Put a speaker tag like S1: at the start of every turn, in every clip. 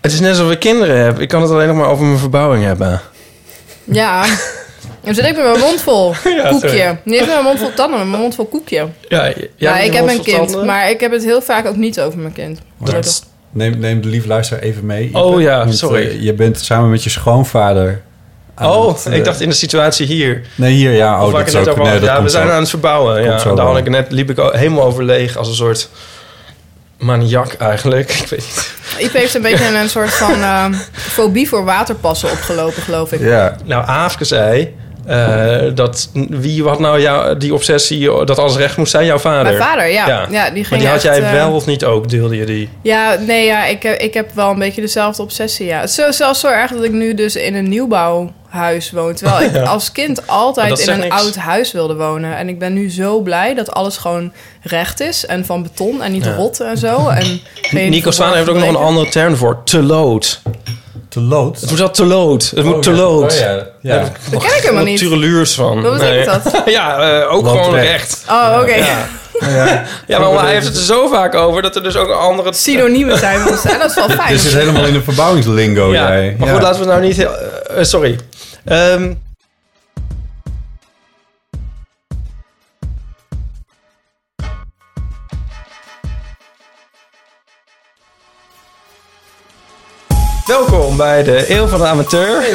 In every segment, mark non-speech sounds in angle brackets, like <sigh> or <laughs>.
S1: Het is net alsof ik kinderen heb. Ik kan het alleen nog maar over mijn verbouwing hebben.
S2: Ja. Dan zit ik met mijn mond vol koekje.
S1: sorry.
S2: Niet met mijn mond vol tanden, maar met mijn mond vol koekje.
S1: Ja,
S2: Ja, Nou, ik heb een kind, maar ik heb het heel vaak ook niet over mijn kind.
S1: Dat
S2: Gelukkig.
S3: Neem, neem de lief luisteraar even mee. Je
S1: Oh
S3: bent-
S1: ja,
S3: want,
S1: sorry.
S3: eh, je bent samen met je schoonvader. aan
S1: Oh,
S3: het, eh,
S1: ik dacht in de situatie hier.
S3: Nee, hier, ja.
S1: of
S3: Oh,
S1: waar
S3: dat
S1: ik het
S3: is
S1: net
S3: ook,
S1: over
S3: nee,
S1: had.
S3: dat
S1: Ja, we
S3: komt
S1: zijn
S3: zo.
S1: aan het verbouwen.
S3: Komt
S1: Ja.
S3: zo
S1: Daar had
S3: wel.
S1: ik net, liep ik al helemaal over leeg als een soort maniak eigenlijk. <laughs> Ik weet niet.
S2: Ipe heeft een beetje een soort van ehm, fobie voor waterpassen opgelopen, geloof ik.
S3: Ja,
S1: Nou, Aafke zei eh, dat wie had nou jou, die obsessie dat alles recht moest zijn, jouw vader.
S2: Mijn vader, ja. ja. die
S1: maar
S2: ging
S1: die had
S2: echt,
S1: jij
S2: eh,
S1: wel of niet ook, deelde je die?
S2: Ja, nee, ja, ik, heb, ik heb wel een beetje dezelfde obsessie, ja. Het is zelfs zo erg dat ik nu dus in een nieuwbouwhuis woon. Terwijl ik als kind
S1: Maar dat
S2: altijd in
S1: zegt
S2: een
S1: niks.
S2: oud huis wilde wonen. En ik ben nu zo blij dat alles gewoon recht is. En van beton en niet
S1: Ja.
S2: rot en zo. En geen
S1: Nico Zwaan heeft ook nog een
S2: verborgen
S1: andere term voor, te lood.
S3: te lood.
S1: Het moet wel te lood. Het moet te lood.
S3: Oh, ja. ja.
S2: Dat ken ik helemaal niet.
S1: Tureluurs van.
S2: Wat betekent dat?
S1: <laughs> ja, eh, ook
S3: Land
S1: gewoon
S3: recht.
S1: recht.
S2: Oh, oké.
S1: <laughs> Ja, maar hij heeft het er zo vaak over dat er dus ook een andere...
S2: Synoniemen zijn we ons. En dat is <laughs> wel fijn.
S3: Je zit helemaal in de verbouwingslingo,
S1: ja.
S3: jij.
S1: Maar
S3: Ja.
S1: goed, laten we het nou niet... heel- eh, eh, sorry. Ehm, Welkom bij de Eeuw van de Amateur.
S3: <laughs>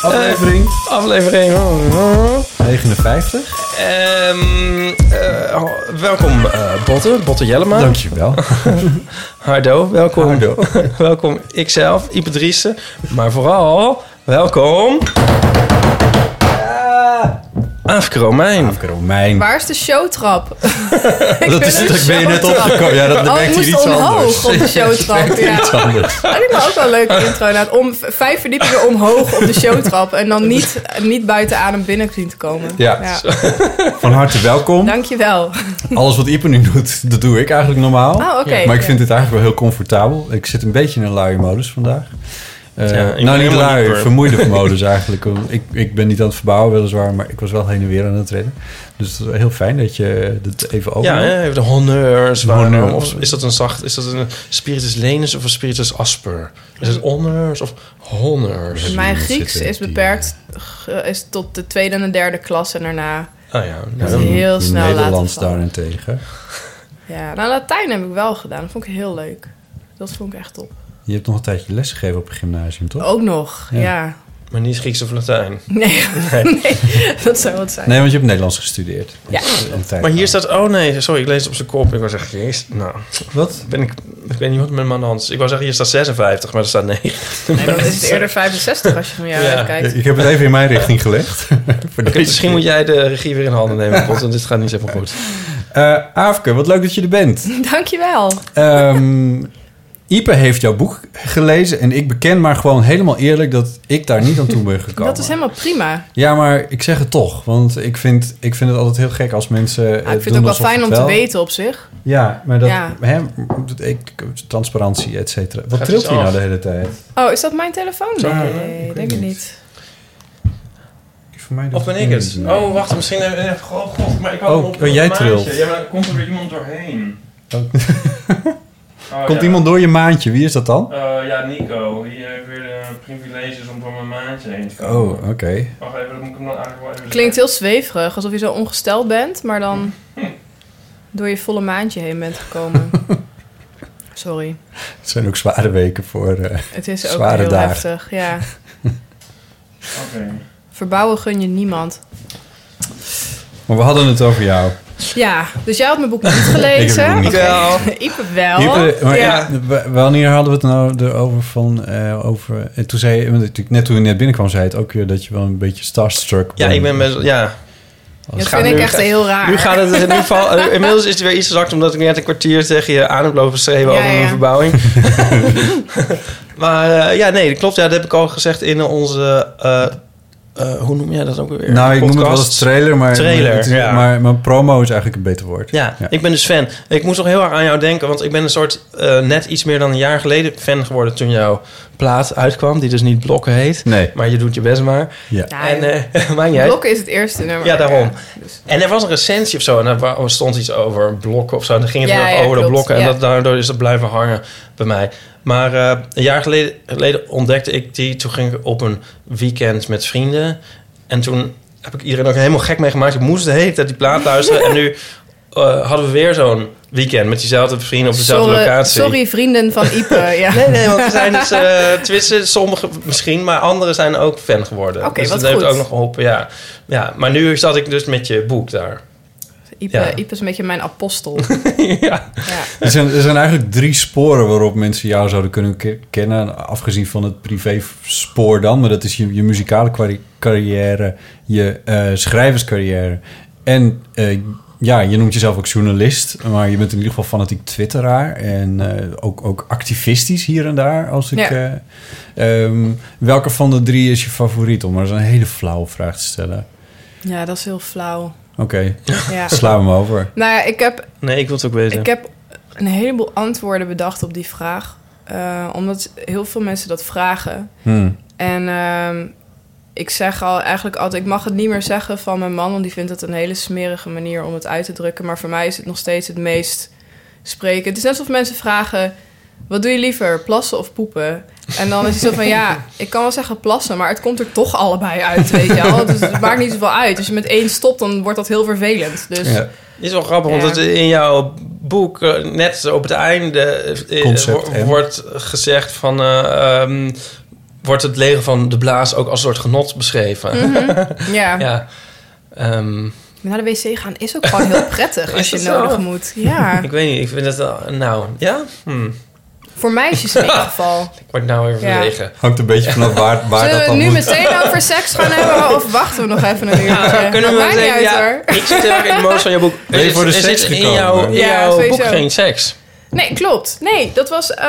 S3: Aflevering
S1: Eh, Aflevering... oh,
S3: 59.
S1: Ehm, eh, oh, welkom eh Botte, Botte Jellema.
S3: Dankjewel.
S1: <laughs> Hardo, welkom.
S3: Hardo.
S1: <laughs> welkom ikzelf, Ipe Driessen. Maar vooral, welkom... Aafke Romein.
S3: Afke Romein.
S2: Waar is de showtrap?
S3: Dat is
S2: wil
S3: dat
S2: een
S3: ben je net
S2: showtrap.
S3: opgekomen. Ja, dat
S2: Oh, ik
S3: werkt hier
S2: moest
S3: iets
S2: omhoog
S3: anders.
S2: op de
S1: <laughs>
S2: showtrap. Ja.
S3: Iets anders.
S2: Dat lijkt me nou ook wel een leuke intro. inderdaad. Om, v- vijf verdiepingen omhoog op de showtrap. En dan niet, niet buiten adem binnen zien te komen.
S3: Ja. Van harte welkom.
S2: Dankjewel.
S3: Alles wat Ipe nu doet, dat doe ik eigenlijk normaal.
S2: Oh, oké.
S3: Maar ik
S2: Ja.
S3: vind dit eigenlijk wel heel comfortabel. Ik zit een beetje in een luie modus vandaag. Eh,
S1: Ja, ik ben
S3: nou, niet
S1: helemaal
S3: lui,
S1: niet per- <laughs>
S3: vermoeide modus eigenlijk. Ik, ik ben niet aan het verbouwen weliswaar, maar ik was wel heen en weer aan het rennen. Dus het is heel fijn dat je dit even over.
S1: Ja, hè, even de honneurs. waarom?
S3: Honneur.
S1: Of is dat een zacht... Is dat een spiritus lenus of een spiritus asper? Is het honors of
S2: Mijn
S1: honors?
S3: iemand
S2: Grieks
S3: zitten
S2: is
S3: die, eh,
S2: beperkt ge- is tot de tweede en de derde klas. En daarna...
S3: Oh
S1: Ah ja.
S2: Dat is
S1: nou,
S2: heel snel
S3: Nederlands
S2: laten vallen.
S3: daarentegen.
S2: Ja, nou, Latijn heb ik wel gedaan. Dat vond ik heel leuk. Dat vond ik echt top.
S3: Je hebt nog een tijdje lesgegeven op het gymnasium, toch?
S2: Ook nog, ja.
S1: Maar niet Grieks of Latijn.
S2: Nee, <laughs> nee, dat zou wat zijn.
S3: Nee, want je hebt Nederlands gestudeerd.
S2: Ja.
S3: Een tijd
S1: Maar hier
S3: lang.
S1: staat... Oh nee, sorry, ik lees het op zijn kop. Ik was echt... Jezus, nou...
S3: Wat?
S1: Ben ik, ik weet niet wat met mijn hand is. Ik wou zeggen, hier staat 56, maar er staat 9.
S2: Nee, dan
S1: <laughs>
S2: is het eerder 65 als je van jou
S1: Ja.
S2: kijkt.
S3: Ik heb het even in mijn richting
S1: <laughs>
S3: gelegd. Voor deze
S1: Misschien moet jij de regie weer in handen nemen, Bot, want dit gaat niet zo goed.
S3: Eh, Aafke, wat leuk dat je er bent.
S2: <laughs> Dankjewel.
S3: Ehm Ipe heeft jouw boek gelezen en ik beken maar gewoon helemaal eerlijk dat ik daar niet aan
S2: <laughs>
S3: toe ben gekomen. Eh,
S2: Dat is helemaal prima.
S3: Ja, maar ik zeg het toch, want ik vind, ik vind het altijd heel gek als mensen. eh,
S2: Ja, Ah, ik vind
S3: doen
S2: het ook wel
S3: alsof
S2: fijn om te
S3: wel-
S2: weten op zich.
S3: Ja, maar dat.
S2: Ja.
S3: Hè, dat- ik, transparantie, et cetera. Wat
S1: Gaat
S3: trilt
S1: iets
S3: hij nou
S1: af?
S3: de hele tijd?
S2: Oh, is dat mijn telefoon?
S3: Zo,
S2: Nee,
S3: ja, ik
S2: ik
S3: weet
S2: denk het
S3: niet.
S2: niet.
S3: Voor mij doet
S1: Of ben ik het?
S3: niet.
S1: Oh, wacht, misschien... eh, eh, Oh, god, maar ik had
S3: Oh,
S1: hem op
S3: oh, jij
S1: op een
S3: trilt.
S1: maatje. Ja, maar dan komt er weer iemand doorheen.
S3: Oh. <laughs>
S1: Oh,
S3: Komt
S1: ja.
S3: iemand door je maandje? Wie is dat dan?
S1: Eh, ja, Nico. Hier heb ik weer de privileges om door mijn maatje heen te komen.
S3: Oh, oké.
S1: Wacht even, dat moet ik hem dan eigenlijk wel even
S2: Klinkt
S1: zeggen.
S2: heel zweverig, alsof je zo ongesteld bent, maar dan door je volle maandje heen bent gekomen. Sorry,
S3: Het zijn ook zware weken voor. eh,
S2: het is ook
S3: Zware
S2: heel
S3: dagen.
S2: heftig.
S3: <laughs>
S2: Ja.
S1: Oké.
S2: Verbouwen gun je niemand.
S3: Maar we hadden het over jou.
S2: Ja, dus jij had mijn boek niet gelezen.
S3: Ik heb het boek niet
S2: Oké. <laughs> Ipe wel.
S3: Hyper- eh, maar
S2: ja.
S3: ja. w- wanneer hadden we het nou erover van... eh, over, en toen zei, want natuurlijk net toen je net binnenkwam, zei het ook weer dat je wel een beetje starstruck
S1: Ja, ik ben best... Ja.
S2: Dat
S1: Gaat
S2: vind ik
S1: nu-
S2: echt heel raar.
S1: Nu gaat het in
S2: <laughs>
S1: ieder geval... eh, inmiddels is het weer iets gezakt... omdat ik net een kwartier tegen je aan heb lopen schreeuwen...
S2: Ja,
S1: over mijn
S2: ja. <laughs>
S1: verbouwing. maar eh, ja, nee, dat klopt. Ja, dat heb ik al gezegd in onze... eh, eh, hoe noem jij dat ook weer?
S3: Nou, ik noem het wel
S1: Podcast.
S3: eens trailer, maar,
S1: Trailer,
S3: het is-
S1: ja.
S3: maar, maar promo is eigenlijk een beter woord.
S1: Ja, ik ben dus fan. Ik moest nog heel erg aan jou denken, want ik ben een soort eh, net iets meer dan een jaar geleden fan geworden toen jouw plaat uitkwam, die dus niet blokken heet.
S3: Nee.
S1: Maar je doet je best maar.
S3: Ja.
S2: Ja,
S1: en eh <laughs> maakt niet uit.
S2: Blokken is het eerste nummer.
S1: Ja, daarom.
S2: dus-
S1: En er was een recensie of zo. En daar wa- stond iets over blokken of zo. En dan ging het
S2: Ja,
S1: weer
S2: ja,
S1: over de
S2: klopt,
S1: blokken. En
S2: ja.
S1: dat, daardoor is dat blijven hangen bij mij. Maar eh, een jaar geleden, geleden ontdekte ik die. Toen ging ik op een weekend met vrienden. En toen heb ik iedereen ook helemaal gek meegemaakt. Ik moest de hele tijd die plaat luisteren.
S2: <laughs>
S1: en nu eh, hadden we weer zo'n weekend met diezelfde vrienden op dezelfde
S2: Sorry,
S1: locatie.
S2: sorry, vrienden van Ipe. Ja.
S1: Nee, nee,
S2: <laughs>
S1: want er zijn dus... eh tenminste, sommigen misschien, maar anderen zijn ook fan geworden.
S2: Oké,
S1: dus
S2: wat
S1: dat heeft
S2: goed.
S1: ook nog geholpen, ja. ja. Maar nu zat ik dus met je boek daar.
S2: Ipe,
S1: Ja.
S2: Ipe is een beetje mijn
S3: <laughs>
S2: apostel.
S1: ja.
S2: ja.
S3: Er, zijn, er zijn eigenlijk drie sporen waarop mensen jou zouden kunnen ke- kennen. Afgezien van het privé-spoor dan. Maar dat is je, je muzikale kwari- carrière, je eh, schrijverscarrière. En eh, ja, je noemt jezelf ook journalist. Maar je bent in ieder geval fanatiek twitteraar. En eh, ook, ook activistisch hier en daar. Als ik,
S2: Ja.
S3: eh, ehm, welke van de drie is je favoriet? Om maar eens een hele flauwe vraag te stellen.
S2: ja, dat is heel
S3: <laughs>
S2: flauw.
S3: Oké,
S2: Ja.
S3: sla hem over.
S2: Nou ja, ik heb,
S1: Nee, ik wil het ook weten.
S2: ik heb een heleboel antwoorden bedacht op die vraag. Eh, omdat heel veel mensen dat vragen.
S3: Hmm.
S2: En ehm, ik zeg al eigenlijk altijd... Ik mag het niet meer zeggen van mijn man... want die vindt het een hele smerige manier om het uit te drukken. Maar voor mij is het nog steeds het meest spreken. Het is net alsof mensen vragen... Wat doe je liever, plassen of poepen? En dan is het zo van, ja, ik kan wel zeggen plassen... maar het komt er toch allebei uit, weet je wel. Dus het maakt niet zoveel uit. Als je met één stopt, dan wordt dat heel vervelend. Dus
S3: Ja.
S1: Dit is wel grappig,
S2: Ja.
S1: want het, in jouw boek, eh, net op het einde, eh, eh,
S3: Concept
S1: wo-
S3: M.
S1: wordt gezegd van... eh, ehm, wordt het leger van de blaas ook als een soort genot beschreven.
S2: Mhm.
S1: <laughs>
S2: ja.
S1: Ja. Ehm,
S2: naar de wc gaan is ook gewoon heel
S1: <laughs>
S2: prettig als
S1: Is
S2: je
S1: dat zo?
S2: nodig moet. Ja,
S1: <laughs> ik weet niet, ik vind het... wel- nou, ja? Hm.
S2: voor meisjes in ieder geval.
S1: Ah. <laughs> Ik word nou weer
S2: Ja.
S1: verlegen.
S3: Hangt een beetje vanaf waar, waar dat
S2: Zullen we
S3: dan
S2: nu
S3: moet. <laughs>
S2: meteen over seks gaan
S1: <laughs>
S2: hebben of wachten we nog even een uurtje?
S1: Ja, kunnen we
S2: Dat maakt niet
S1: zeggen,
S2: uit
S1: ja,
S2: hoor.
S1: <laughs> ik zit heel erg in de modus van jouw boek.
S3: Ben je
S1: Er
S3: voor de
S1: zit- er
S3: seks
S1: zit in
S3: gekomen?
S1: jouw, in
S2: Ja,
S1: jouw boek
S2: sowieso.
S1: geen seks.
S2: Nee, klopt. Nee, dat was. eh,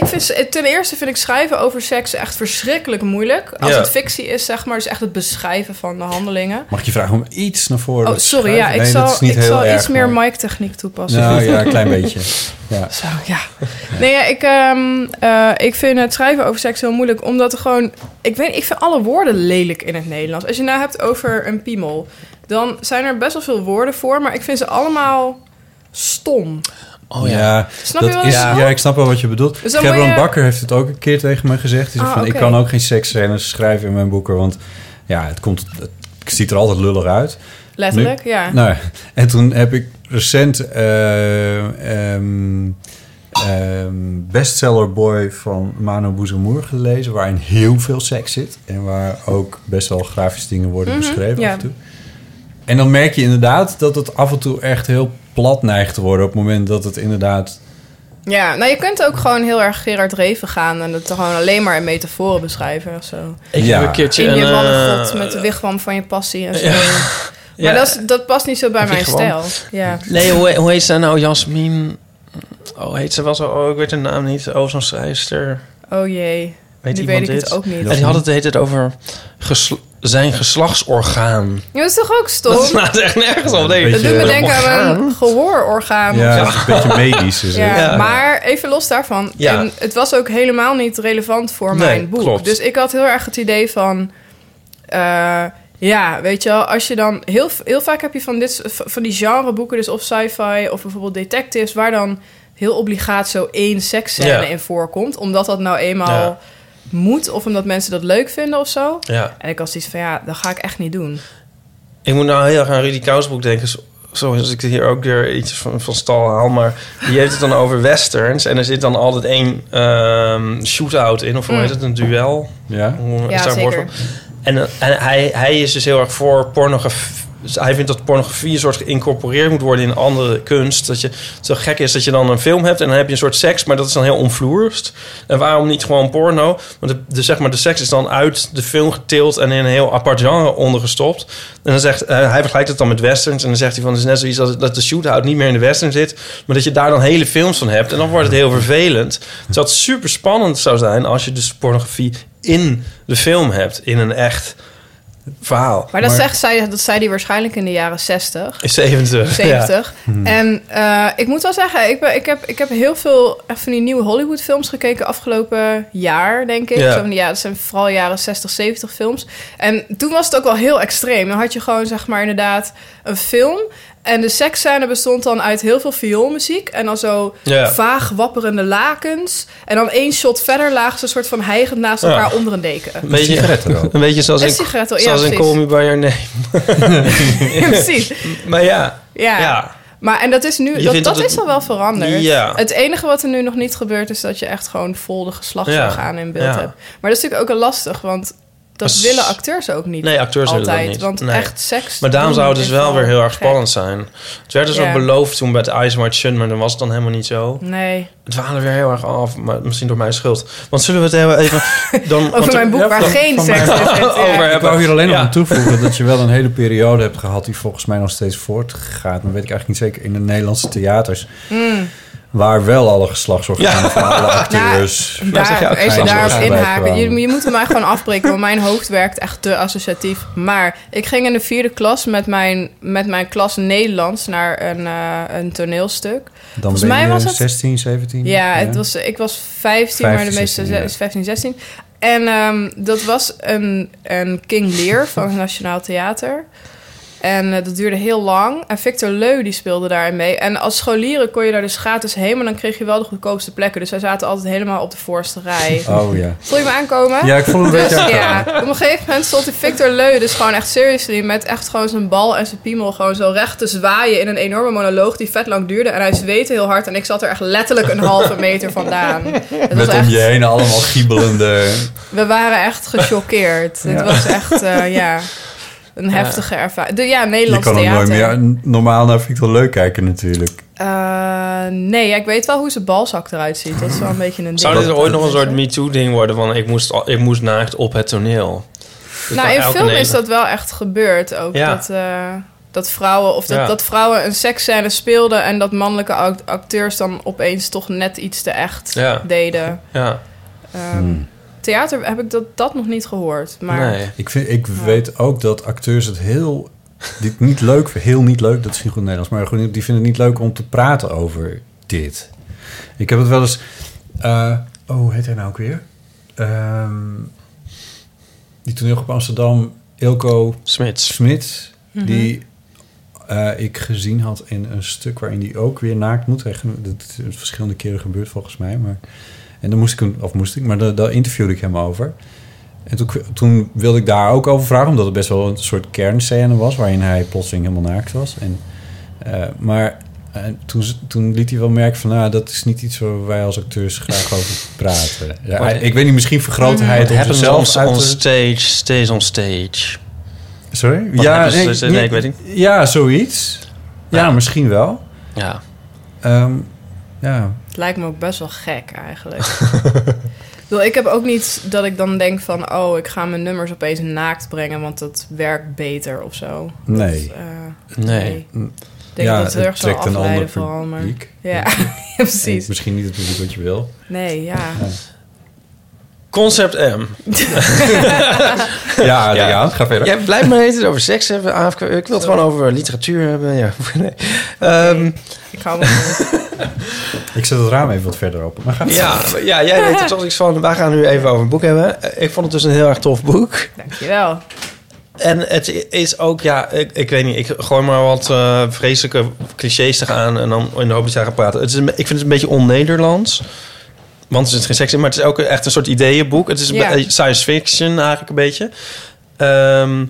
S2: ik vind, ten eerste vind ik schrijven over seks echt verschrikkelijk moeilijk. Als
S1: Ja.
S2: het fictie is, zeg maar, dus echt het beschrijven van de handelingen.
S3: Mag ik je vragen om iets naar voren
S2: Oh,
S3: te
S2: sorry, ja,
S3: schuiven?
S2: ik
S3: Nee, dat
S2: zal,
S3: is niet
S2: ik
S3: heel
S2: zal
S3: erg,
S2: iets meer
S3: maar-
S2: mic-techniek toepassen.
S3: Nou ja, een
S2: <laughs>
S3: klein beetje. Ja.
S2: Zo, ja. Nee, ja, ik, ehm, eh, ik vind het schrijven over seks heel moeilijk. Omdat er gewoon... Ik weet ik vind alle woorden lelijk in het Nederlands. Als je nou hebt over een piemel... dan zijn er best wel veel woorden voor... maar ik vind ze allemaal stom.
S1: Oh
S2: Snap
S3: dat
S2: je wat ik
S3: is,
S2: bedoel?
S3: ja, ik snap wel wat je bedoelt.
S2: Dus dan
S3: Cameron
S2: moet je-
S3: Bakker heeft het ook een keer tegen me gezegd. Hij zei
S2: Ah,
S3: van,
S2: oké.
S3: Ik kan ook geen seksscènes schrijven in mijn boeken, want ja, het, komt, het ziet er altijd lullig uit.
S2: Letterlijk, ja.
S3: Nou, en toen heb ik recent eh, ehm, ehm, Bestseller Boy van Mano Boezemoer gelezen... waarin heel veel seks zit en waar ook best wel grafische dingen worden beschreven
S2: Mhm, ja.
S3: af en toe. En dan merk je inderdaad dat het af en toe echt heel plat neigt te worden... op het moment dat het inderdaad...
S2: ja, nou je kunt ook gewoon heel erg Gerard Reven gaan... en het gewoon alleen maar in metaforen beschrijven of zo.
S1: Ik
S3: Ja.
S1: heb een keertje
S2: In je
S1: een...
S2: mannengod
S1: eh,
S2: met de wigwam van je passie en zo.
S1: <laughs> Ja. ja.
S2: Maar dat, is- dat past niet zo bij
S1: Heb je
S2: mijn
S1: gewoon-
S2: stijl. Ja.
S1: Nee, hoe, hoe heet ze nou? Jasmin... Oh, heet ze wel zo... Oh, ik weet haar naam niet. Oh, zo'n schrijfster.
S2: Oh jee.
S1: Weet
S2: nu
S1: iemand
S2: weet ik
S1: dit?
S2: het ook niet.
S1: En die had het, heet het over gesl- zijn geslachtsorgaan.
S2: Ja, dat is toch ook stom?
S1: Dat slaat echt nergens op. Nee.
S3: Beetje-
S2: Dat doet me denken aan
S1: Orgaan?
S2: een gehoororgaan.
S3: Ja,
S2: Ja.
S3: het is een beetje medisch. is
S2: <laughs>
S3: het.
S2: Ja,
S1: Ja.
S2: maar even los daarvan.
S1: Ja.
S2: En het was ook helemaal niet relevant voor
S1: Nee,
S2: mijn boek.
S1: klopt.
S2: Dus ik had heel erg het idee van... eh, ja, weet je wel, als je dan... Heel, heel vaak heb je van, dit, van die genreboeken, dus of sci-fi of bijvoorbeeld detectives... waar dan heel obligaat zo één seksscène
S1: Ja.
S2: in voorkomt. Omdat dat nou eenmaal
S1: Ja.
S2: moet of omdat mensen dat leuk vinden of zo.
S1: Ja.
S2: En ik had zoiets van, ja, dat ga ik echt niet doen.
S1: Ik moet nou heel erg aan Rudy Kousbroek denken. zo- Sorry als ik hier ook weer iets van, van stal haal. Maar die heeft het dan over westerns. En er zit dan altijd één ehm shootout in. Of
S2: Mm.
S1: hoe heet het? Een duel.
S3: Ja?
S1: Hoe
S2: Ja,
S1: is daar een woord
S2: zeker.
S1: voor? En, eh, en hij, hij is dus heel erg voor pornografie. Dus hij vindt dat pornografie een soort geïncorporeerd moet worden in andere kunst. Dat je het zo gek is dat je dan een film hebt en dan heb je een soort seks, maar dat is dan heel onvloerst. En waarom niet gewoon porno? Want de, de, zeg maar, de seks is dan uit de film getild en in een heel apart genre ondergestopt. En dan zegt, eh, hij vergelijkt het dan met westerns. En dan zegt hij van, het is net zoiets als dat de shootout niet meer in de western zit. Maar dat je daar dan hele films van hebt. En dan wordt het heel vervelend. Terwijl het super spannend zou zijn als je dus pornografie in de film hebt. In een echt verhaal.
S2: Maar dat, zegt zij, dat zei die waarschijnlijk in de jaren
S1: <laughs>
S2: 60,
S1: 70. <laughs>
S2: 70.
S1: Hmm.
S2: En eh, ik moet wel zeggen, ik, ben, ik, heb, ik heb heel veel echt van die nieuwe Hollywood films gekeken afgelopen jaar, denk ik.
S1: Ja.
S2: Ja. Zo van die, ja, dat zijn vooral jaren 60, 70 films. En toen was het ook wel heel extreem. Dan had je gewoon, zeg maar, inderdaad een film. En de seksscène bestond dan uit heel veel vioolmuziek. En dan zo
S1: Ja.
S2: vaag wapperende lakens. En dan één shot verder lagen ze een soort van hijgend naast
S1: Ja.
S2: elkaar onder een deken.
S1: Een beetje,
S3: sigaretten ook.
S1: een beetje zoals
S2: Een
S1: in,
S2: sigaret, ja,
S1: zoals in
S2: precies.
S1: Call Me By Your Name.
S2: <laughs> <laughs> Ja, precies.
S1: Maar ja,
S2: Ja.
S1: ja.
S2: Maar en dat is nu,
S1: Je
S2: dat,
S1: vindt
S2: dat
S1: dat het-
S2: is al wel veranderd.
S1: Ja.
S2: Het enige wat er nu nog niet gebeurt, is dat je echt gewoon vol de geslachtsorganen in beeld
S1: Ja.
S2: hebt. Maar dat is natuurlijk ook wel lastig, want dat
S1: Als-
S2: willen acteurs ook niet.
S1: Nee, acteurs willen
S2: altijd.
S1: dat niet.
S2: Want
S1: Nee.
S2: echt seks.
S1: Maar daarom
S2: doen
S1: zou het dus
S2: is
S1: wel weer heel erg
S2: gek.
S1: spannend zijn. Het werd dus
S2: Ja.
S1: ook beloofd toen bij het Ice White Shun, maar dan was het dan helemaal niet zo.
S2: Nee.
S1: Het dwaalde weer heel erg af, maar misschien door mijn schuld. Want zullen we het heel even...
S2: <laughs>
S1: Dan,
S2: Over
S1: want-
S2: mijn boek
S3: ja,
S2: waar
S3: van-
S2: geen
S3: van
S2: seks
S3: mij-
S2: in zit. <laughs> ja.
S1: Over
S3: Ik wou hier alleen nog
S1: Ja.
S3: aan toevoegen dat je wel een hele periode hebt gehad... die volgens mij nog steeds voortgaat. Maar weet ik eigenlijk niet zeker in de Nederlandse theaters...
S4: Hmm.
S3: waar wel alle geslachtsorganen
S1: Ja.
S3: van
S1: <laughs>
S3: alle
S2: Nou,
S3: acteurs...
S1: Nou, zeg je
S2: daar,
S1: ook
S2: even
S1: geen
S2: daarop
S3: zorgen.
S2: inhaken.
S3: Gelijk
S2: Je,
S3: gewoon.
S2: je moet mij gewoon afbreken, want mijn hoofd werkt echt te associatief. Maar ik ging in de vierde klas met mijn, met mijn klas Nederlands naar een, eh, een toneelstuk.
S3: Dan
S2: Volgens
S3: ben
S2: mij
S3: je
S2: was het-
S3: 16, 17.
S2: Ja, het was, ik was 15, maar de
S3: 15,
S2: meeste
S3: 16, ja.
S2: is 15, 16. En ehm, dat was een, een King
S3: <laughs>
S2: Lear van het Nationaal Theater. En eh, dat duurde heel lang. En Victor Leu die speelde daarin mee. En als scholieren kon je daar dus gratis heen, maar dan kreeg je wel de goedkoopste plekken. Dus wij zaten altijd helemaal op de voorste rij.
S3: Oh ja.
S2: Voel je me aankomen?
S3: Ja, ik voel een
S2: Dus
S3: beetje aan.
S2: ja, op een gegeven moment stond die Victor Leu dus gewoon echt seriously met echt gewoon zijn bal en zijn piemel gewoon zo recht te zwaaien in een enorme monoloog die vet lang duurde. En hij zweette heel hard en ik zat er echt letterlijk een halve meter
S3: <laughs>
S2: vandaan. Het was
S3: Met om
S2: echt,
S3: je heen allemaal giebelende...
S2: <laughs> we waren echt gechoqueerd. Het was echt,
S3: <laughs>
S2: eh, ja, een heftige ervaring. De- Ja,
S3: Je
S2: Nederlands
S3: kan ook
S2: theater.
S3: nooit meer normaal naar Victor Leuk kijken natuurlijk.
S2: Eh, nee, ja, ik weet wel hoe zijn balzak eruit ziet. Dat is wel een beetje een ding.
S1: Zou dit ooit nog een soort MeToo-ding worden? Van ik moest, al- ik moest naakt op het toneel. Dus
S2: Nou,
S1: dan
S2: in
S1: elke
S2: film
S1: neder-
S2: is dat wel echt gebeurd ook.
S1: Ja.
S2: Dat, eh, dat vrouwen of dat,
S1: Ja.
S2: dat vrouwen een seksscène speelden en dat mannelijke act- acteurs dan opeens toch net iets te echt
S1: Ja.
S2: deden.
S1: Ja,
S2: Ehm,
S3: Hmm.
S2: Theater heb ik dat, dat nog niet gehoord. Maar
S1: nee.
S3: Ik, vind, ik weet ook dat acteurs het heel... Dit niet leuk, heel niet leuk, dat is niet goed Nederlands. Maar goed, die vinden het niet leuk om te praten over dit. Ik heb het wel eens... eh, oh, hoe heet hij nou ook weer? Ehm, die toneelgroep Amsterdam, Ilko
S1: Smits.
S3: Smit, die eh, ik gezien had in een stuk waarin die ook weer naakt moet. Hij- Dat is verschillende keren gebeurd volgens mij. Maar, en dan moest ik hem, of moest ik, maar daar, daar interviewde ik hem over. En toen, toen wilde ik daar ook over vragen, omdat het best wel een soort kernscène was, waarin hij plotseling helemaal naakt was. En, eh, maar eh, toen, ze- toen liet hij wel merken van, nou, dat is niet iets waar wij als acteurs graag over
S1: <laughs>
S3: praten. Ja,
S1: Maar-
S3: hij- ik weet niet, misschien
S2: Mm.
S3: vergroot hij het
S1: What
S3: om
S1: happens
S3: zichzelf
S1: on,
S3: uit
S1: on
S3: te-
S1: stage stays on stage.
S3: Sorry?
S1: Wat hebben ze- ze- nee, ik weet niet.
S3: Ja, zoiets. Ja, misschien wel.
S1: Ja.
S3: Ehm, ja.
S2: het lijkt me ook best wel gek eigenlijk. ik, bedoel, ik heb ook niet dat ik dan denk van... oh, ik ga mijn nummers opeens naakt brengen... want dat werkt beter of zo.
S3: Nee. Mm,
S2: Eh,
S1: Nee.
S2: Ik denk
S3: ja,
S2: dat het erg zou afleiden vooral. Maar...
S3: publiek.
S2: <laughs> Ja, precies.
S3: En Misschien niet het publiek wat je wil.
S2: Nee, ja.
S1: Concept M.
S3: Ja, <laughs> ja. ga verder.
S1: Jij blijft maar eten over seks hebben. AFK. Ik wil het gewoon over literatuur hebben. Ja. <laughs> Nee. Ehm,
S2: Ik hou me
S3: Ik zet het raam even wat verder open. Maar ga
S1: <laughs> ja, ja, jij weet er toch iets van. Wij gaan nu even over een boek hebben. Eh, Ik vond het dus een heel erg tof
S2: <laughs>
S1: boek.
S2: Dankjewel.
S1: En het is ook, ja, ik, ik weet niet. Ik gooi maar wat eh, vreselijke clichés tegenaan. En dan in de hoop dat jij gaat praten. Het is een- ik vind het een beetje on-Nederlands. Want er zit geen seks in. Maar het is ook echt een soort ideeënboek. Het is een
S2: Ja.
S1: be- eh, science fiction eigenlijk een beetje. Ehm,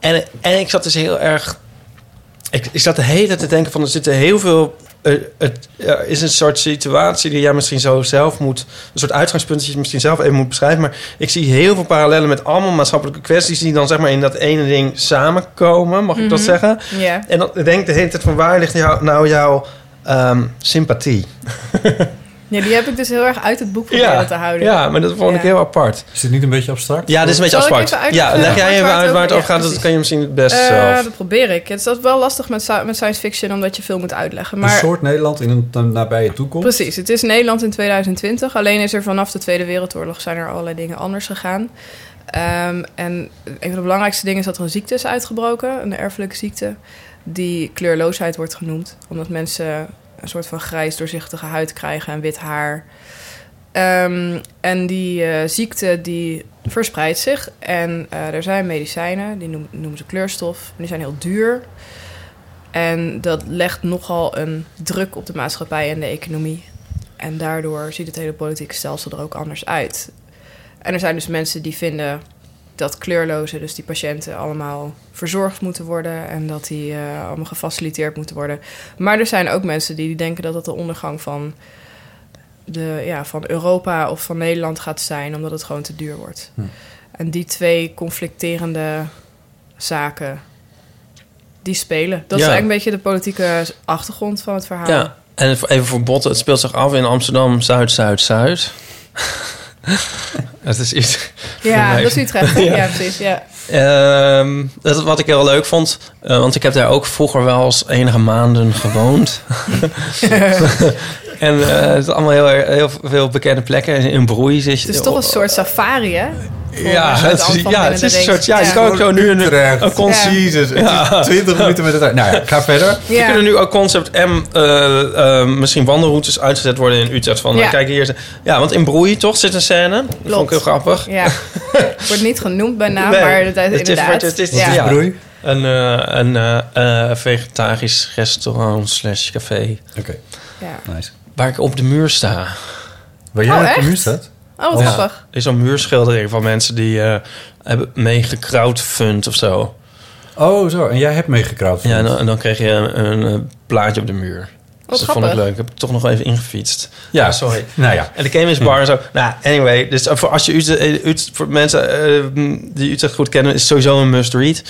S1: en, en ik zat dus heel erg... Ik, ik zat de hele tijd te denken van... Er zitten heel veel eh, het eh, is een soort situatie die jij misschien zo zelf moet... een soort uitgangspunt dat je misschien zelf even moet beschrijven. Maar ik zie heel veel parallellen met allemaal maatschappelijke kwesties... die dan zeg maar in dat ene ding samenkomen, mag ik dat
S2: Mhm.
S1: zeggen?
S2: <laughs> Ja.
S1: En dan denk ik de hele tijd van waar ligt jou, nou jouw ehm, sympathie?
S2: ja, die heb ik dus heel erg uit het boek proberen
S1: Ja,
S2: te houden.
S1: ja, maar dat vond ik
S2: Ja.
S1: heel apart.
S3: Is dit niet een beetje abstract?
S1: Ja, dit is een beetje
S2: Zal ik
S1: apart.
S2: even
S1: Ja,
S2: uitleggen
S1: leg jij even uit waar het
S2: ja,
S1: over gaat. Dat
S2: precies.
S1: kan je misschien het beste
S2: Eh,
S1: zelf.
S2: dat probeer ik. Het is altijd wel lastig met, sci- met science fiction, omdat je veel moet uitleggen. Maar
S3: Een soort Nederland in een een nabije toekomst?
S2: Precies, het is Nederland in 2020. Alleen is er vanaf de Tweede Wereldoorlog zijn er allerlei dingen anders gegaan. Ehm, en een van de belangrijkste dingen is dat er een ziekte is uitgebroken, een erfelijke ziekte, die kleurloosheid wordt genoemd. Omdat mensen een soort van grijs doorzichtige huid krijgen en wit haar. Ehm, en die eh, ziekte die verspreidt zich. En eh, er zijn medicijnen, die noem- noemen ze kleurstof. En die zijn heel duur. En dat legt nogal een druk op de maatschappij en de economie. En daardoor ziet het hele politieke stelsel er ook anders uit. En er zijn dus mensen die vinden dat kleurlozen, dus die patiënten, allemaal verzorgd moeten worden. En dat die eh, allemaal gefaciliteerd moeten worden. Maar er zijn ook mensen die denken dat dat de ondergang van, de, ja, van Europa of van Nederland gaat zijn, omdat het gewoon te duur wordt.
S3: Hm.
S2: En die twee conflicterende zaken, die spelen. Dat is
S1: Ja.
S2: eigenlijk een beetje de politieke achtergrond van het verhaal.
S1: Ja, en even voor botten. Het speelt zich af in Amsterdam, Zuid, Zuid, <laughs> Zuid. Het is iets...
S2: Ja,
S1: Nee.
S2: dat is Utrecht. hè?
S1: <laughs> Ja.
S2: Ja, precies. Ja. Dus
S1: Ehm, dat is wat ik heel leuk vond. eh, want ik heb daar ook vroeger wel eens enige maanden
S2: <laughs>
S1: gewoond. <laughs> en eh, het is allemaal heel, erg- heel veel bekende plekken. In Broei zit je...
S2: Het is toch een soort safari, hè?
S1: Ja,
S2: Voor
S1: het
S2: mensen
S1: is,
S2: van
S1: ja,
S2: binnen
S1: het
S2: de
S1: is een
S2: reeks.
S1: soort... Ja,
S2: Ja.
S1: je kan ook zo nu een,
S3: Utrecht.
S1: een concierge... Ja. <laughs>
S3: 20 minuten met het uit. Nou ja, ga verder.
S2: Ja.
S1: Er kunnen nu ook concept M, eh, eh, misschien wandelroutes uitgezet worden in Utrecht. Van,
S2: Ja.
S1: eh, kijk hier, is- ja, want in Broei toch zit een scène. Dat vond ik heel grappig.
S2: Ja.
S1: <laughs>
S2: Het wordt niet genoemd bij naam,
S1: Nee,
S2: maar
S1: het
S2: dat,
S1: is-
S2: inderdaad.
S1: het is- het is-
S2: ja.
S1: ja.
S3: Broei.
S1: Een, eh, een eh, eh, vegetarisch restaurant slash café.
S3: Oké,
S2: Ja.
S3: nice.
S1: Waar ik op de muur sta.
S3: Waar jij
S2: Oh,
S3: op de
S2: echt?
S3: muur staat?
S2: Oh, wat
S1: Ja.
S2: grappig.
S1: Er is een muurschildering van mensen die eh, hebben meegecrowdfund of zo.
S3: Oh, zo. En jij hebt meegekraald.
S1: Ja, en, dan- en dan kreeg je een, een, eh, plaatje op de muur. Dus
S2: Wat
S1: dat vond ik
S2: grappig.
S1: leuk. Ik heb het toch nog even ingefietst.
S3: Ja.
S1: Ah, sorry.
S3: Nou ja.
S1: En de Chemist Bar en zo. Nou, anyway. Dus voor, als je Utrecht, eh, Utrecht- voor mensen eh, die Utrecht goed kennen, is het sowieso een must-read.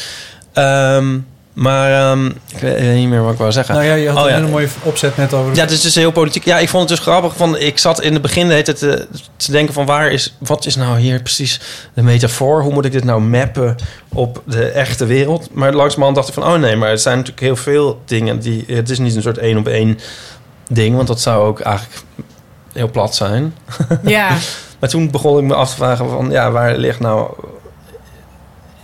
S1: Ehm, maar ehm, ik weet weet niet meer wat ik wou zeggen.
S3: Nou ja, je had
S1: Oh,
S3: een
S1: ja.
S3: hele mooie opzet net over.
S1: Ja, het is dus heel politiek. Ja, ik vond het dus grappig. Van, ik zat in het begin de hele tijd te, te denken van waar is... Wat is nou hier precies de metafoor? Hoe moet ik dit nou mappen op de echte wereld? Maar langzamerhand dacht ik van... Oh nee, maar het zijn natuurlijk heel veel dingen die... Het is niet een soort één op één ding. Want dat zou ook eigenlijk heel plat zijn.
S2: Ja.
S1: <laughs> Maar toen begon ik me af te vragen van... Ja, waar ligt nou...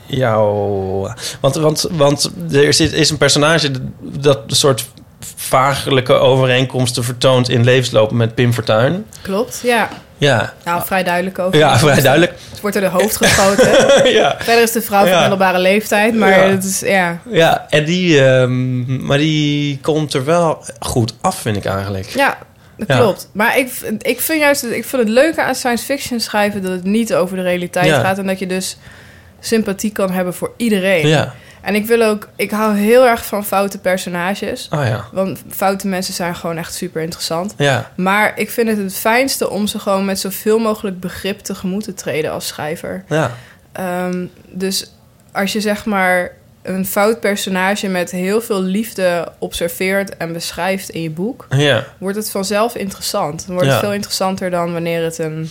S1: Jouw... Want, want, want er zit, is een personage dat een soort vagelijke overeenkomsten vertoont in levenslopen met Pim Fortuyn.
S2: Klopt, ja.
S1: Ja,
S2: Nou, vrij duidelijk ook.
S1: Ah. ja vrij duidelijk.
S2: Het wordt door de hoofd geschoten.
S1: <laughs> ja.
S2: Verder is de vrouw van
S1: Ja.
S2: middelbare leeftijd, maar
S1: Ja.
S2: het is, ja.
S1: ja, en die, ehm, maar die komt er wel goed af, vind ik eigenlijk.
S2: Ja, dat
S1: Ja.
S2: klopt. Maar ik, ik vind juist, ik vind het leuke aan science fiction schrijven dat het niet over de realiteit
S1: Ja.
S2: gaat en dat je dus sympathie kan hebben voor iedereen.
S1: Ja,
S2: En ik wil ook, ik hou heel erg van foute personages.
S1: ah ja.
S2: Want foute mensen zijn gewoon echt super interessant.
S1: Ja,
S2: Maar ik vind het het fijnste om ze gewoon met zoveel mogelijk begrip tegemoet te treden als schrijver.
S1: ja.
S2: Ehm, dus als je zeg maar een fout personage met heel veel liefde observeert en beschrijft in je boek,
S1: ja.
S2: wordt het vanzelf interessant. Dan wordt
S1: Ja.
S2: het veel interessanter dan wanneer het een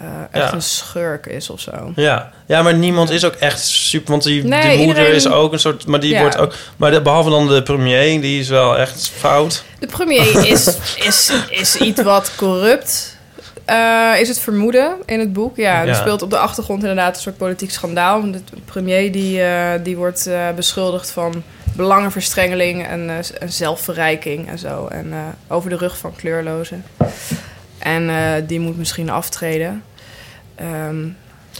S2: eh, echt
S1: Ja.
S2: een schurk is of zo.
S1: Ja. ja, maar niemand is ook echt super. Want die,
S2: Nee,
S1: die moeder
S2: iedereen-
S1: is ook een soort. Maar die
S2: Ja.
S1: wordt ook. Maar de, behalve dan de premier, die is wel echt fout.
S2: De premier is, is, is iets wat corrupt. eh, is het vermoeden in het boek? Ja, er
S1: Ja.
S2: speelt op de achtergrond inderdaad een soort politiek schandaal. Want De premier die, eh, die wordt eh, beschuldigd van belangenverstrengeling en, eh, z- en zelfverrijking en zo. En eh, over de rug van kleurlozen. En eh, die moet misschien aftreden. Ehm,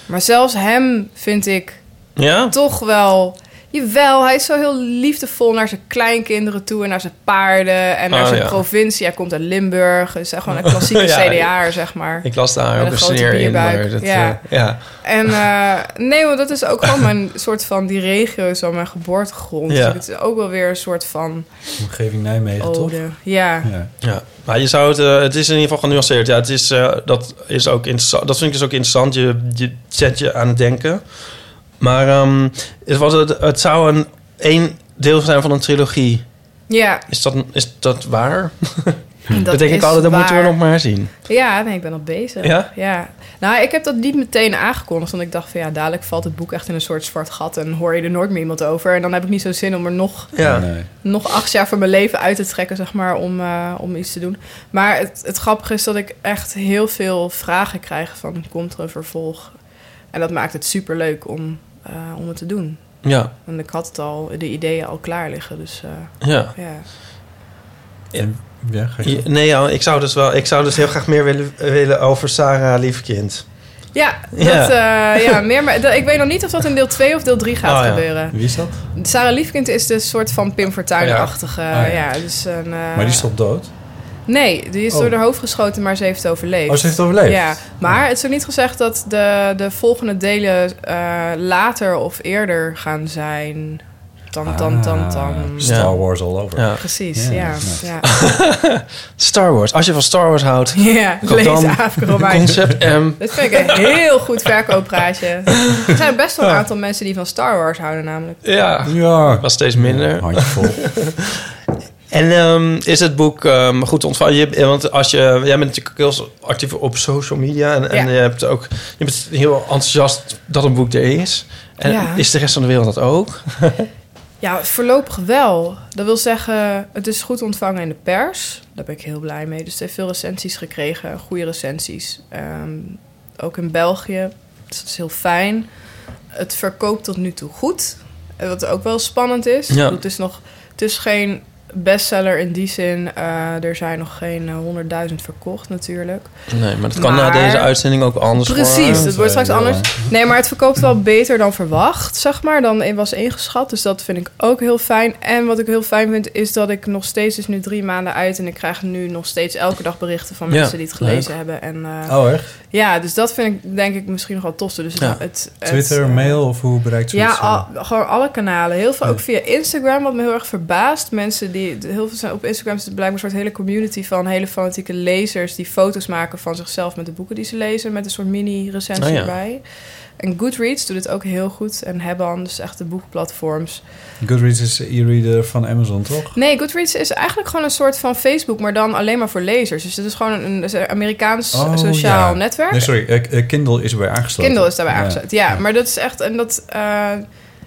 S2: maar zelfs hem vind ik
S1: Ja?
S2: toch wel. Jawel, hij is zo heel liefdevol naar zijn kleinkinderen toe en naar zijn paarden en naar
S1: Oh,
S2: zijn
S1: ja.
S2: provincie. Hij komt uit Limburg, dus hij is gewoon
S1: <laughs>
S2: een klassieke
S1: Ja,
S2: CDA'er, zeg maar.
S1: Ik las daar
S2: Met
S1: ook
S2: een
S1: een
S2: grote
S1: sneer in.
S2: bierbuik.
S1: Maar dat,
S2: Ja.
S1: eh, ja.
S2: En eh, nee, want dat is ook
S1: <laughs>
S2: gewoon mijn soort van, die regio is wel mijn geboortegrond.
S1: Ja.
S2: Dus het is ook wel weer een soort van
S3: Omgeving Nijmegen, toch?
S2: ode. Oh, Ja.
S3: Ja.
S1: Ja, maar je zou het, eh, het is in ieder geval genuanceerd. Ja, het is, eh, dat, is ook interessant, dat vind ik dus ook interessant. Je, je zet je aan het denken. Maar ehm, het, was het, het zou een één deel zijn van een trilogie.
S2: ja,
S1: Is dat, is dat
S2: <laughs>
S1: waar?
S2: dat,
S1: denk ik
S2: is
S1: altijd, dat
S2: waar.
S1: moeten we nog maar zien.
S2: Ja, nee, ik ben al bezig.
S1: Ja?
S2: Nou, ik heb dat niet meteen aangekondigd. Want ik dacht van ja, dadelijk valt het boek echt in een soort zwart gat. En hoor je er nooit meer iemand over. En dan heb ik niet zo zin om er nog,
S1: Ja.
S3: Nee.
S2: nog acht jaar van mijn leven uit te trekken, zeg maar, om, eh, om iets te doen. Maar het, het grappige is dat ik echt heel veel vragen krijg van komt er een vervolg. En dat maakt het super leuk om, eh, om het te doen.
S1: Ja,
S2: Want ik had het al, de ideeën al klaar liggen. Dus eh,
S1: ja.
S2: ja.
S3: Ja, ga je-
S1: Je- Nee, ja, ik zou dus wel, ik zou dus heel graag meer willen, willen over Sarah Liefkind.
S2: Ja, dat,
S1: Ja.
S2: eh, ja meer, maar dat- ik weet nog niet of dat in deel 2 of deel 3 gaat
S1: Oh, ja.
S2: gebeuren.
S3: Wie is dat?
S2: Sarah Liefkind is dus soort van Pim Fortuyn-achtige.
S3: ja.
S2: ja.
S3: Oh, ja.
S2: dus een, eh,
S3: Maar die is toch dood?
S2: Nee, die is
S3: Oh.
S2: door haar hoofd geschoten, maar ze heeft het overleefd.
S3: Oh, ze heeft het overleefd? Oh.
S2: Ja, maar het is ook niet gezegd dat de, de volgende delen eh, later of eerder gaan zijn. Tam, tam, tam, tam.
S3: Ah, Star Wars all over.
S1: Ja.
S2: Precies,
S3: Ja,
S2: ja.
S3: nice.
S2: Ja,
S1: Star Wars. Als je van Star Wars houdt,
S2: ja.
S1: Kom
S2: lees
S1: dan.
S2: Afro Romein.
S1: concept M.
S2: <laughs> Dat vind ik een heel goed
S3: <laughs>
S2: verkooppraatje. Er zijn best wel een aantal mensen die van Star Wars houden namelijk.
S1: Ja,
S3: Ja.
S1: was steeds minder.
S3: Handjevol.
S1: <laughs> En ehm, is het boek ehm, goed ontvangen? Je, want als je, jij bent natuurlijk ook heel actief op social media. En, en
S2: Ja.
S1: je, hebt ook, je bent heel enthousiast dat een boek er is. En
S2: Ja.
S1: is de rest van de wereld dat ook?
S2: Ja, voorlopig wel. Dat wil zeggen, het is goed ontvangen in de pers. Daar ben ik heel blij mee. Dus het heeft veel recensies gekregen, goede recensies. Ehm, ook in België. Dus dat is heel fijn. Het verkoopt tot nu toe goed. Eh, Wat ook wel spannend is.
S1: Ja.
S2: Het, is nog, het is geen bestseller in die zin. Eh, er zijn nog geen eh, 100.000 verkocht natuurlijk.
S1: Nee, maar dat kan
S2: Maar-
S1: na deze uitzending ook anders
S2: Precies,
S1: worden.
S2: dat wordt straks
S3: Ja.
S2: anders. Nee, maar het verkoopt wel beter dan verwacht, zeg maar, dan in- was ingeschat. Dus dat vind ik ook heel fijn. En wat ik heel fijn vind, is dat ik nog steeds, is nu drie maanden uit... en ik krijg nu nog steeds elke dag berichten van
S1: Ja,
S2: mensen die het gelezen hebben. En eh,
S3: Oh, echt?
S2: ja, dus dat vind ik denk ik misschien nog wel tofste. Dus het-
S1: Ja.
S2: het, het-
S3: Twitter,
S2: eh,
S3: mail of hoe bereikt ze
S2: ja,
S3: het zo?
S2: al- gewoon alle kanalen. Heel veel
S3: Ja.
S2: ook via Instagram, wat me heel erg verbaast. Mensen die, de- heel veel zijn op Instagram is het blijkbaar een soort hele community van hele fanatieke lezers die foto's maken van zichzelf met de boeken die ze lezen, met een soort mini-recensie
S1: Oh ja.
S2: erbij. En Goodreads doet het ook heel goed. En Hebban, dus echt de boekplatforms.
S3: Goodreads is de e-reader van Amazon, toch?
S2: Nee, Goodreads is eigenlijk gewoon een soort van Facebook, maar dan alleen maar voor lezers. Dus het is gewoon een, een Amerikaans
S3: Oh,
S2: sociaal
S3: ja.
S2: netwerk.
S3: Nee, sorry. eh, eh, Kindle is erbij aangesloten.
S2: Kindle is daarbij
S3: Ja.
S2: aangesloten. Ja, maar dat is echt. En dat. eh,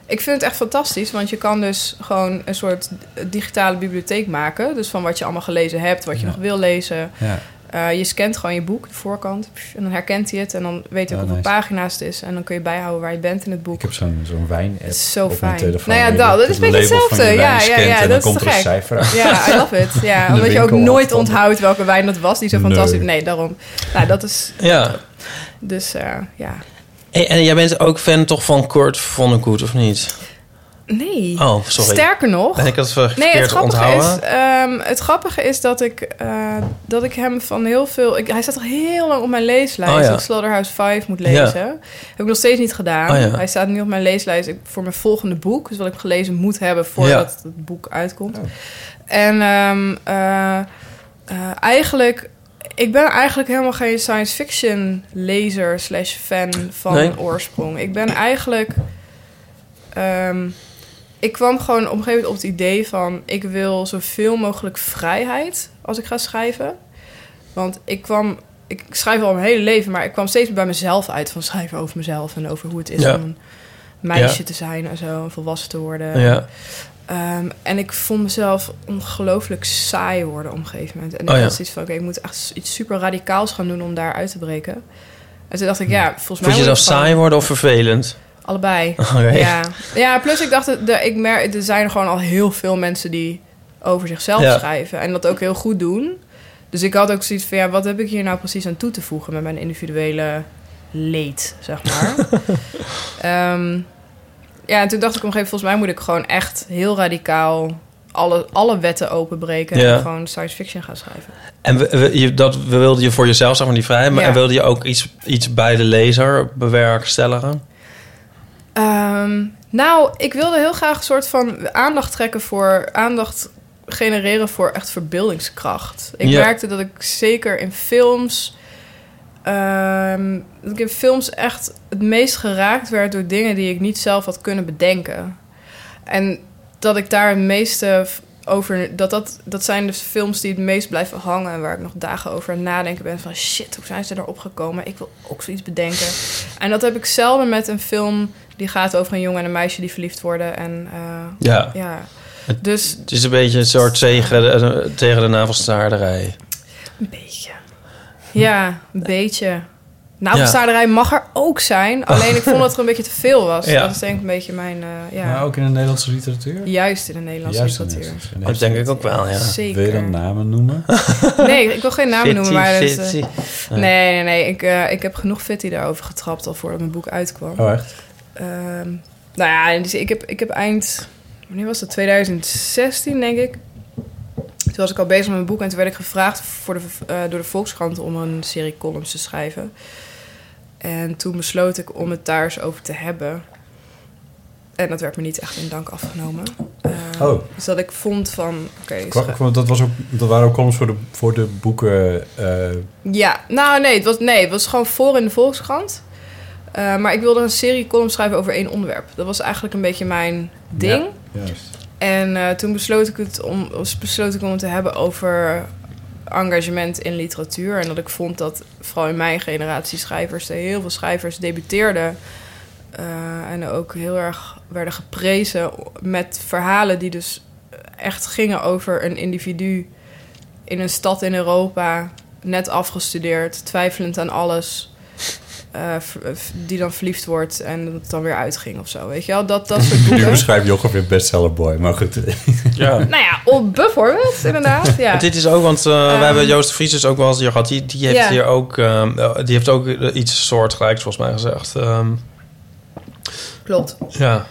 S2: ik vind het echt fantastisch, want je kan dus gewoon een soort digitale bibliotheek maken. Dus van wat je allemaal gelezen hebt, wat je
S3: Ja.
S2: nog wil lezen.
S3: Ja.
S2: Eh, je scant gewoon je boek, de voorkant, pff, en dan herkent hij het. En dan weet je ook
S3: Ja,
S2: op hoeveel
S3: nice.
S2: pagina's het is. En dan kun je bijhouden waar je bent in het boek.
S3: Ik heb zo'n zo'n wijn-app
S2: Het is zo
S3: op mijn
S2: fijn.
S3: telefoon.
S2: Nou ja,
S3: Je
S2: dat- dat
S3: doet
S2: is een beetje
S3: label van je
S2: hetzelfde.
S3: wijn
S2: Ja, ja,
S3: scant
S2: ja,
S3: En dan
S2: dat is
S3: komt
S2: te
S3: er een
S2: gek.
S3: cijfer uit.
S2: Ja, I love it. Ja,
S3: de
S2: omdat je ook
S3: winkel
S2: nooit
S3: afstand.
S2: onthoudt welke wijn dat was, die zo
S3: Nee.
S2: fantastisch... Nee, daarom. Nou, dat is...
S1: Ja.
S2: Dus eh, ja...
S1: En, en jij bent ook fan toch van Kurt Vonnegut, of niet?
S2: Nee.
S1: Oh, sorry.
S2: Sterker nog...
S1: Ben ik dat verkeerd
S2: Nee, het grappige,
S1: onthouden?
S2: is, ehm, het grappige is dat ik, eh, dat ik hem van heel veel... Ik, hij staat al heel lang op mijn leeslijst.
S1: Oh, ja.
S2: Dat ik Slaughterhouse 5 moet
S1: Ja.
S2: lezen. Heb ik nog steeds niet gedaan.
S1: Oh, ja.
S2: Hij staat nu op mijn leeslijst ik- voor mijn volgende boek. Dus wat ik gelezen moet hebben voordat het boek uitkomt. En ehm, eh, eh, eigenlijk... Ik ben eigenlijk helemaal geen science fiction lezer slash fan van
S1: Nee.
S2: oorsprong. Ik ben eigenlijk... ehm, ik kwam gewoon op een gegeven moment op het idee van... ik wil zoveel mogelijk vrijheid als ik ga schrijven. Want ik kwam... Ik schrijf al mijn hele leven, maar ik kwam steeds bij mezelf uit... van schrijven over mezelf en over hoe het is
S1: Ja.
S2: om een meisje
S1: Ja.
S2: te zijn en zo... en volwassen te worden.
S1: Ja.
S2: Ehm, en ik vond mezelf ongelooflijk saai worden op een gegeven moment. En ik
S1: Oh ja.
S2: had zoiets van, oké, ik moet echt iets super radicaals gaan doen om daar uit te breken. En toen dacht ik, ja, volgens mij...
S1: Vond je
S2: moet
S1: zelf
S2: ik gewoon-
S1: saai worden of vervelend?
S2: Allebei.
S1: <laughs> Oké.
S2: Ja. ja, plus ik dacht, de, ik mer er zijn gewoon al heel veel mensen die over zichzelf
S1: Ja.
S2: schrijven en dat ook heel goed doen. Dus ik had ook zoiets van, ja, wat heb ik hier nou precies aan toe te voegen met
S1: <laughs>
S2: mijn individuele leed, zeg maar. Ehm, ja, en toen dacht ik op een gegeven moment, volgens mij moet ik gewoon echt heel radicaal alle, alle wetten openbreken
S1: Ja.
S2: en gewoon science fiction gaan schrijven.
S1: En we, we- je, dat, we wilden je voor jezelf zeg maar die vrijheid, maar
S2: Ja.
S1: en wilde je ook iets, iets bij de lezer bewerkstelligen?
S2: Ehm, nou, ik wilde heel graag een soort van aandacht trekken voor aandacht genereren voor echt verbeeldingskracht. Ik
S1: Ja.
S2: merkte dat ik zeker in films. ehm, dat ik in films echt het meest geraakt werd door dingen die ik niet zelf had kunnen bedenken. En dat ik daar het meeste v- over. Dat, dat, dat zijn dus films die het meest blijven hangen. En waar ik nog dagen over aan het nadenken ben. Van shit, hoe zijn ze erop gekomen? Ik wil ook zoiets bedenken. En dat heb ik zelden met een film die gaat over een jongen en een meisje die verliefd worden. En eh,
S1: Ja.
S2: ja. Dus
S1: Het is een beetje een soort tegen de, tegen de navelstaarderij.
S2: een beetje. Ja, een beetje. Nou,
S1: Ja.
S2: staarderij mag er ook zijn. Alleen ik vond dat er een beetje te veel was.
S1: Ja.
S2: Dat is denk ik een beetje mijn... eh, ja.
S3: <laughs> Maar ook in de Nederlandse literatuur?
S2: Juist in de Nederlandse
S3: Juist in de
S2: literatuur.
S3: Nederlandse
S1: Dat denk ik ook wel, ja.
S3: Wil je dan
S2: Zeker.
S3: namen noemen?
S2: <laughs> Nee, ik wil geen naam noemen, maar... dat is, eh,
S1: Fitty, fitty.
S2: nee, nee, nee. Ik, eh, ik heb genoeg fitty daarover getrapt al voordat mijn boek uitkwam.
S3: Oh, echt?
S2: Ehm, nou ja, dus ik heb, ik heb eind... Wanneer was dat? 2016, denk ik. Toen was ik al bezig met mijn boek en toen werd ik gevraagd voor de, eh, door de Volkskrant om een serie columns te schrijven. En toen besloot ik om het daar eens over te hebben. En dat werd me niet echt in dank afgenomen. Ehm,
S3: Oh.
S2: Dus dat ik vond van... oké, dus-
S3: Kwa- kwa- Dat, was ook, dat waren ook columns voor de, voor de boeken.
S2: <laughs>
S3: eh,
S2: Ja, nou nee, het was, nee, het was gewoon voor in de Volkskrant. Eh, maar ik wilde een serie column schrijven over één onderwerp. Dat was eigenlijk een beetje mijn ding.
S3: juist.
S2: En eh, toen besloot ik, het om, was- besloot ik om het te hebben over engagement in literatuur. En dat ik vond dat vooral in mijn generatie schrijvers, er heel veel schrijvers debuteerden. eh, en ook heel erg werden geprezen met verhalen die dus echt gingen over een individu in een stad in Europa, net afgestudeerd, twijfelend aan alles. eh, ver- die dan verliefd wordt en dat het dan weer uitging of zo. Weet je wel, dat, dat soort
S3: Nu
S2: boeken.
S3: beschrijf je ook weer bestseller boy, maar goed.
S1: Ja.
S2: Nou ja, op bijvoorbeeld, inderdaad. Ja.
S1: Maar Dit Oh. is ook, want eh,
S2: Ehm.
S1: we hebben Joost de Vries dus ook wel eens hier gehad. Die, die heeft
S2: Ja.
S1: hier ook, ehm, eh, die heeft ook eh, iets soortgelijks volgens mij gezegd. Ehm,
S2: Klopt.
S1: ja.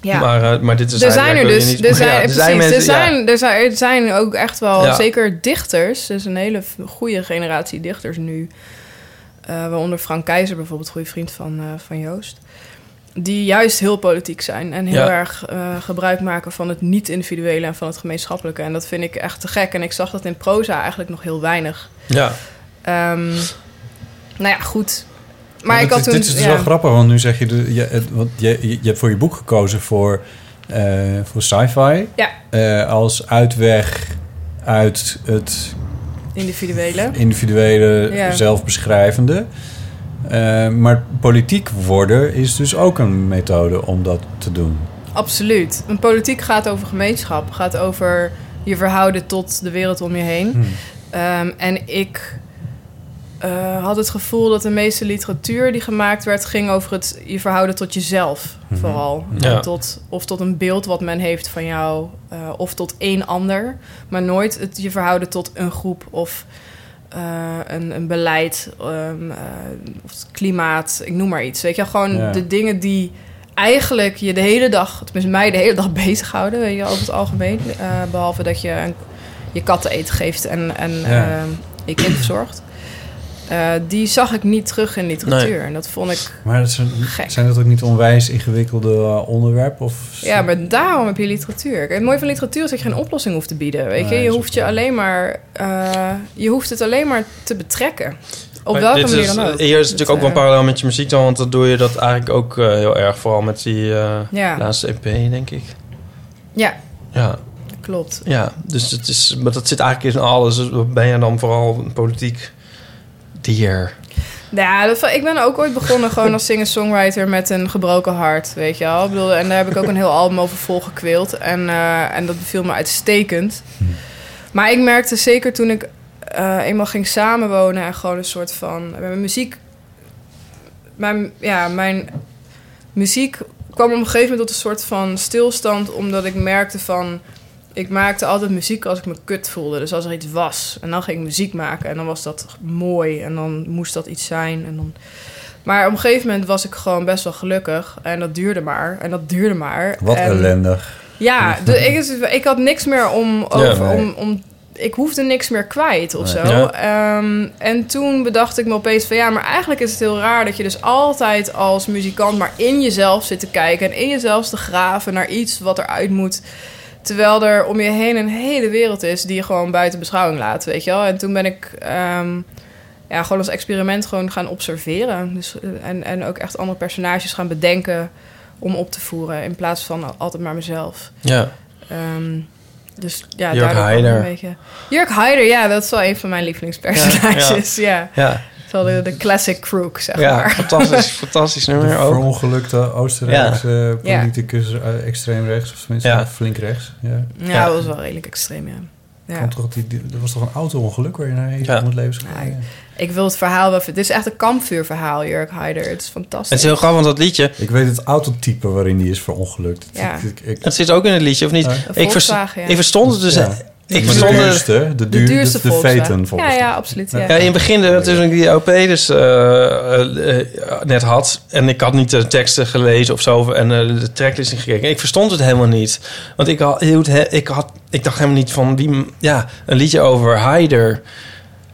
S2: Ja.
S1: Maar, eh, maar dit is
S2: er zijn er
S1: eigenlijk
S2: dus,
S1: niet-
S2: er
S1: <laughs> Ja,
S2: zijn, precies, er,
S1: ja.
S2: zijn, er, zijn, er zijn ook echt wel,
S1: Ja.
S2: zeker dichters, dus een hele f- goede generatie dichters nu, eh, waaronder Frank Keizer bijvoorbeeld, goede vriend van, eh, van Joost, die juist heel politiek zijn en heel
S1: Ja.
S2: erg eh, gebruik maken van het niet-individuele en van het gemeenschappelijke. En dat vind ik echt te gek en ik zag dat in proza eigenlijk nog heel weinig.
S1: Ja.
S2: Ehm, nou ja, goed. Maar, ik had
S3: dit,
S2: toen...
S3: dit is dus
S2: ja.
S3: wel grappig, want nu zeg je... de- je, het- want je, je, je hebt voor je boek gekozen voor, eh, voor sci-fi.
S2: Ja.
S3: Eh, als uitweg uit het
S2: Individuele.
S3: individuele,
S2: Ja.
S3: zelfbeschrijvende. Eh, maar politiek worden is dus ook een methode om dat te doen.
S2: Absoluut. Een politiek gaat over gemeenschap, gaat over je verhouden tot de wereld om je heen. Ehm, en ik eh, had het gevoel dat de meeste literatuur die gemaakt werd, ging over het je verhouden tot jezelf vooral.
S1: Ja.
S2: En tot, of tot een beeld wat men heeft van jou, eh, of tot één ander. Maar nooit het je verhouden tot een groep of eh, een, een beleid, ehm, eh, of het klimaat, ik noem maar iets. Weet je, wel, gewoon
S3: Ja.
S2: de dingen die eigenlijk je de hele dag, tenminste mij de hele dag <laughs> bezighouden, weet je, wel, over het algemeen. Eh, behalve dat je een, je katten eten geeft en, en
S3: Ja.
S2: ehm, je kind verzorgt. Eh, die zag ik niet terug in literatuur. En dat vond ik...
S3: Maar dat zijn,
S2: Gek.
S3: zijn dat ook niet onwijs ingewikkelde eh, onderwerpen? Of
S2: Ja, maar daarom heb je literatuur. Kijk, Het mooie van literatuur is dat je geen oplossing hoeft te bieden. Weet je,
S3: Nee,
S2: je
S3: dat is
S2: hoeft
S3: ook
S2: je
S3: waar.
S2: alleen maar... eh, je hoeft het alleen maar te betrekken. Op
S1: Maar
S2: welke
S1: dit
S2: manier
S1: is,
S2: dan ook.
S1: Hier is
S2: Dat,
S1: natuurlijk ook wel
S2: eh,
S1: parallel met je muziek dan, want dat doe je dat eigenlijk ook eh, heel erg. Vooral met die eh,
S2: Ja.
S1: laatste EP, denk ik.
S2: Ja,
S1: Ja,
S2: eh, klopt.
S1: ja. dus het is, maar dat zit eigenlijk in alles. Dus Ben je dan vooral een politiek dier?
S2: Ja, dat, ik ben ook ooit begonnen gewoon als singer-songwriter met een gebroken hart, weet je wel. Ik bedoel, en daar heb ik ook een heel album over volgekwild. En, eh, en dat beviel me uitstekend. Maar ik merkte zeker toen ik eh, eenmaal ging samenwonen en gewoon een soort van... Mijn muziek... Mijn, ja, mijn muziek kwam op een gegeven moment tot een soort van stilstand... omdat ik merkte van... Ik maakte altijd muziek als ik me kut voelde. Dus als er iets was. En dan ging ik muziek maken. En dan was dat mooi. En dan moest dat iets zijn. En dan Maar op een gegeven moment was ik gewoon best wel gelukkig. En dat duurde maar. En dat duurde maar.
S3: Wat
S2: en,
S3: ellendig.
S2: Ja, dus ik, ik had niks meer om, over,
S3: nee.
S2: om, om... Ik hoefde niks meer kwijt of
S3: Nee.
S2: zo. Ehm, en toen bedacht ik me opeens van... Ja, maar eigenlijk is het heel raar dat je dus altijd als muzikant... maar in jezelf zit te kijken en in jezelf te graven... naar iets wat eruit moet. Terwijl er om je heen een hele wereld is... die je gewoon buiten beschouwing laat, weet je wel. En toen ben ik... ehm, ja, gewoon als experiment gewoon gaan observeren. Dus, eh, en, en ook echt andere personages gaan bedenken om op te voeren. In plaats van altijd maar mezelf.
S1: Ja.
S2: Ehm, dus ja,
S1: Jurk
S2: daardoor kwam
S1: Heider.
S2: een beetje... Jurk Heider, ja, dat is wel een van mijn lievelingspersonages. Ja,
S1: Ja,
S2: Het is wel de, de classic crook, zeg
S1: ja
S2: maar.
S1: fantastisch, <laughs> fantastisch nummer nou ook.
S3: Verongelukte Oostenrijkse eh, politicus, eh, extreem rechts, of tenminste
S1: Ja.
S3: flink rechts. Ja.
S2: <laughs> Ja,
S1: Ja.
S2: dat was wel redelijk extreem, ja. ja.
S3: Komt toch, die, die- er was toch een auto-ongeluk waarin hij
S1: Ja.
S3: om het leven schoot?
S2: Ja, ik- Ik wil het verhaal wel... Dit is echt een kampvuurverhaal, Jurk Heider. Het is fantastisch.
S1: Het is heel grappig, want dat liedje...
S3: Ik weet het autotype waarin die is verongelukt.
S2: Ja.
S3: Ik, ik, ik-
S1: Het zit ook in het liedje, of niet?
S3: Ja.
S1: Ik, vers-
S2: Volkswagen, ja.
S1: ik verstond het dus...
S3: Ja.
S1: Ik
S3: Maar de
S1: verstond het...
S3: duurste, de,
S2: de
S3: duur,
S2: duurste
S3: de, de
S2: Volkswagen.
S3: Phaeton, volgens
S2: Ja,
S3: mij.
S2: ja, absoluut. Ja.
S1: Ja, in het begin, eh, toen ik die OP dus eh, eh, eh, net had... en ik had niet de teksten gelezen of zo... en eh, de tracklist niet gekeken. Ik verstond het helemaal niet. Want ik, had, heel het he- ik, had, ik dacht helemaal niet van... Die, ja, een liedje over Haider.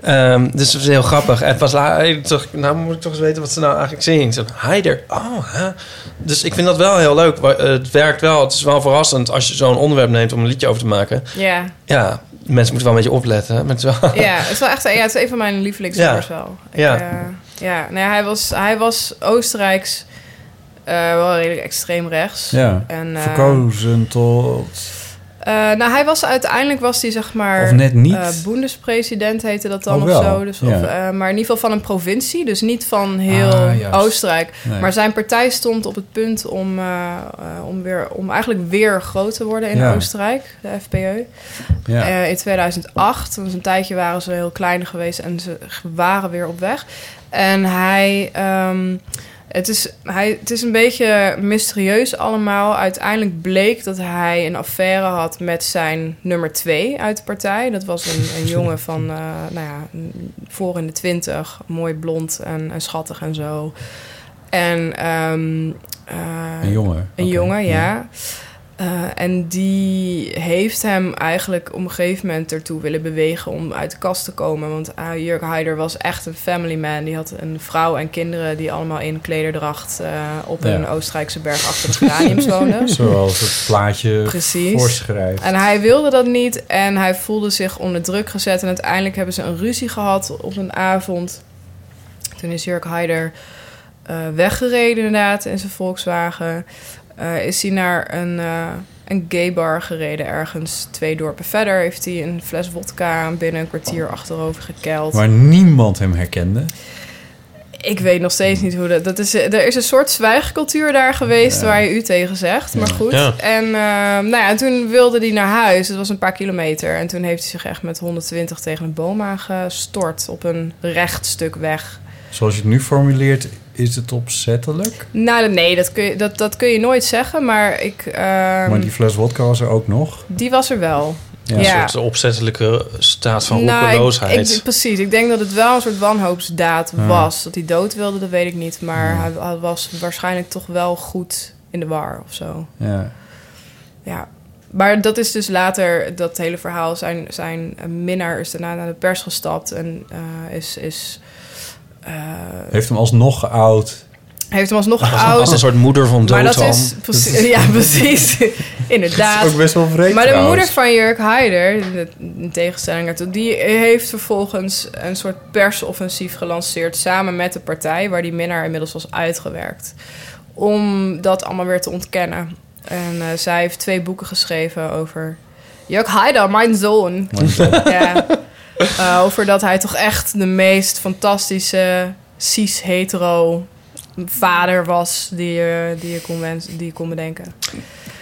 S1: Ehm, dus het was heel grappig. En pas later dacht ik... nou moet ik toch eens weten wat ze nou eigenlijk zien. Zo'n Haider. Oh, hè. Dus ik vind dat wel heel leuk. Maar, eh, Het werkt wel. Het is wel verrassend als je zo'n onderwerp neemt... om een liedje over te maken. <laughs>
S2: ja.
S1: Ja, mensen moeten wel een beetje opletten. hè. Mensen wel...
S2: Ja, het is wel echt ja, het is een van mijn lievelingsnummers
S1: Ja.
S2: wel.
S1: Ja.
S2: Ik, eh, ja. Nee, hij, was, hij was Oostenrijks eh, wel redelijk extreem rechts.
S3: Ja.
S2: En, eh,
S3: Verkozen tot...
S2: eh, nou, hij was uiteindelijk was hij zeg maar...
S3: Of net niet.
S2: eh, boendespresident heette dat dan
S3: Oh,
S2: of
S3: wel.
S2: zo. Dus,
S3: Ja.
S2: of, eh, maar in ieder geval van een provincie. Dus niet van heel
S3: Ah, juist.
S2: Oostenrijk.
S3: Nee.
S2: Maar zijn partij stond op het punt om, eh, eh, om, weer, om eigenlijk weer groot te worden in
S3: Ja.
S2: Oostenrijk. De FPÖ.
S3: ja.
S2: Eh, in 2008. Dus een tijdje waren ze heel klein geweest en ze waren weer op weg. En hij, ehm, het, is, hij, het is een beetje mysterieus allemaal. Uiteindelijk bleek dat hij een affaire had met zijn nummer twee uit de partij. Dat was een,
S3: <laughs>
S2: een jongen van, eh, nou ja, een- voor in de twintig. Mooi blond en, en schattig en zo. En, ehm, eh,
S3: een jongen.
S2: een
S3: Oké.
S2: jongen, ja. Eh, en die heeft hem eigenlijk op een gegeven moment ertoe willen bewegen om uit de kast te komen. Want ah, Jurk Heider was echt een family man. Die had een vrouw en kinderen die allemaal in klederdracht eh, op
S3: Ja.
S2: een Oostenrijkse berg achter de
S3: <laughs>
S2: geraniums woonden.
S3: Zoals het plaatje
S2: Precies.
S3: voorschrijft.
S2: En hij wilde dat niet en hij voelde zich onder druk gezet. En uiteindelijk hebben ze een ruzie gehad op een avond. Toen is Jurk Heider eh, weggereden inderdaad in zijn Volkswagen. Eh, is hij naar een, eh een gaybar gereden ergens twee dorpen verder. Heeft hij een fles wodka binnen een kwartier achterover gekeld.
S3: Oh. Waar niemand hem herkende.
S2: Ik weet nog steeds niet hoe dat... dat is, eh, er is een soort zwijgcultuur daar geweest waar je u tegen zegt. Maar goed.
S1: Ja.
S2: En ehm, nou ja, en toen wilde hij naar huis. Het was een paar kilometer. En toen heeft hij zich echt met 120 tegen een boom aangestort. Op een recht stuk weg.
S3: Zoals je het nu formuleert, is het opzettelijk.
S2: Nou, nee, dat kun je, dat, dat kun je nooit zeggen. Maar ik... ehm,
S3: maar die
S2: die...
S3: fles wodka was er ook nog.
S2: was er wel.
S3: Ja.
S1: Een soort opzettelijke staat van
S2: Nou, ik-
S1: roekeloosheid.
S2: ik, precies. Ik denk dat het wel een soort wanhoopsdaad
S3: Ja.
S2: was. Dat hij dood wilde, dat weet ik niet. Maar hij, hij was waarschijnlijk toch wel goed in de war of zo.
S3: Ja.
S2: Ja. Maar dat is dus later, dat hele verhaal. Zijn, zijn minnaar is daarna naar de pers gestapt en eh, is, is, eh,
S3: Heeft hem alsnog geout.
S2: heeft hem alsnog
S1: Als een
S2: geout.
S1: soort moeder van
S2: Maar dat
S1: Dotan.
S2: is, precies, ja, precies. <laughs> Inderdaad.
S3: Ook best wel vreemd
S2: Maar de
S3: trouwens.
S2: moeder van Jurk Heider, de- in tegenstelling daartoe, die heeft vervolgens een soort persoffensief gelanceerd samen met de partij, waar die minnaar inmiddels was uitgewerkt. Om dat allemaal weer te ontkennen. En eh, zij heeft twee boeken geschreven over. Jurk Heider, mijn zoon. <laughs> ja. Eh, over dat hij toch echt de meest fantastische cis-hetero vader was die je, die je, kon, wens- die je kon bedenken.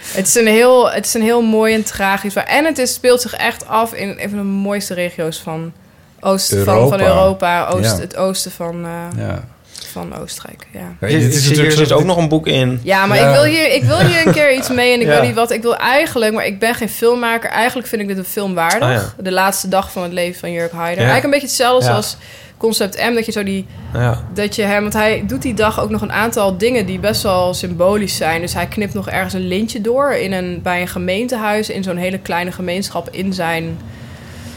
S2: Het is, een heel, het is een heel mooi en tragisch verhaal. En het is, speelt zich echt af in een van de mooiste regio's van, oost, van, van
S3: Europa.
S2: Europa. Oost,
S3: Ja.
S2: Het oosten van, eh,
S3: Ja.
S2: van Oostenrijk. Ja,
S3: Ja,
S1: Hier,
S3: dit is
S1: hier
S3: natuurlijk
S1: zit
S3: zo-
S1: ook nog een boek in.
S2: ja maar
S3: Ja.
S2: Ik, wil hier, ik wil hier een keer iets mee en ik
S1: <laughs> Ja.
S2: weet niet wat. Ik wil eigenlijk, maar ik ben geen filmmaker. Eigenlijk vind ik dit een film waardig.
S1: Ah, ja.
S2: De laatste dag van het leven van Jurk Haider.
S1: Ja.
S2: Eigenlijk een beetje hetzelfde
S1: Ja.
S2: als Concept M. Dat je zo die
S1: Ja.
S2: dat je hem, want hij doet die dag ook nog een aantal dingen die best wel symbolisch zijn. Dus hij knipt nog ergens een lintje door in een, bij een gemeentehuis in zo'n hele kleine gemeenschap in zijn,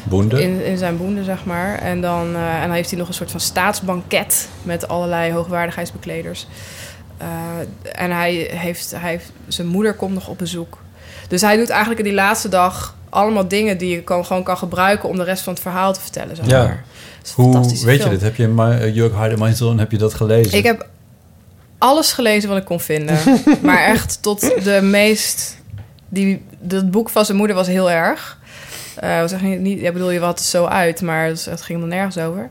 S3: Boende.
S2: in, in zijn boende, zeg maar. En dan, eh, en dan heeft hij nog een soort van staatsbanket met allerlei hoogwaardigheidsbekleders. Eh, en hij heeft, hij heeft, zijn moeder komt nog op bezoek. Dus hij doet eigenlijk in die laatste dag allemaal dingen die je kan, gewoon kan gebruiken om de rest van het verhaal te vertellen, zeg
S1: Ja.
S2: maar. Het is een
S3: Hoe weet
S2: fantastische
S3: je
S2: film.
S3: dit? Heb je Ma- eh, Jurk Heidemann heb je dat gelezen?
S2: Ik heb alles gelezen wat ik kon
S3: <laughs>
S2: vinden. maar echt tot de meest... Die, dat boek van zijn moeder was heel erg. Eh was echt niet, niet, ja, bedoel, je wat het zo uit, maar het, het ging er nergens over.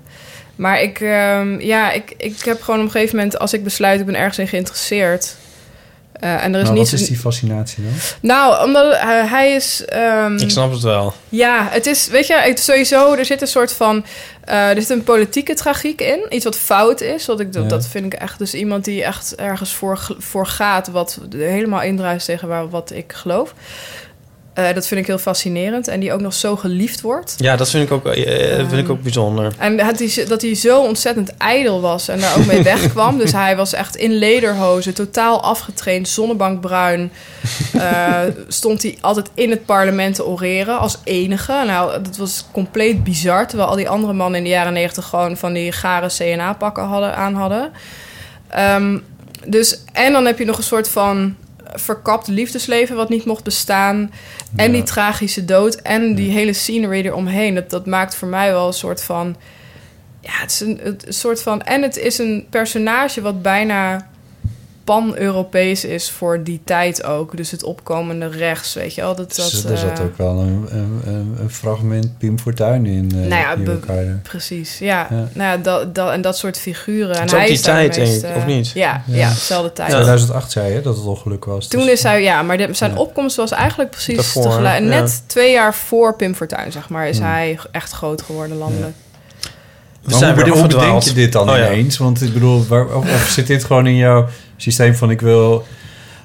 S2: Maar ik, ehm, ja, ik, ik heb gewoon op een gegeven moment... als ik besluit, ik ben ergens in geïnteresseerd... eh, en er is
S3: nou,
S2: niets...
S3: wat is die fascinatie dan?
S2: Nou, omdat eh, hij is... ehm,
S1: Ik snap het wel.
S2: ja, het is, weet je, het, sowieso, er zit een soort van, eh, er zit een politieke tragiek in. Iets wat fout is, wat ik, dat-
S3: Ja.
S2: dat vind ik echt, dus iemand die echt ergens voor, g- voor gaat, wat helemaal indruist tegen waar, wat ik geloof. Eh, dat vind ik heel fascinerend en die ook nog zo geliefd wordt.
S1: Ja, dat vind ik ook, eh, eh, vind ik ook bijzonder.
S2: En dat hij, dat hij zo ontzettend ijdel was en daar ook mee wegkwam. Dus hij was echt in lederhozen, totaal afgetraind, zonnebankbruin. Eh, stond hij altijd in het parlement te oreren als enige. Nou, dat was compleet bizar. Terwijl al die andere mannen in de jaren negentig gewoon van die gare CNA-pakken hadden, aan hadden. Ehm, dus, en dan heb je nog een soort van verkapt liefdesleven wat niet mocht bestaan. En die tragische dood en die hele scenery eromheen. Dat, dat maakt voor mij wel een soort van... Ja, het is een, het- een soort van... En het is een personage wat bijna pan-Europees is voor die tijd ook. Dus het opkomende rechts, weet je wel. Dat, dat,
S3: Dus er zat
S2: eh,
S3: ook wel een, een, een- een fragment Pim Fortuyn in eh
S2: Nou ja,
S3: Jurk
S2: be-
S3: Heider.
S2: Precies, ja.
S3: Ja.
S2: Nou ja, dat, dat, en dat soort figuren.
S1: Het is
S2: en
S1: ook
S2: hij
S1: die
S2: daar
S1: tijd,
S2: de meest,
S1: denk ik,
S2: eh,
S1: of niet?
S2: Ja, ja. dezelfde tijd.
S3: 2008 Nou, zei je dat het ongeluk was.
S2: Toen
S3: dus-
S2: is hij, ja, maar de- zijn
S3: Ja.
S2: opkomst was eigenlijk precies
S1: Daarvoor,
S2: tegelijk.
S1: ja.
S2: Net twee jaar voor Pim Fortuyn, zeg maar, is
S3: Hmm.
S2: hij echt groot geworden landelijk.
S1: We
S3: Maar
S1: zijn
S3: hoe
S1: weer
S3: bede- hoe bedenk
S1: afgedwaald.
S3: je dit dan
S1: Oh ja.
S3: ineens? Want ik bedoel, waar, of, of zit dit gewoon in jouw systeem van ik wil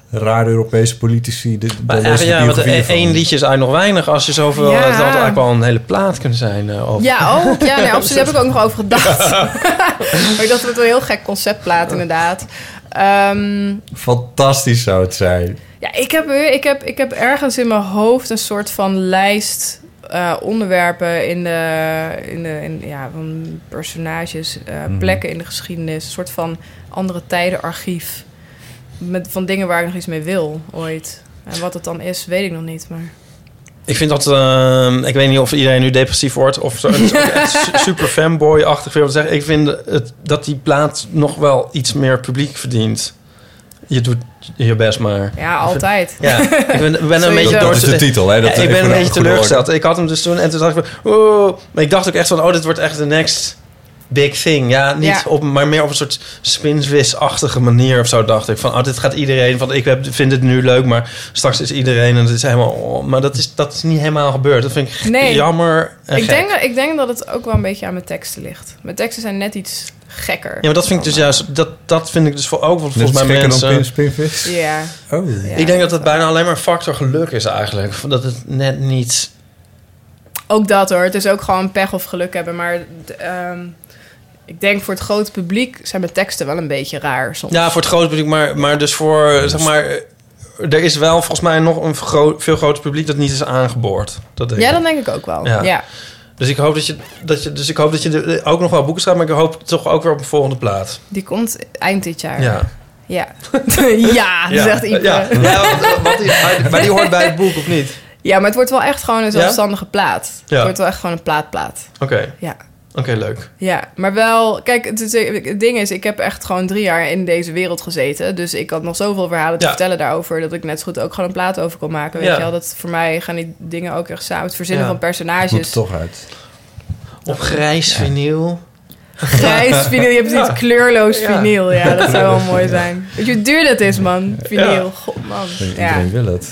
S3: raar Europese politici? Dit,
S1: Maar
S3: daar lees
S1: ja,
S3: ik
S1: ja, want eh,
S3: biografieën van.
S1: één liedje is eigenlijk nog weinig. Als je zoveel... eh,
S2: Ja.
S1: Dat had eigenlijk wel een hele plaat kunnen zijn. eh, over.
S2: Ja, oh, ja, nee, absoluut. Daar heb ik ook nog over gedacht. <laughs> maar ik dacht, dat is een heel gek conceptplaat, inderdaad. Ehm,
S3: Fantastisch zou het zijn.
S2: Ja, ik heb, weer- ik, heb, ik heb ergens in mijn hoofd een soort van lijst eh, onderwerpen in de, in de in, ja, van personages, eh, plekken in de geschiedenis. Een soort van andere tijden archief. Met, van dingen waar ik nog iets mee wil ooit. En wat het dan is, weet ik nog niet. Maar...
S1: Ik vind dat... ehm, ik weet niet of iedereen nu depressief wordt... of zo,
S2: <laughs>
S1: het is ook echt su- super fanboy-achtig veel te zeggen. Ik vind het, dat die plaat nog wel iets meer publiek verdient. Je doet je best maar.
S2: Ja, altijd.
S1: Ja, ik
S2: <laughs>
S1: ben, ik ben een
S2: Sowieso.
S1: beetje
S3: Dat is de
S1: door...
S3: titel, hè? Dat eh,
S1: ja, ik ben
S3: even
S1: een beetje
S3: voor de
S1: teleurgesteld. Ik had hem dus toen en toen dacht ik van, oh, maar ik dacht ook echt van, oh, dit wordt echt de next big thing. Ja, niet
S2: Ja.
S1: op, maar meer op een soort spinvis-achtige manier of zo dacht ik van, oh, dit gaat iedereen, want ik heb, vind het nu leuk, maar straks is iedereen en het is helemaal, oh, maar dat is, dat is niet helemaal gebeurd. Dat vind ik g-
S2: Nee.
S1: jammer. En
S2: Ik
S1: gek.
S2: denk, ik denk dat het ook wel een beetje aan mijn teksten ligt. Mijn teksten zijn net iets gekker.
S1: Ja, maar dat vind ik dus juist, dat, dat vind ik dus voor ook, want
S3: Net
S1: volgens mij
S3: gekker dan
S1: mensen...
S3: Pim Spinvis?
S2: Ja,
S3: Oh.
S2: ja.
S1: ik denk dat het bijna alleen maar factor geluk is eigenlijk. Dat het net niet...
S2: Ook dat hoor. Het is ook gewoon pech of geluk hebben. Maar d- ehm, ik denk voor het grote publiek zijn mijn teksten wel een beetje raar soms.
S1: Ja, voor het grote publiek, maar, maar dus voor, zeg maar... Er is wel volgens mij nog een gro- veel groter publiek dat niet is aangeboord. Dat denk
S2: Ja,
S1: ik.
S2: dat denk ik ook wel.
S1: Ja.
S2: Ja.
S1: Dus ik hoop dat je, dat je, dus ik hoop dat je er ook nog wel boeken schrijft, maar ik hoop toch ook weer op een volgende plaat.
S2: Die komt eind dit jaar.
S1: Ja.
S2: Ja, <laughs> ja dat zegt Ipe.
S1: Ja,
S2: <laughs> Ja.
S1: ja want- want die- maar die hoort bij het boek, of niet?
S2: maar het wordt wel echt gewoon een zelfstandige plaat.
S1: Ja.
S2: Het wordt wel echt gewoon een plaatplaat.
S1: Oké,
S2: Ja.
S1: oké, leuk.
S2: Ja, maar wel, kijk, het, is- het ding is, ik heb echt gewoon drie jaar in deze wereld gezeten. Dus ik had nog zoveel verhalen te
S1: Ja.
S2: vertellen daarover. Dat ik net zo goed ook gewoon een plaat over kon maken. Weet
S1: Ja.
S2: je wel, dat voor mij gaan die dingen ook echt samen. Het verzinnen
S1: Ja.
S2: van personages.
S3: Het moet er toch uit.
S1: Op grijs vinyl.
S2: grijs vinyl. Je hebt niet kleurloos vinyl. Ja, dat zou wel mooi zijn. Weet je hoe duur dat is, man? Vinyl. God, man. Ja.
S3: Iedereen wil het.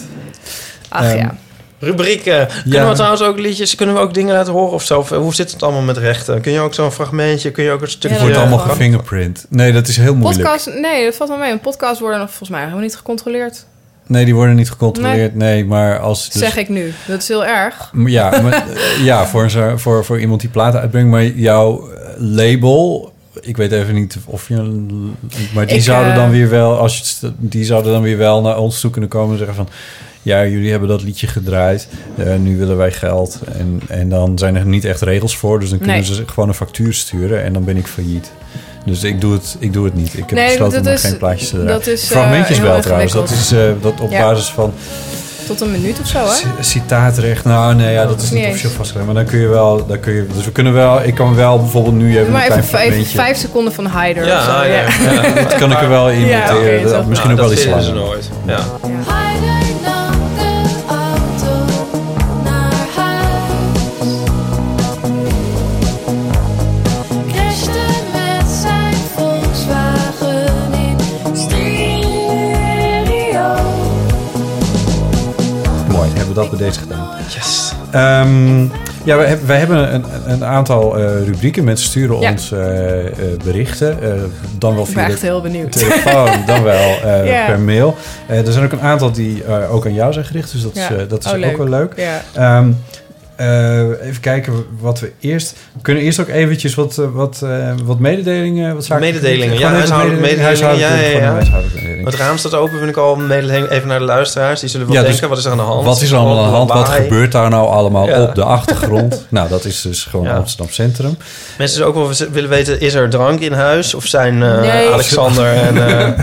S2: Ach
S3: Ehm,
S2: ja.
S1: rubrieken. eh, Kunnen we trouwens ook liedjes, kunnen we ook dingen laten horen of zo? Of, eh, Hoe zit het allemaal met rechten? Kun je ook zo'n fragmentje, kun je ook een stukje... eh,
S3: Het wordt
S2: Ja,
S3: allemaal
S2: gewoon.
S3: gefingerprint. Nee, dat is heel moeilijk.
S2: Podcast, nee, dat valt wel mee. Een podcast worden nog volgens mij helemaal niet gecontroleerd.
S3: Nee, die worden niet gecontroleerd. Nee, maar als... dus-
S2: Zeg ik nu. Dat is heel erg.
S3: Ja,
S2: <laughs>
S3: maar, eh, ja voor, een zo- voor, voor iemand die platen uitbrengt. Maar jouw eh, label... Ik weet even niet of je... een- Maar die
S2: Ik,
S3: zouden dan
S2: eh,
S3: weer wel... Als je, het st- die zouden dan weer wel naar ons toe kunnen komen en zeggen van... Ja, jullie hebben dat liedje gedraaid. eh, nu willen wij geld. En, en dan zijn er niet echt regels voor. Dus dan kunnen
S2: Nee.
S3: ze gewoon een factuur sturen. En dan ben ik failliet. Dus ik doe het, ik doe het niet. Ik heb
S2: Nee,
S3: besloten
S2: dat
S3: om
S2: is-
S3: geen plaatjes te draaien.
S2: dat is, eh,
S3: Fragmentjes
S2: heel
S3: wel trouwens. Dat is
S2: ingewikkeld.
S3: eh, dat op
S2: Ja.
S3: basis van
S2: Tot een minuut of zo, hè?
S3: C- Citaatrecht, nou nee, ja, dat is
S2: Oh, Niet
S3: niet
S2: eens.
S3: officieel vastgelegd. Maar dan kun je wel, dan kun je, dus we kunnen wel, ik kan wel bijvoorbeeld nu even
S2: Doe maar
S3: een
S2: even
S3: klein
S2: vijf,
S3: fragmentje.
S2: vijf seconden van Hyder. of zo,
S1: Ja, ja, ja.
S2: <laughs>
S3: <laughs> Dat kan ik er wel in
S2: Ja,
S3: monteren.
S2: oké,
S3: Dat-
S2: toch.
S3: misschien
S1: Nou,
S3: ook wel
S1: dat
S3: iets
S1: vinden ze
S3: langer.
S1: nooit. Ja.
S4: Heider nam de auto naar huis. Crashte met zijn Volkswagen in stereo.
S3: Mooi, hebben we dat bij deze gedaan.
S1: Yes.
S3: Ehm, ja, wij, heb- wij hebben een, een aantal eh, rubrieken. Mensen sturen
S2: Ja.
S3: ons eh, eh, berichten. eh, dan wel
S2: Ik ben
S3: via
S2: echt
S3: de
S2: heel benieuwd. <laughs>
S3: telefoon, dan wel eh,
S2: Ja.
S3: per mail. Eh, er zijn ook een aantal die eh, ook aan jou zijn gericht. Dus dat is,
S2: Ja.
S3: eh, dat is
S2: Oh,
S3: ook
S2: leuk.
S3: wel leuk.
S2: Ja.
S3: Ehm, eh, even kijken wat we eerst... We kunnen eerst ook eventjes wat, eh, wat, eh, wat mededelingen... Wat zaken-
S1: Mededelingen,
S3: Gewoon
S1: ja,
S3: even
S1: huishoudelijke mededelingen,
S3: huishoudelijke-
S1: ja, ja,
S3: gewoon een
S1: ja.
S3: huishoudelijke mededeling.
S1: Het raam staat open, vind ik al. Een mededeling even naar de luisteraars. Die zullen wel
S3: Ja, dus
S1: denken, wat is er aan de hand?
S3: Wat is er allemaal aan de hand? Wat
S1: Lawaai.
S3: gebeurt daar nou allemaal
S1: Ja.
S3: op de
S1: <laughs>
S3: achtergrond? nou, dat is dus gewoon
S1: Ja.
S3: Amsterdam Centrum.
S1: Mensen zullen ook wel z- willen weten, is er drank in huis? Of zijn eh,
S2: Nee.
S1: Alexander en... eh,
S2: En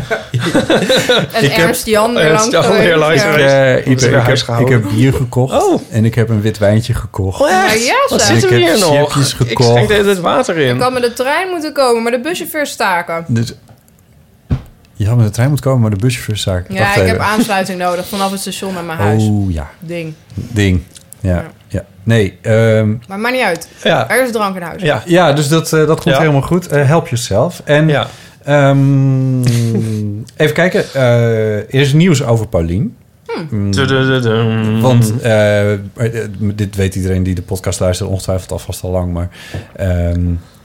S1: <laughs> Ik heb-
S2: Ernst Jan weer
S1: Ernst
S2: langs.
S1: Jan weer langs
S2: Ja.
S3: Ik,
S1: geweest.
S3: eh, Ipe,
S1: Hebben ze
S3: ik,
S1: weer
S3: heb, ik
S1: huisgehouden?
S3: heb bier gekocht.
S1: Oh.
S3: En ik heb een wit wijntje gekocht.
S1: Oh, echt?
S2: Nou ja,
S1: Wat
S2: zeg.
S1: zit er
S3: Ik heb
S1: hier nog?
S3: chipjes
S1: Ik
S3: gekocht.
S1: schenk de hele tijd water
S2: Ik
S1: in.
S2: had met de trein moeten komen, maar de buschauffeurs staken.
S3: Dus, je had met de trein moeten komen, maar de buschauffeurszaak.
S2: Ja,
S3: Wacht
S2: ik
S3: even.
S2: heb aansluiting nodig vanaf het station naar mijn huis.
S3: Oh ja,
S2: Ding.
S3: ding. Ja, ja.
S2: Ja.
S3: Nee, ehm,
S2: Maar maakt niet uit.
S1: Ja,
S2: Er is drank in huis.
S1: ja,
S3: ja, dus dat, eh, dat komt
S1: Ja.
S3: helemaal goed. Eh, help jezelf. En
S1: ja.
S3: ehm, even kijken. eh, er is nieuws over Paulien. Mm,
S1: Tudududum.
S3: Want eh, eh, dit weet iedereen die de podcast luistert ongetwijfeld alvast al lang. Maar ehm,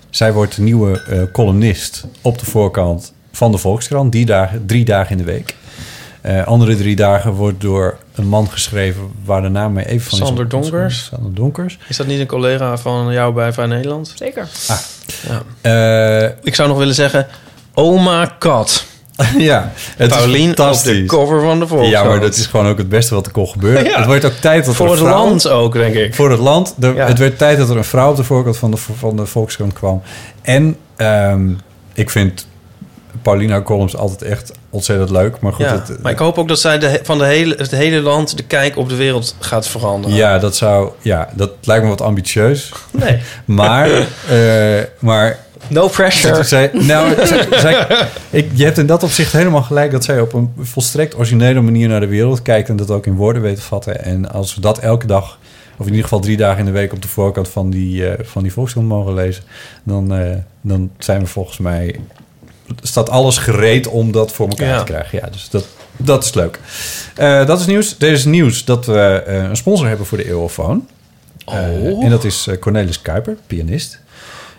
S3: zij wordt de nieuwe eh, columnist op de voorkant van de Volkskrant. Die dagen, drie dagen in de week. Eh, andere drie dagen wordt door een man geschreven waar de naam mee even <laughs> van is.
S1: Sander Donkers.
S3: Sander Donkers.
S1: Is dat niet een collega van jou bij Vrij Nederland?
S2: Zeker.
S3: Ah. Eh,
S1: Ik zou nog willen zeggen... Oma Kat.
S3: <laughs> ja, het is
S1: Paulien op
S3: fantastisch.
S1: de cover van de Volkskrant.
S3: ja, maar dat is gewoon ook het beste wat er kon gebeuren.
S1: <laughs> Ja.
S3: Het wordt ook tijd dat
S1: Voor
S3: er
S1: het
S3: een vrouw-
S1: land ook, denk ik.
S3: Voor het land. Er-
S1: Ja.
S3: Het werd tijd dat er een vrouw op de voorkant van de, van de Volkskrant kwam. En ehm, ik vind Paulina Columns altijd echt ontzettend leuk. Maar goed,
S1: Ja,
S3: het-
S1: maar ik hoop ook dat zij de, he- van de hele, het hele land de kijk op de wereld gaat veranderen.
S3: ja, dat zou, ja, dat lijkt me wat ambitieus.
S1: Nee,
S3: <laughs> Maar,
S1: <laughs>
S3: eh, maar
S1: no pressure.
S3: zij, nou, zij- <laughs> zij- ik, je hebt in dat opzicht helemaal gelijk dat zij op een volstrekt originele manier naar de wereld kijkt en dat ook in woorden weet te vatten. En als we dat elke dag, of in ieder geval drie dagen in de week op de voorkant van die, eh van die Volkskrant mogen lezen, dan, eh, dan zijn we volgens mij, staat alles gereed om dat voor elkaar
S1: Ja.
S3: te krijgen. Ja, dus dat, dat is leuk. Eh, dat is nieuws. Er is nieuws dat we eh, een sponsor hebben voor de Eeuwofoon.
S1: Oh.
S3: en dat is eh, Cornelis Kuiper, pianist.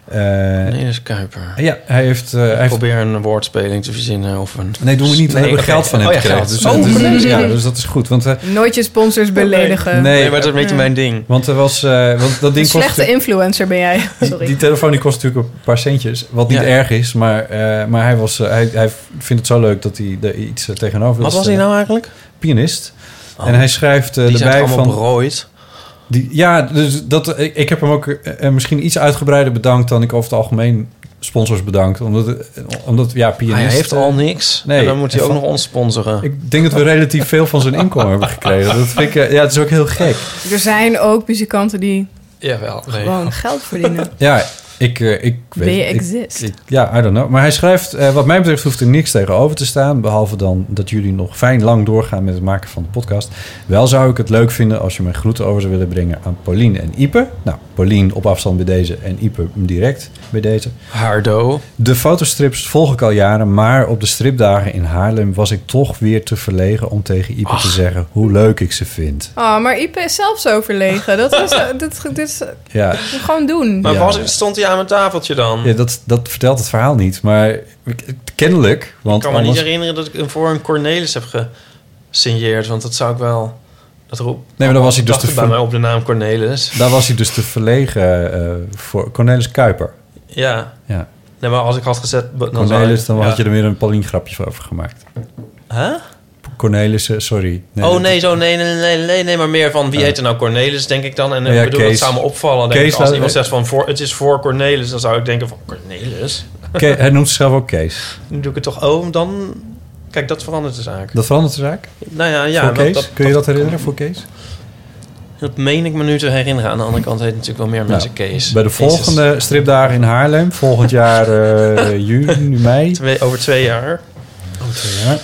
S3: Eh,
S1: Nee, dat is Kuiper.
S3: ja, hij heeft... eh, hij
S1: Ik
S3: heeft
S1: probeer een woordspeling te verzinnen of een...
S3: Nee, doen we niet. We
S1: Nee,
S3: hebben
S1: oké.
S3: geld van hem
S1: Oh, ja,
S3: gekregen.
S1: geld.
S3: Dus,
S1: Oh,
S3: dat is-
S1: precies.
S3: ja, dus dat is goed. Want, eh,
S2: Nooit je sponsors beledigen.
S3: nee, eh,
S1: Nee, Eh, maar dat is een beetje mijn ding.
S3: want er was... eh, want dat
S2: Een
S3: ding kost
S2: slechte
S3: natuurlijk-
S2: influencer ben jij.
S3: <laughs>
S2: Sorry.
S3: die, die telefoon die kost natuurlijk een paar centjes. Wat niet
S1: Ja.
S3: erg is. Maar, eh, maar hij, was, eh, hij, hij vindt het zo leuk dat hij er iets eh, tegenover wil
S1: Wat was hij
S3: stellen.
S1: nou eigenlijk?
S3: Pianist.
S1: Oh.
S3: En hij schrijft eh,
S1: Die zijn
S3: erbij
S1: toch allemaal
S3: van...
S1: berooid.
S3: Die, ja, dus dat, ik, ik heb hem ook eh, eh, misschien iets uitgebreider bedankt... dan ik over het algemeen sponsors bedankt. Omdat, eh, omdat ja, pianist...
S1: Hij heeft
S3: eh,
S1: al niks.
S3: nee.
S1: en dan moet hij
S3: En
S1: ook
S3: van-
S1: nog ons sponsoren.
S3: Ik denk dat we relatief veel van zijn inkomen hebben gekregen. Dat vind ik, eh, ja, het is ook heel gek.
S2: Er zijn ook muzikanten die
S1: Jawel, nee.
S2: gewoon geld verdienen.
S3: Ja, Ik, eh, ik weet
S2: Ben je
S3: ik-
S2: exist?
S3: ik- ja, I don't know. Maar hij schrijft, eh, wat mij betreft hoeft er niks tegenover te staan. Behalve dan dat jullie nog fijn lang doorgaan met het maken van de podcast. Wel zou ik het leuk vinden als je mijn groeten over zou willen brengen aan Pauline en Ipe. Nou, Pauline op afstand bij deze en Ipe direct bij deze.
S1: Hardo.
S3: De fotostrips volg ik al jaren, maar op de stripdagen in Haarlem was ik toch weer te verlegen om tegen Ipe te zeggen hoe leuk ik ze vind.
S2: Oh, maar Ipe is zelf zo verlegen. Dat is, dit, dit is eh,
S3: Ja,
S2: gewoon doen.
S1: Maar
S3: Ja.
S1: was, stond hij aan mijn tafeltje dan?
S3: ja dat, dat vertelt het verhaal niet, maar kennelijk.
S1: ik
S3: Want
S1: kan me
S3: anders-
S1: niet herinneren dat ik hem voor een Cornelis heb gesigneerd. Want dat zou ik wel... Dat roep,
S3: Nee, maar dan was hij dus
S1: dacht
S3: te
S1: bij
S3: ver-
S1: mij op de naam Cornelis.
S3: Daar was hij dus te verlegen eh, voor Cornelis Kuiper.
S1: Ja.
S3: Ja.
S1: Nee, maar als ik had gezet... Dan
S3: Cornelis, dan
S1: ja.
S3: had je er weer een Paulien grapje over gemaakt.
S1: Huh?
S3: Cornelis, eh, sorry.
S1: oh
S3: dat-
S1: nee, zo nee, nee, nee, nee, nee, maar meer van wie heet er nou Cornelis, denk ik dan. En eh,
S3: Ja,
S1: ik bedoel,
S3: Kees.
S1: dat zou me opvallen. Denk
S3: Kees nou, eh,
S1: ik, als
S3: laat-
S1: iemand zegt van voor, het is voor Cornelis, dan zou ik denken van Cornelis. <laughs>
S3: Ke- hij noemt zichzelf ook Kees.
S1: Nu doe ik het toch, oh, dan... Kijk, dat verandert de zaak.
S3: Dat verandert de zaak?
S1: nou ja, ja
S3: voor
S1: dat,
S3: Kees?
S1: dat,
S3: Kun je dat herinneren voor Kees?
S1: dat meen ik me nu te herinneren. Aan de andere kant heet natuurlijk wel meer mensen Kees.
S3: Nou, Bij de
S1: Jezus.
S3: volgende stripdagen in Haarlem, volgend jaar eh, juni, mei.
S1: Twee, over twee jaar,
S3: Ja.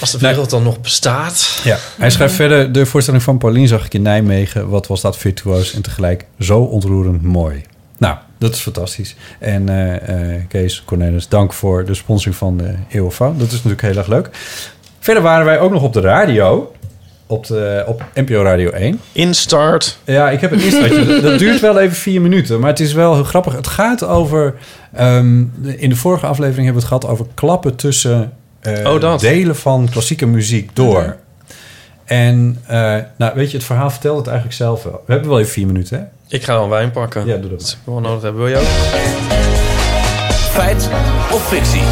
S1: als de wereld dan nog bestaat.
S3: Ja. Hij schrijft verder, de voorstelling van Paulien zag ik in Nijmegen. Wat was dat virtuoos en tegelijk zo ontroerend mooi. Nou, dat is fantastisch. En eh, eh, Kees Cornelis, dank voor de sponsoring van de Eeuwfoon. Dat is natuurlijk heel erg leuk. Verder waren wij ook nog op de radio. Op, de, op NPO Radio 1.
S1: Instart.
S3: Ja, ik heb het instaartje.
S1: <laughs>
S3: dat duurt wel even vier minuten, maar het is wel heel grappig. Het gaat over... ehm, de- in de vorige aflevering hebben we het gehad over klappen tussen... eh,
S1: Oh, dat.
S3: delen van klassieke muziek
S5: Mhm.
S3: door. En eh, nou, weet je, het verhaal vertelt het eigenlijk zelf wel. We hebben wel even vier minuten, hè?
S1: Ik ga dan wijn pakken.
S3: Ja, doe dat
S1: Dat is wel nodig hebben. Wil je ook?
S6: Feit of fictie?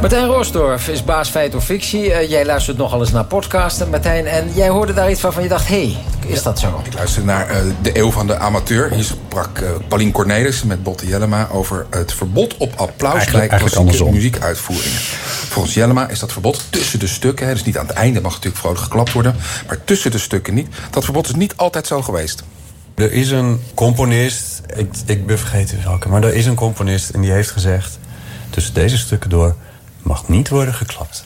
S6: Martijn Roosdorf is baas Feit of Fictie. Eh, jij luistert nogal eens naar podcasten, Martijn. En jij hoorde daar iets van van je dacht, hé, hey, is dat zo?
S7: Ik luister naar eh, De Eeuw van de Amateur. Hier sprak eh Paulien Cornelis met Botte Jellema over het verbod op applaus
S3: Eigenlijk-
S7: bij
S3: eigenlijk
S7: klassieke
S3: andersom.
S7: muziekuitvoeringen. Volgens Jellema is dat verbod tussen de stukken, hè, dus niet aan het einde mag natuurlijk vrolijk geklapt worden, maar tussen de stukken niet. Dat verbod is niet altijd zo geweest.
S5: Er is een componist, ik, ik ben vergeten welke, maar er is een componist en die heeft gezegd: tussen deze stukken door mag niet worden geklapt.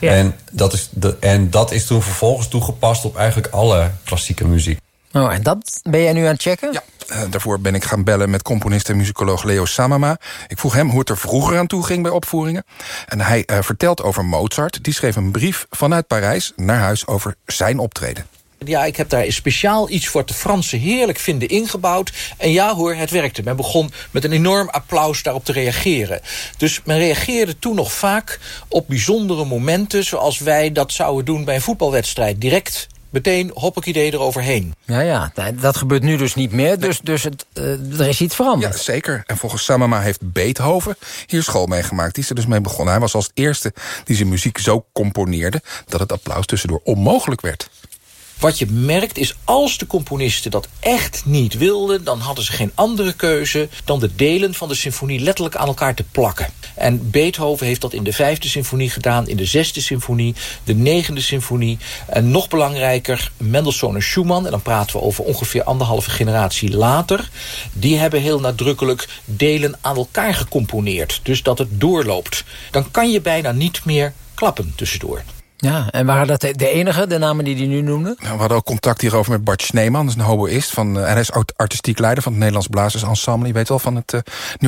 S2: Ja.
S5: En, dat is de, en dat is toen vervolgens toegepast op eigenlijk alle klassieke muziek.
S6: Nou, en dat ben jij nu aan het checken?
S7: Ja, eh, daarvoor ben ik gaan bellen met componist en muzikoloog Leo Samama. Ik vroeg hem hoe het er vroeger aan toe ging bij opvoeringen. En hij eh, vertelt over Mozart. Die schreef een brief vanuit Parijs naar huis over zijn optreden.
S8: Ja, ik heb daar speciaal iets voor de Fransen heerlijk vinden ingebouwd. En ja hoor, het werkte. Men begon met een enorm applaus daarop te reageren. Dus men reageerde toen nog vaak op bijzondere momenten... zoals wij dat zouden doen bij een voetbalwedstrijd. Direct, meteen, hoppakidee eroverheen.
S6: Nou ja, nou, dat gebeurt nu dus niet meer. Dus, dus het, eh, er is iets veranderd.
S7: Ja, zeker. En volgens Samama heeft Beethoven hier school mee gemaakt. Die is er dus mee begonnen. Hij was als eerste die zijn muziek zo componeerde... dat het applaus tussendoor onmogelijk werd.
S8: Wat je merkt is, als de componisten dat echt niet wilden... dan hadden ze geen andere keuze dan de delen van de symfonie letterlijk aan elkaar te plakken. En Beethoven heeft dat in de vijfde symfonie gedaan, in de zesde symfonie... de negende symfonie en nog belangrijker Mendelssohn en Schumann... en dan praten we over ongeveer anderhalve generatie later... die hebben heel nadrukkelijk delen aan elkaar gecomponeerd. Dus dat het doorloopt. Dan kan je bijna niet meer klappen tussendoor.
S6: Ja, dus- en waren dat de- de enige, de namen die die nu noemde?
S7: Nou, We hadden ook contact hierover met Bart Sneeman. Dat is een hoboïst. Van, eh, en hij is art- artistiek leider van het Nederlands Blazers Ensemble. Je weet wel, van het eh,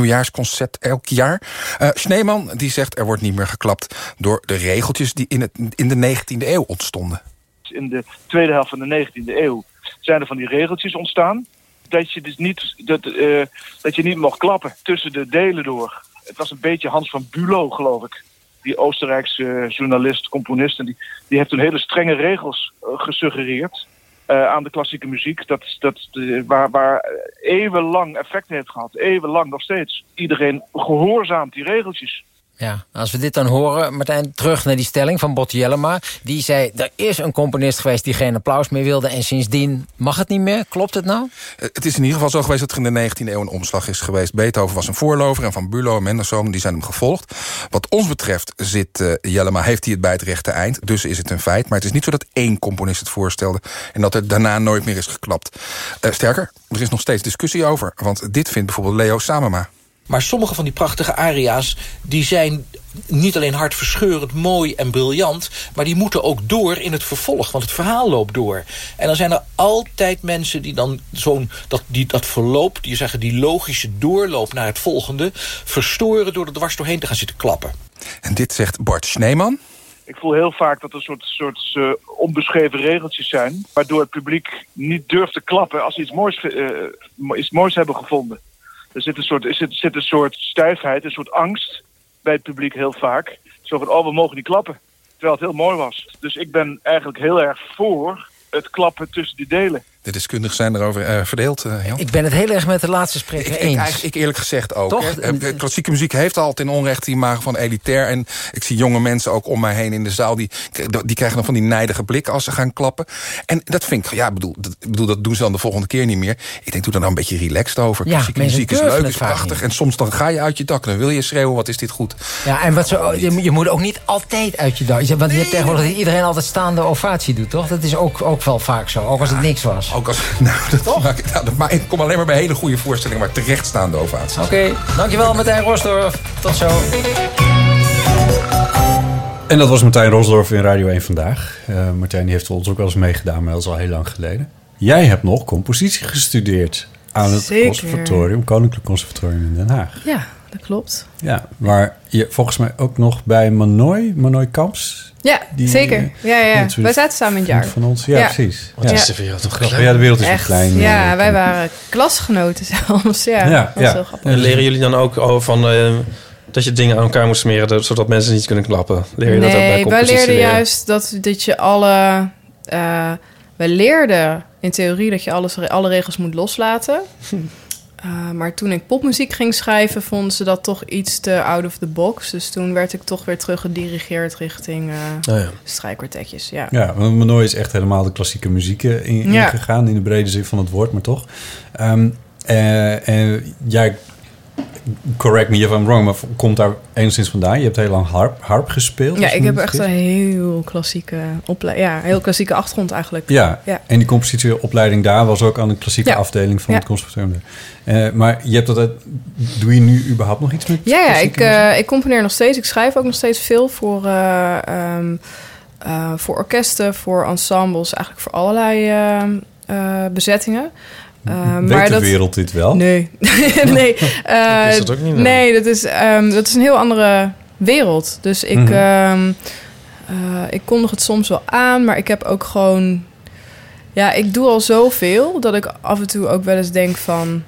S7: nieuwjaarsconcert elk jaar. Eh Sneeman die zegt er wordt niet meer geklapt... door de regeltjes die in, het, in de 19e eeuw ontstonden.
S9: Dus in de tweede helft van de 19e eeuw zijn er van die regeltjes ontstaan. Dat je dus niet, dat, eh, dat je niet mocht klappen tussen de delen door. Het was een beetje Hans van Bulow, geloof ik. Die Oostenrijkse eh, journalist, componist. En die, die heeft toen hele strenge regels eh, gesuggereerd eh, aan de klassieke muziek. Dat, dat, eh, waar, waar eeuwenlang effect heeft gehad. Eeuwenlang nog steeds. Iedereen gehoorzaamt die regeltjes.
S6: Ja, als we dit dan horen, Martijn, terug naar die stelling van Botte Jellema. Die zei, er is een componist geweest die geen applaus meer wilde... en sindsdien mag het niet meer. Klopt het nou?
S7: Eh, Het is in ieder geval zo geweest dat er in de 19e eeuw een omslag is geweest. Beethoven was een voorlover en Van Bulow en Mendelssohn die zijn hem gevolgd. Wat ons betreft zit eh, Jellema, heeft hij het bij het rechte eind. Dus is het een feit. Maar het is niet zo dat één componist het voorstelde... en dat er daarna nooit meer is geklapt. Eh, sterker, er is nog steeds discussie over. Want dit vindt bijvoorbeeld Leo Samema.
S8: Maar sommige van die prachtige aria's... die zijn niet alleen hartverscheurend mooi en briljant... maar die moeten ook door in het vervolg, want het verhaal loopt door. En dan zijn er altijd mensen die dan zo'n... Dat, die, dat verloop, die, zeggen, die logische doorloop naar het volgende... verstoren door er dwars doorheen te gaan zitten klappen.
S7: En dit zegt Bart Sneeman.
S9: Ik voel heel vaak dat er soort, soort eh, onbeschreven regeltjes zijn... waardoor het publiek niet durft te klappen als ze iets moois, eh, mo- iets moois hebben gevonden. Er zit een, soort, er zit, zit een soort stijfheid, een soort angst bij het publiek heel vaak. Zo van, oh, we mogen niet klappen. Terwijl het heel mooi was. Dus ik ben eigenlijk heel erg voor het klappen tussen die delen.
S7: De deskundigen zijn erover eh, verdeeld, eh, Jan.
S6: Ik ben het heel erg met de laatste spreker
S7: Ik,
S6: eens.
S7: eigenlijk- ik eerlijk gezegd ook.
S6: Toch?
S7: hè. Eh, Klassieke muziek heeft al ten onrechte die imago van elitair. En ik zie jonge mensen ook om mij heen in de zaal... die, die krijgen dan van die nijdige blik als ze gaan klappen. En dat vind ik... Ja, ik bedoel, dat, ik bedoel, dat doen ze dan de volgende keer niet meer. Ik denk, doe er nou een beetje relaxed over.
S6: Ja,
S7: Klassieke
S6: mensen
S7: muziek is
S6: durven
S7: leuk,
S6: het
S7: is
S6: vaak
S7: prachtig. En soms dan ga je uit je dak. Dan wil je schreeuwen, wat is dit goed.
S6: Ja, en wat zo, je, moet- je moet ook niet altijd uit je dak. Want je hebt tegenwoordig dat iedereen altijd staande ovatie doet, toch? Dat is ook, ook wel vaak zo, ook als het niks was.
S7: Ook als... <laughs> Nou, dat maak ik, nou, dat maak, ik kom alleen maar bij hele goede voorstellingen... maar terechtstaande ovaties.
S6: Oké, dankjewel Martijn Rosdorff. Tot zo.
S3: En dat was Martijn Rosdorff in Radio 1 vandaag. Eh, Martijn die heeft ons ook wel eens meegedaan, maar dat is al heel lang geleden. Jij hebt nog compositie gestudeerd aan het
S2: Zeker.
S3: conservatorium, Koninklijk Conservatorium in Den Haag.
S2: Ja, dat klopt.
S3: Ja, waar je volgens mij ook nog bij Manoy, Manoy Kamps.
S2: Ja,
S3: Die,
S2: zeker.
S3: eh,
S2: Ja, ja, ja.
S3: natuurlijk
S2: Wij zaten samen in het jaar.
S3: vriend van ons. Ja, precies.
S1: Wat
S3: Ja.
S1: is de wereld toch
S3: Grappig.
S1: klein.
S3: Ja, de wereld is
S2: Echt.
S3: een klein. eh,
S2: Ja, wij waren klasgenoten <laughs> zelfs. Ja,
S3: Ja,
S2: dat was
S3: ja.
S2: heel grappig.
S1: En leren jullie dan ook over van, eh, dat je dingen aan elkaar moet smeren... dat- zodat mensen niet kunnen klappen? Leer je dat ook bij
S2: nee, wij
S1: compositie
S2: leerden
S1: leren?
S2: juist dat, dat je alle... eh wij leerden in theorie dat je alles, alle regels moet
S3: <laughs>
S2: loslaten. Eh, maar toen ik popmuziek ging schrijven, vonden ze dat toch iets te out of the box. Dus toen werd ik toch weer teruggedirigeerd richting eh
S3: Oh ja.
S2: strijkkwartetjes. Ja.
S3: Ja, want Manoy is echt helemaal de klassieke muziek eh, in-
S2: Ja.
S3: ingegaan, in de brede zin van het woord, maar toch. Ehm eh, eh, ja, correct me if I'm wrong, maar v- komt daar enigszins vandaan? Je hebt heel lang harp, harp gespeeld.
S2: Ja,
S3: als
S2: ik
S3: me
S2: heb
S3: niet
S2: echt
S3: vergis.
S2: een heel klassieke, ople- ja, een heel klassieke achtergrond eigenlijk.
S3: Ja,
S2: ja.
S3: en die compositieopleiding daar was ook aan de klassieke
S2: Ja.
S3: afdeling van
S2: Ja.
S3: het conservatorium. Eh, maar je hebt dat, uit- doe je nu überhaupt nog iets met
S2: Ja, ja
S3: klassieke
S2: ik, eh, ik componeer nog steeds. Ik schrijf ook nog steeds veel voor, eh, ehm, eh, voor orkesten, voor ensembles, eigenlijk voor allerlei ehm, eh, bezettingen. Eh,
S3: Weet de wereld dit wel? <laughs>
S2: Nee. nee. eh,
S3: Ik wist dat ook niet, nee.
S2: nee, dat is, ehm, dat is een heel andere wereld. Dus ik,
S3: Mhm.
S2: ehm, eh, ik kondig het soms wel aan, maar ik heb ook gewoon... Ja, ik doe al zoveel dat ik af en toe ook wel eens denk van...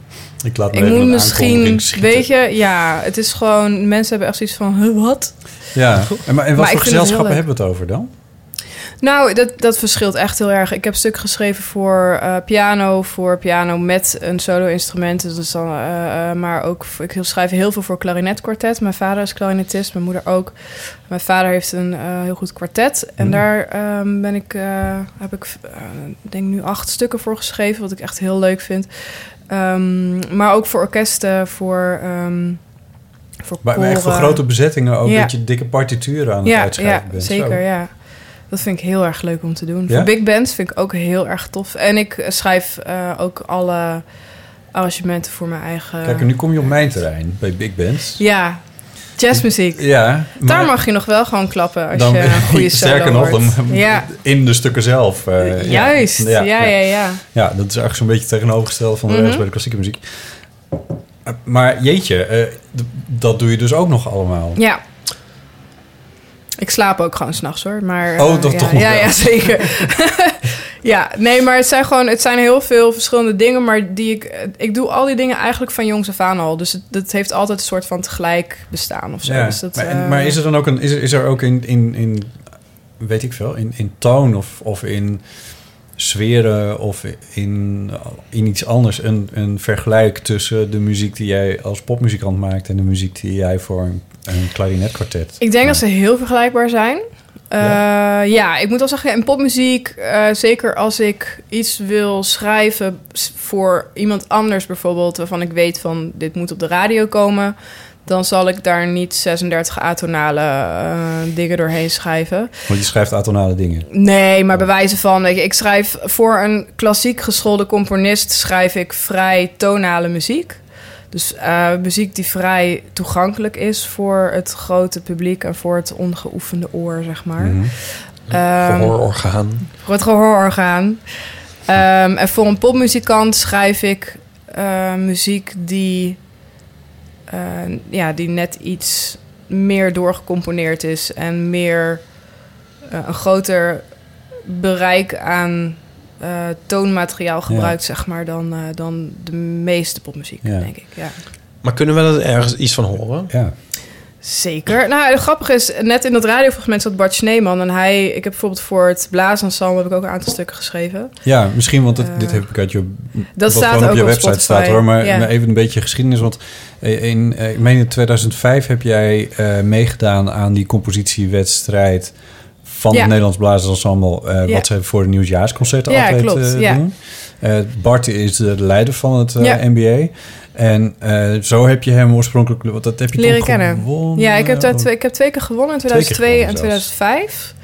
S3: Ik laat me
S2: Ik
S3: even
S2: moet
S3: een
S2: misschien,
S3: aankondiging schieten.
S2: weet je, ja, het is gewoon, mensen hebben echt zoiets van, huh, wat? <laughs>
S3: Ja, en, maar, en wat
S2: ik vind het heel
S3: voor gezelschappen
S2: leuk.
S3: hebben we het over dan?
S2: Nou, dat, dat verschilt echt heel erg. Ik heb stukken geschreven voor eh, piano, voor piano met een solo-instrument. Dus dat is dan, eh, eh, maar ook, voor- ik schrijf heel veel voor klarinetkwartet. Mijn vader is klarinetist, mijn moeder ook. Mijn vader heeft een eh, heel goed kwartet. En
S3: Mm.
S10: Hmm.
S2: daar ehm, ben ik, eh, heb ik, eh, denk nu acht stukken voor geschreven, wat ik echt heel leuk vind. Ehm, maar ook voor orkesten, voor... ehm, voor
S3: Maar, maar echt voor
S2: koren.
S3: grote bezettingen ook,
S2: Ja.
S3: dat je dikke partituren aan het
S2: ja,
S3: uitschrijven
S2: ja,
S3: bent.
S2: Zeker,
S3: Zo.
S2: ja. Dat vind ik heel erg leuk om te doen.
S3: Ja?
S2: Voor big bands vind ik ook heel erg tof. En ik eh, schrijf eh, ook alle arrangementen voor mijn eigen...
S3: Kijk, en nu kom je op mijn terrein, bij Big Bands.
S2: Ja, jazzmuziek.
S3: Ja,
S2: Daar
S3: maar
S2: mag je nog wel gewoon klappen als je
S3: <laughs>
S2: een goede solo
S3: Sterker nog,
S2: hoort.
S3: <laughs> dan
S2: ja,
S3: in de stukken zelf. eh, ja.
S2: juist. Ja, ja, ja.
S3: Ja, dat is eigenlijk zo'n beetje tegenovergesteld van de
S2: Mhm.
S3: rest bij de klassieke muziek. Eh, Maar jeetje, eh, d- dat doe je dus ook nog allemaal.
S2: Ja. Ik slaap ook gewoon s'nachts hoor. Maar, eh,
S3: Oh, dat
S2: ja,
S3: toch nog
S2: ja,
S3: wel.
S2: ja, <laughs> zeker. ja, nee, maar het zijn gewoon het zijn heel veel verschillende dingen. Maar die ik, eh, ik doe al die dingen eigenlijk van jongs af aan al. Dus het, dat heeft altijd een soort van tegelijk bestaan of zo.
S3: Ja,
S2: Dus dat,
S3: maar, en-
S2: eh,
S3: maar is er dan ook een. Is er, is er ook in, in, in. Weet ik veel. In, in toon of, of in sferen of in, in iets anders. Een, een vergelijk tussen de muziek die jij als popmuzikant maakt. en de muziek die jij voor een Een klarinetkwartet.
S2: Ik denk dat ze heel vergelijkbaar zijn. Eh, ja. ik moet wel zeggen, in popmuziek, eh, zeker als ik iets wil schrijven s- voor iemand anders bijvoorbeeld, waarvan ik weet van dit moet op de radio komen, dan zal ik daar niet 36 atonale eh, dingen doorheen schrijven.
S3: Want je schrijft atonale dingen.
S2: Nee, maar bewijzen van, weet je, ik schrijf voor een klassiek geschoolde componist, schrijf ik vrij tonale muziek. Dus eh, muziek die vrij toegankelijk is voor het grote publiek en voor het ongeoefende oor, zeg maar.
S4: Mhm.
S2: Ehm,
S1: Gehoororgaan.
S2: voor het gehoororgaan. Ehm, en voor een popmuzikant schrijf ik eh, muziek die, eh, ja, die net iets meer doorgecomponeerd is en meer eh, een groter bereik aan eh, toonmateriaal gebruikt, zeg maar, dan, eh, dan de meeste popmuziek,
S1: Ja.
S2: denk ik. Ja.
S1: Maar kunnen we er ergens iets van horen?
S3: Ja.
S2: Zeker. Nou, het grappige is, net in dat radiofragment zat Bart Sneeman. En hij, ik heb bijvoorbeeld voor het blaasensemble heb ik ook een aantal stukken geschreven.
S3: Ja, misschien, want het-
S2: Eh,
S3: dit heb ik uit je,
S2: dat
S3: wat
S2: staat
S3: gewoon op
S2: ook
S3: je
S2: op
S3: website
S2: Spotify,
S3: staat hoor. Maar
S2: ja.
S3: maar even een beetje geschiedenis. Want eh, in, eh, ik meen in 2005 heb jij eh, meegedaan aan die compositiewedstrijd van
S2: Ja.
S3: het Nederlands Blazers Ensemble. eh,
S2: Ja.
S3: Wat ze voor het nieuwsjaarsconcert
S2: Ja,
S3: altijd
S2: klopt,
S3: eh,
S2: ja.
S3: doen. Eh, Bart is de leider van het eh,
S2: Ja.
S3: NBA. En eh, zo heb je hem oorspronkelijk... Want dat heb je
S2: Leren
S3: toch
S2: kennen.
S3: gewonnen?
S2: Ja, ik heb, daar twee, ik heb twee keer gewonnen in
S3: Twee keer
S2: 2002 en
S3: gewonnen
S2: 2005.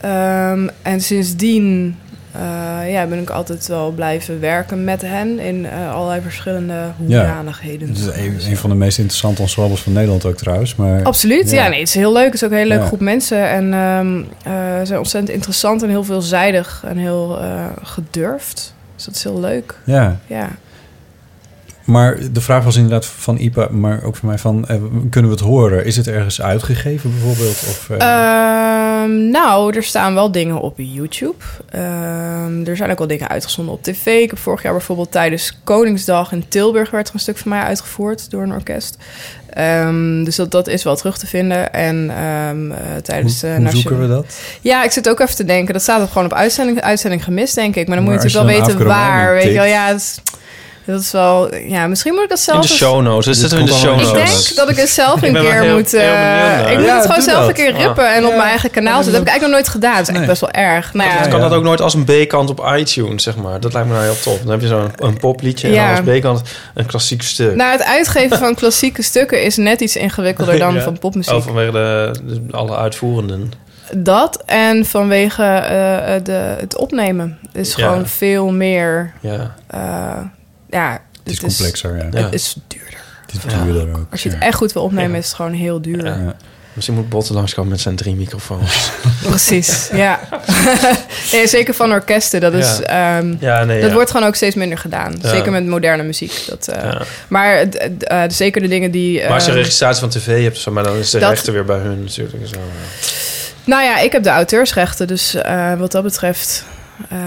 S2: Ehm, en sindsdien eh, ja, ben ik altijd wel blijven werken met hen in eh, allerlei verschillende hoedanigheden.
S3: Dat is een, een van de meest interessante ensembles van Nederland ook trouwens. Maar,
S2: Absoluut, ja. nee, het is heel leuk. Het is ook een hele leuke
S3: Ja.
S2: groep mensen. En ehm, eh, ze zijn ontzettend interessant en heel veelzijdig en heel eh, gedurfd. Dus dat is heel leuk.
S3: Ja.
S2: ja.
S3: Maar de vraag was inderdaad van Ipa, maar ook van mij van... eh, kunnen we het horen? Is het ergens uitgegeven bijvoorbeeld? Of, eh,
S2: Ehm, nou, er staan wel dingen op YouTube. Ehm, er zijn ook wel dingen uitgezonden op tv. Ik heb vorig jaar bijvoorbeeld tijdens Koningsdag in Tilburg... werd er een stuk van mij uitgevoerd door een orkest. Ehm, dus dat, dat is wel terug te vinden. En ehm, eh, tijdens...
S3: hoe,
S2: eh,
S3: hoe
S2: nation-
S3: zoeken we dat?
S2: Ja, ik zit ook even te denken. Dat staat ook gewoon op uitzending, uitzending gemist, denk ik. Maar dan
S3: Maar
S2: moet je
S3: als
S2: natuurlijk wel
S3: je
S2: weten
S3: dan Afro
S2: waar.
S3: Romeinen
S2: Weet je wel,
S3: tikt.
S2: ja, dat is, dat is wel... Ja, misschien moet ik dat zelf
S1: In de
S2: eens-
S1: show notes. Dat zitten we in de
S2: ik
S1: show notes.
S2: denk dat ik het zelf
S1: Ik
S2: een
S1: ben wel
S2: keer
S1: heel-
S2: moet...
S1: heel
S2: eh,
S1: benieuwd naar.
S2: ik moet
S1: Ja,
S2: het gewoon
S1: doe
S2: zelf
S1: dat.
S2: een keer
S1: Ja.
S2: rippen en op mijn eigen kanaal zetten. Dat heb ik eigenlijk nog nooit gedaan. Dat is echt best wel erg. Nou ja,
S1: Kan dat ook nooit als een B-kant op iTunes, zeg maar? Dat lijkt me nou heel top. Dan heb je zo'n een popliedje en
S2: Ja.
S1: dan als B-kant een klassiek stuk.
S2: Nou, het uitgeven van klassieke stukken is net iets ingewikkelder dan
S1: <laughs> Ja.
S2: van popmuziek.
S1: Oh, vanwege de, de- alle uitvoerenden.
S2: Dat en vanwege eh, eh, de, het opnemen is
S1: Ja.
S2: gewoon veel meer.
S1: Ja.
S2: eh, ja
S3: Het is complexer, ja.
S2: Het is duurder.
S3: Het is duurder ook.
S2: Als je het
S3: ja.
S2: echt goed wil opnemen, is het gewoon heel duur.
S1: Misschien moet Botten langskomen met zijn drie microfoons.
S3: <laughs>
S2: Precies,
S1: <laughs>
S2: ja. nee, zeker van orkesten. Dat, is,
S1: Ja.
S2: ehm,
S1: Ja, nee,
S2: dat
S1: ja.
S2: wordt gewoon ook steeds minder gedaan.
S1: Ja.
S2: Zeker met moderne muziek. Dat, eh,
S1: Ja.
S2: Maar het- het, eh, zeker de dingen die...
S1: maar als je
S2: ehm,
S1: registratie van tv hebt, zeg maar, dan is de
S2: dat-
S1: rechter weer bij hun natuurlijk. en Zo.
S2: Nou ja, ik heb de auteursrechten, dus eh, wat dat betreft eh,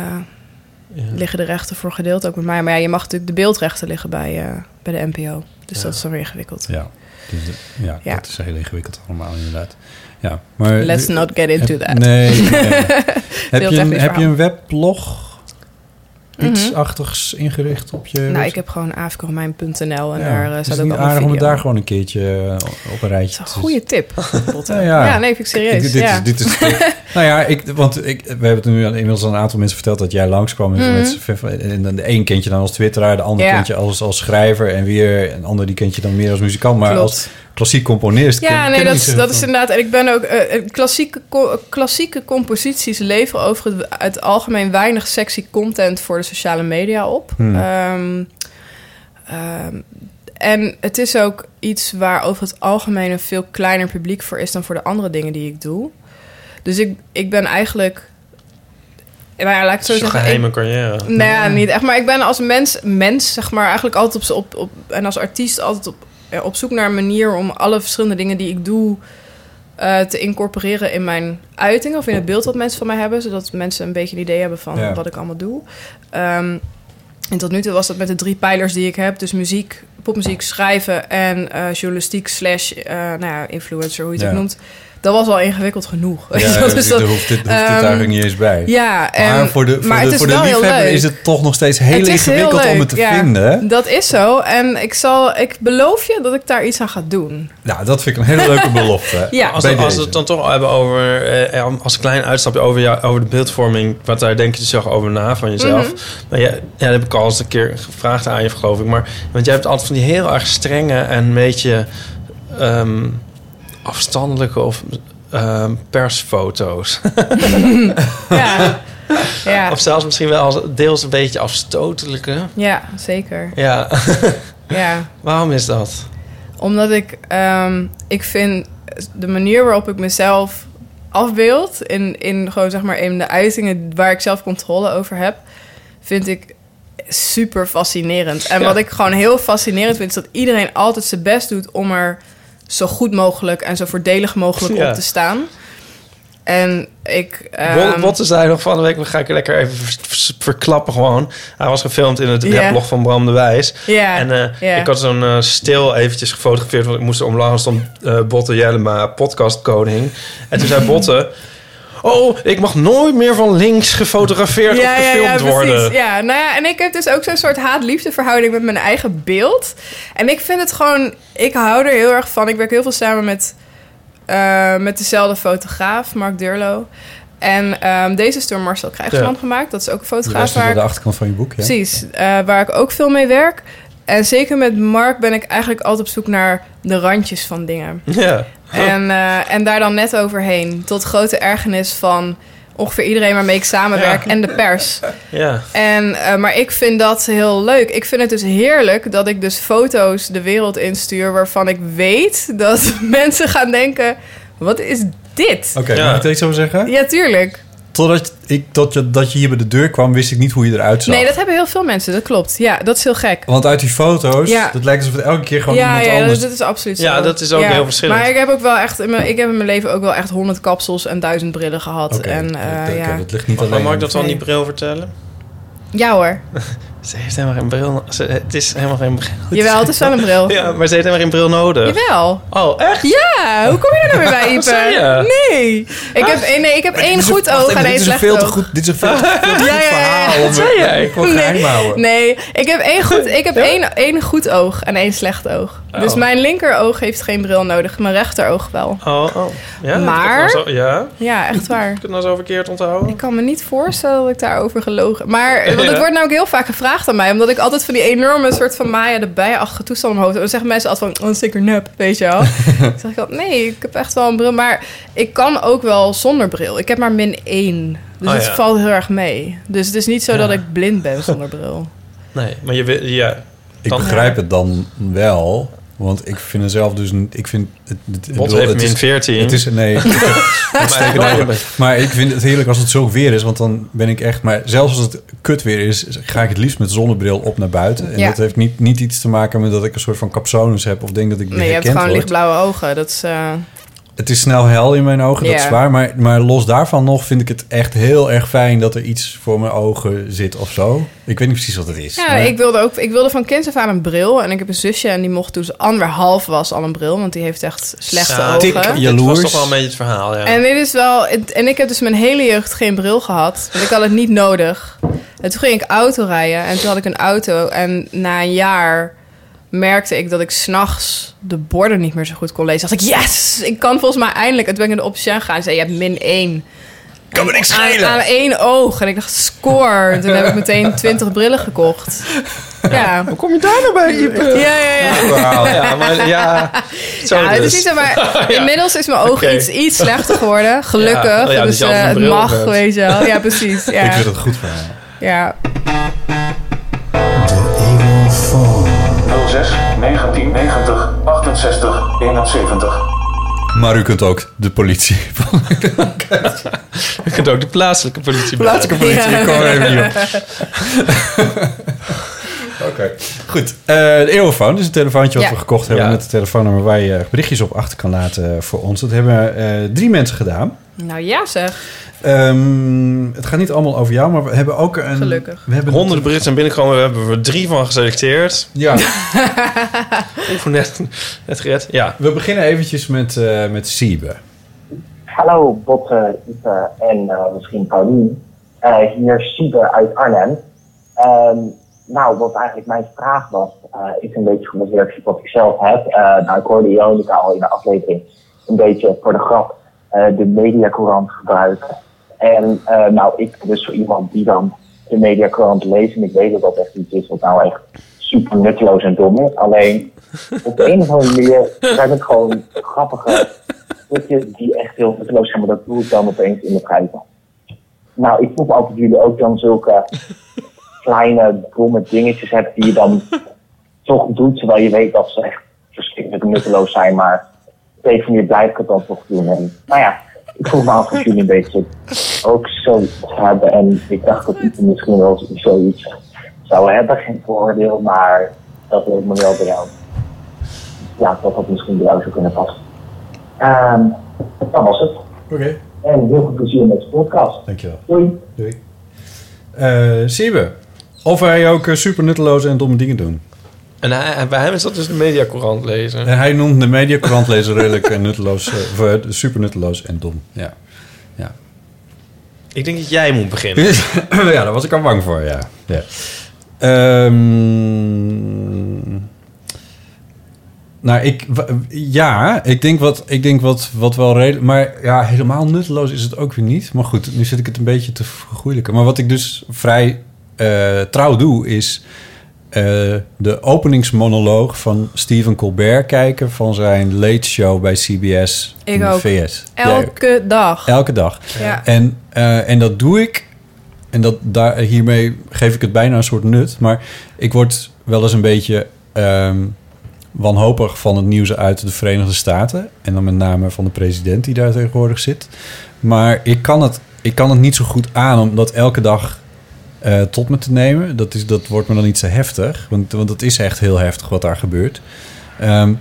S2: liggen de rechten voor gedeeld ook bij mij. Maar ja, je mag natuurlijk de beeldrechten liggen bij, eh, bij de NPO. Dus
S3: Ja.
S2: dat is dan weer ingewikkeld.
S3: Ja. Dus, eh, ja,
S2: Ja.
S3: dat is heel ingewikkeld allemaal inderdaad. Ja, maar,
S2: Let's not get into
S3: Eh, Heb-
S2: that. <laughs>
S3: Nee. nee. heb,
S2: Heel
S3: je een,
S2: technisch
S3: heb je
S2: verhaal.
S3: een weblog? Iets
S2: Mhm.
S3: achtigs ingericht op je...
S2: Nou,
S3: website?
S2: ik heb gewoon afkromein.nl en daar eh,
S3: Ja, is
S2: staat
S3: het
S2: ook
S3: niet
S2: allemaal
S3: aardig om het
S2: video.
S3: daar gewoon een keertje eh, op een rijtje te
S2: Goeie tip.
S3: Nou
S2: eh, ja. nee, vind ik serieus.
S3: dit,
S2: ja.
S3: is,
S2: <laughs>
S3: dit is nou ja, ik, want ik, we hebben het nu aan- inmiddels aan een aantal mensen verteld dat jij langskwam. En,
S2: Mhm.
S3: mensen- en dan de een kent je dan als twitteraar, de ander
S2: Ja.
S3: kent je als, als schrijver. En weer een ander die kent je dan meer als muzikant. Maar
S2: Klopt.
S3: als klassiek componist ken-
S2: Ja,
S3: ken
S2: nee,
S3: ik
S2: dat,
S3: niet
S2: is-
S3: zoveel
S2: dat is inderdaad. En ik ben ook. eh, eh, klassieke, co- klassieke composities leveren over het, het algemeen weinig sexy content voor de sociale media op.
S4: Hmm.
S2: Ehm, ehm, en het is ook iets waar over het algemeen een veel kleiner publiek voor is dan voor de andere dingen die ik doe. Dus ik, ik ben eigenlijk. Nou ja, laat ik het zo
S1: Zo'n
S2: zeggen. ik-
S1: geheime carrière.
S2: nou ja, niet echt. Maar ik ben als mens, mens zeg maar, eigenlijk altijd op, z'n- op, op en als artiest altijd op, eh, op zoek naar een manier om alle verschillende dingen die ik doe eh, te incorporeren in mijn uiting of in het beeld wat mensen van mij hebben, zodat mensen een beetje een idee hebben van
S4: Ja.
S2: wat ik allemaal doe. Ehm, en tot nu toe was dat met de drie pijlers die ik heb. Dus muziek, popmuziek, schrijven en eh, journalistiek slash eh, nou ja, influencer, hoe je het
S4: Ja.
S2: ook noemt. dat was al ingewikkeld genoeg. <laughs>
S3: Ja,
S2: dat is
S3: daar
S2: dat-
S3: hoeft dit, hoeft dit
S2: Ehm,
S3: eigenlijk niet eens bij.
S2: Ja,
S3: maar
S2: en-
S3: voor de, voor
S2: maar het
S3: de,
S2: is
S3: voor de
S2: wel heel
S3: liefhebber
S2: leuk.
S3: is het toch nog steeds heel
S2: Het is heel
S3: ingewikkeld om
S2: leuk,
S3: het te
S2: ja.
S3: vinden. hè?
S2: Dat is zo. En ik, zal, ik beloof je dat ik daar iets aan ga
S3: <laughs>
S2: doen.
S3: Nou, dat vind ik een hele leuke belofte.
S2: Ja.
S1: Als,
S3: Bij
S1: we, als we
S3: deze.
S1: het dan toch hebben over, eh, eh, als een klein uitstapje over, jou, over de beeldvorming, wat daar denk je dus zelf over na van jezelf.
S2: Mhm.
S1: Maar ja, ja, dat heb ik al eens een keer gevraagd aan je, geloof ik. Maar, want jij hebt altijd van die heel erg strenge en een beetje ehm, afstandelijke of ehm, persfoto's.
S2: <laughs> Ja,
S1: Of zelfs misschien wel als deels een beetje afstotelijke.
S2: ja zeker.
S1: Ja.
S2: Ja.
S1: <laughs> Waarom is dat?
S2: Omdat ik, ehm, ik vind de manier waarop ik mezelf afbeeld in, in gewoon zeg maar in de uitingen waar ik zelf controle over heb, vind ik super fascinerend. En
S11: Ja.
S2: wat ik gewoon heel fascinerend vind, is dat iedereen altijd zijn best doet om er zo goed mogelijk en zo voordelig mogelijk
S1: Ja.
S2: op te staan. En ik.
S1: Bol-
S2: ehm,
S1: Botte zei nog van de week, we gaan ik lekker even vers- vers- verklappen gewoon. Hij was gefilmd in het
S2: Ja.
S1: weblog van Bram de Wijs.
S2: Ja,
S1: En eh,
S2: ja.
S1: ik had zo'n eh, stil eventjes gefotografeerd, want ik moest er omlaag stond eh Botte Jellema, podcastkoning. En
S2: <laughs>
S1: toen zei Botte, oh, ik mag nooit meer van links gefotografeerd of gefilmd worden.
S2: Ja, nou ja, en ik heb dus ook zo'n soort haat-liefde verhouding met mijn eigen beeld. En ik vind het gewoon, ik hou er heel erg van. Ik werk heel veel samen met, eh, met dezelfde fotograaf, Mark Durlo. En ehm, deze is door Marcel Krijgsman
S3: Ja.
S2: gemaakt. Dat is ook een
S3: Die
S2: fotograaf
S3: was dus
S2: waar
S3: aan de
S2: ik-
S3: achterkant van je boek, ja.
S2: Precies, eh, waar ik ook veel mee werk. En zeker met Mark ben ik eigenlijk altijd op zoek naar de randjes van dingen.
S1: Ja.
S2: En, eh, en daar dan net overheen. Tot grote ergernis van ongeveer iedereen waarmee ik samenwerk
S1: Ja.
S2: en de pers.
S1: Ja.
S2: En, eh, maar ik vind dat heel leuk. Ik vind het dus heerlijk dat ik dus foto's de wereld instuur... waarvan ik weet dat <laughs> mensen gaan denken... wat is dit?
S3: Oké, mag ik het iets over zeggen?
S2: Ja, tuurlijk.
S3: Totdat ik, dat je, dat je hier bij de deur kwam, wist ik niet hoe je eruit zag.
S2: Nee, dat hebben heel veel mensen, dat klopt. Ja, dat is heel gek.
S3: Want uit die foto's,
S2: Ja.
S3: dat lijkt alsof het elke keer gewoon
S2: ja,
S3: iemand
S2: ja,
S3: anders...
S2: dat is absoluut zo.
S1: Ja, dat is ook heel verschillend.
S2: Maar ik heb ook wel echt, in mijn- ik heb in mijn leven ook wel echt honderd kapsels en duizend brillen gehad.
S1: Oké,
S2: en,
S1: oké,
S2: eh,
S1: oké,
S2: ja.
S3: dat ligt niet
S1: Mag-
S3: alleen
S1: Mag
S3: aan
S1: ik dat dan
S2: Nee.
S1: die bril vertellen?
S2: ja hoor.
S1: <laughs> Ze heeft helemaal geen bril. Ze- het is helemaal geen bril.
S2: Jawel, Oh, het is wel een bril.
S1: <laughs> Ja, maar ze heeft helemaal geen bril
S3: Eh,
S1: nodig.
S2: Jawel.
S1: Oh, echt?
S2: Ja, hoe kom je er nou weer
S3: <laughs>
S2: bij,
S1: Wat zei
S2: Ieper?
S1: je?
S2: Nee. Ik heb, één- nee, ik heb één goed oog en één
S3: dit is een
S2: slecht
S3: veel te
S2: oog.
S3: goed, dit is een veel
S2: <laughs>
S3: te, veel
S2: Ja,
S3: te goed
S2: ja, ja, ja.
S3: verhaal. om-
S2: Wat zei jij?
S3: Ik wil geheim houden.
S2: Nee, ik heb één
S3: <laughs>
S2: goed, ik heb één, één goed oog en één slecht oog.
S1: Oh.
S2: Dus mijn linkeroog heeft geen bril nodig, mijn rechteroog wel.
S1: Oh, oh. Ja,
S2: Maar-
S1: dat kan Zo, ja.
S2: Ja, echt waar.
S1: Kun je nou zo verkeerd onthouden?
S2: Ik kan me niet voorstellen dat ik daarover gelogen.
S1: <laughs>
S2: Maar
S1: Ja.
S2: want het wordt namelijk heel vaak gevraagd aan mij. Omdat ik altijd van die enorme soort van Maya de bijachtige toestand omhoog. heb. Dan zeggen mensen altijd van, oh, dat is zeker nep, weet je
S1: <laughs>
S2: wel. Dan zeg ik altijd, nee, ik heb echt wel een bril. Maar ik kan ook wel zonder bril. Ik heb maar min één. Dus
S1: Oh,
S2: het
S1: ja.
S2: valt heel erg mee. Dus het is niet zo dat ik blind ben zonder
S1: <laughs>
S2: bril.
S1: Nee, maar je wil... Ja.
S3: Ik begrijp het dan wel, want ik vind het zelf dus... niet- Ik vind... Het, het, ik
S1: Bot
S3: bedoel,
S1: heeft
S3: het
S1: min
S3: is-
S1: 14.
S3: Het is...
S1: <laughs>
S3: Nee. het is- het is tegen de- maar ik vind het heerlijk als het zo weer is, want dan ben ik echt... Maar zelfs als het kut weer is, ga ik het liefst met zonnebril op naar buiten. En
S2: Ja.
S3: dat heeft niet, niet iets te maken met dat ik een soort van capsones heb of denk dat ik niet
S2: Nee, je hebt
S3: herkend
S2: gewoon
S3: word.
S2: lichtblauwe ogen. Dat is... eh,
S3: Het is snel hel in mijn ogen, dat
S2: Ja.
S3: is waar. Maar, maar los daarvan nog vind ik het echt heel erg fijn dat er iets voor mijn ogen zit of zo. Ik weet niet precies wat het is.
S2: Ja,
S3: maar-
S2: ik wilde, ook, ik wilde van kinds af aan een bril. En ik heb een zusje en die mocht toen ze anderhalf was al een bril. Want die heeft echt slechte
S1: Ja,
S2: ogen.
S1: Dit was toch wel een beetje het verhaal, ja.
S2: En dit is wel. het- En ik heb dus mijn hele jeugd geen bril gehad. Want ik had het niet nodig. En toen ging ik auto rijden. En toen had ik een auto. En na een jaar merkte ik dat ik s'nachts de borden niet meer zo goed kon lezen. Dacht ik, yes! Ik kan volgens mij eindelijk. En toen ben ik naar de opticien gegaan. En zei, je hebt min 1. Kan me niks
S4: schelen.
S2: Aan, aan één oog. En ik dacht, score. En toen heb ik <laughs> meteen 20 brillen gekocht. Ja. Hoe
S1: kom je daar nou bij, Ipe?
S2: Ja, ja, ja.
S1: Wauw. Ja, maar ja... Zo
S2: Ja, het is
S1: dus.
S2: niet zo,
S3: <laughs>
S2: maar
S1: <laughs> Ja.
S2: inmiddels is mijn oog
S1: Oké.
S2: iets, iets slechter geworden. Gelukkig.
S1: Ja, oh ja, dus
S2: dus
S1: je had
S2: eh,
S1: een
S2: het
S1: bril
S2: mag,
S1: met.
S2: weet je wel.
S3: <laughs>
S2: Ja, precies. Ja.
S3: Ik vind het goed eh. verhaal.
S2: Ja.
S10: 06 1990 68 71.
S3: Maar u kunt ook de politie. <laughs>
S1: Je kunt ook de plaatselijke politie
S3: Plaatselijke politie, ik kom er even niet op. Oké, goed. Eh, de eeuwenfoon is een telefoontje wat
S2: Ja.
S3: we gekocht hebben
S2: Ja.
S3: met het telefoonnummer waar je berichtjes op achter kan laten voor ons. Dat hebben eh, drie mensen gedaan.
S2: Nou ja, zeg.
S3: Ehm, het gaat niet allemaal over jou, maar we hebben ook een...
S2: Gelukkig.
S3: We <laughs> hebben
S1: Honderden berichten zijn binnengekomen. We hebben er drie van geselecteerd.
S3: Ja.
S1: Even net, net gered. Ja.
S3: We beginnen eventjes met, eh met Siebe.
S12: Hallo Botte, Ipe en eh, misschien Paulien. Eh, hier Siebe uit Arnhem. Ehm, nou, wat eigenlijk mijn vraag was, eh, is een beetje gebaseerd op wat ik zelf heb. Eh nou, ik hoorde Jonica al in de aflevering een beetje voor de grap eh, de mediacourant gebruiken. En eh, nou, ik ben dus zo iemand die dan de mediacourant leest. En ik weet dat dat echt iets is wat nou echt super nutteloos en dom is. Alleen, op de een of andere manier zijn het gewoon grappige stukjes die echt heel nutteloos zijn. Maar dat doe ik dan opeens in de vrijdag. Nou, ik voel altijd jullie ook dan zulke kleine domme dingetjes hebt die je dan toch doet. Terwijl je weet dat ze echt verschrikkelijk nutteloos zijn. Maar op een of andere manier blijf ik het dan toch doen. En, nou ja, ik voel me af of jullie een beetje ook zoiets hebben. En ik dacht dat ik misschien wel zoiets zou hebben. Geen voordeel, maar dat leek me wel bij jou. Ja, dat dat misschien bij jou zou kunnen passen. Ehm dat was het.
S3: Oké.
S12: En heel veel plezier met de podcast.
S3: Dankjewel.
S12: Doei.
S3: Doei. Eh Siebe, of wij ook eh, super nutteloze en domme dingen doen.
S1: En hij- en bij hem is dat dus de mediacourant lezen.
S3: En hij noemt de mediacourant lezen redelijk eh, nutteloos, eh, of, eh, super nutteloos en dom. Ja. ja.
S1: Ik denk dat jij moet beginnen.
S3: <laughs> ja, daar was ik al bang voor, ja. ja. Ehm, nou, ik, w- ja, ik denk wat, ik denk wat, wat wel redelijk... Maar ja, helemaal nutteloos is het ook weer niet. Maar goed, nu zit ik het een beetje te vergoeilijken. Maar wat ik dus vrij eh, trouw doe, is eh, de openingsmonoloog van Stephen Colbert kijken... van zijn late show bij CBS in
S2: Ik
S3: de
S2: ook.
S3: VS. Jij ook?
S2: Elke dag.
S3: Elke dag.
S2: Ja.
S3: En, eh, en dat doe ik. En dat, daar, hiermee geef ik het bijna een soort nut. Maar ik word wel eens een beetje ehm, wanhopig van het nieuws uit de Verenigde Staten. En dan met name van de president die daar tegenwoordig zit. Maar ik kan het, ik kan het niet zo goed aan om dat elke dag eh, tot me te nemen. Dat, is, dat wordt me dan niet zo heftig. Want, want dat is echt heel heftig wat daar gebeurt. Ehm,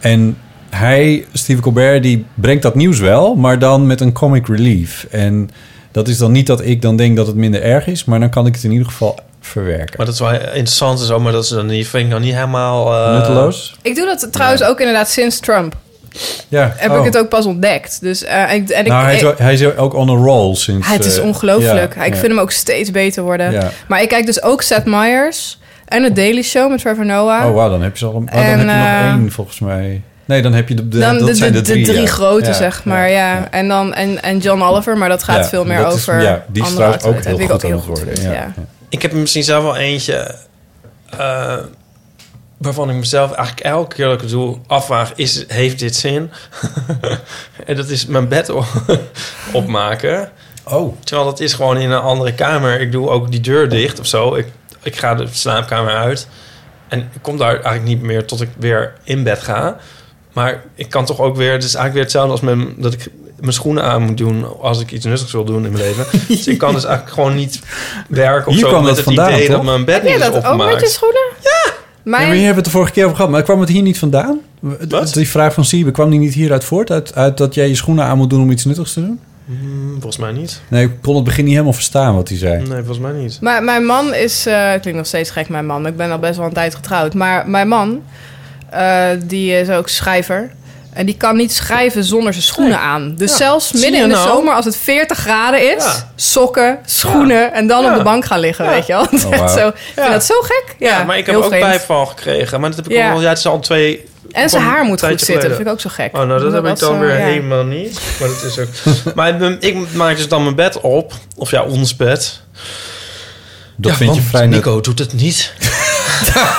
S3: en hij, Steve Colbert, die brengt dat nieuws wel, maar dan met een comic relief. En dat is dan niet dat ik dan denk dat het minder erg is, maar dan kan ik het in ieder geval verwerken.
S1: Maar dat is wel interessant en zo, maar dat is dan niet, vind ik dan niet helemaal... eh,
S3: Nutteloos?
S2: Ik doe dat trouwens ook inderdaad sinds Trump.
S3: Ja.
S2: Heb
S3: Oh.
S2: ik het ook pas ontdekt. Dus, eh, ik, en ik,
S3: nou, hij, is,
S2: ik-
S3: wel- hij is ook on a roll sinds...
S2: het is
S3: eh,
S2: ongelooflijk.
S3: ja,
S2: ik
S3: ja.
S2: vind hem ook steeds beter worden.
S3: Ja.
S2: Maar ik kijk dus ook Seth Meyers en de Daily Show met Trevor Noah.
S3: Oh, wauw, dan heb je, ze al, oh, dan
S2: En,
S3: heb je
S2: eh,
S3: nog één volgens mij. Nee, dan heb je de, de,
S2: dan
S3: dat
S2: de,
S3: zijn
S2: de,
S3: de drie, ja.
S2: grote,
S3: Ja,
S2: zeg maar. Ja. En, dan, en, en John Oliver, maar dat gaat
S3: Ja,
S2: veel meer
S3: dat is-
S2: over.
S3: ja, die is
S2: andere
S3: trouwens ook
S2: autoriteiten, die
S3: heel
S2: ik
S3: goed aan
S2: heel
S3: het worden.
S2: vind,
S3: Ja,
S1: Ik heb er misschien zelf wel eentje... eh, waarvan ik mezelf eigenlijk elke keer dat ik het doe afvraag... Is, heeft dit zin? <laughs> en dat is mijn bed o- <laughs> opmaken.
S3: Oh.
S1: Terwijl dat is gewoon in een andere kamer. Ik doe ook die deur dicht of zo. Ik, ik ga de slaapkamer uit. En ik kom daar eigenlijk niet meer tot ik weer in bed ga. Maar ik kan toch ook weer... Het is eigenlijk weer hetzelfde als mijn, dat ik mijn schoenen aan moet doen... als ik iets nuttigs wil doen in mijn leven. dus ik kan dus eigenlijk gewoon niet werken of
S3: Hier
S1: zo...
S3: kwam
S1: met
S3: dat
S1: het
S3: vandaan,
S1: idee dat
S3: toch?
S1: mijn bed
S2: Heb
S1: niet
S2: jij
S1: is
S2: dat ook met je
S1: opgemaakt.
S2: schoenen? Ja.
S3: Ja,
S2: Mijn,
S3: maar hier hebben we het de vorige keer over gehad. Maar kwam het hier niet vandaan? Die vraag van Siebe, kwam die niet hieruit voort? Uit, uit dat jij je schoenen aan moet doen om iets nuttigs te doen?
S1: Hmm, volgens mij niet.
S3: Nee, ik kon het begin niet helemaal verstaan wat hij zei.
S1: Nee, volgens mij niet.
S2: Maar mijn man is, eh klinkt nog steeds gek, mijn man. Ik ben al best wel een tijd getrouwd. Maar mijn man, eh, die is ook schrijver. En die kan niet schrijven zonder zijn schoenen aan. Dus
S11: Ja.
S2: zelfs
S11: Zie
S2: midden
S11: je
S2: in de
S11: nou?
S2: zomer, als het 40 graden is,
S1: Ja.
S2: sokken, schoenen en dan
S1: Ja.
S2: op de bank gaan liggen,
S1: Ja.
S2: weet je wel. <laughs>
S1: Oh, wauw.
S2: Zo, Ik vind
S1: Ja.
S2: dat zo gek. Ja,
S1: Ja, maar ik heb
S2: heel
S1: ook
S2: vreemd.
S1: bijval gekregen. Maar dat heb ik
S2: Ja.
S1: ook al... Ja, het is al twee...
S2: En zijn
S1: van
S2: haar
S1: een
S2: moet goed
S1: tijdje
S2: zitten, dat
S1: geleden.
S2: vind ik ook zo gek.
S1: Oh, nou, dat heb ik dan
S2: zo,
S1: weer
S2: ja.
S1: helemaal niet. Maar dat is ook... <laughs> maar ik- ik maak dus dan mijn bed op. Of ja, ons bed.
S3: Dat
S1: Ja,
S3: vind je
S1: want
S3: vrij nuttig.
S1: Nico doet het niet.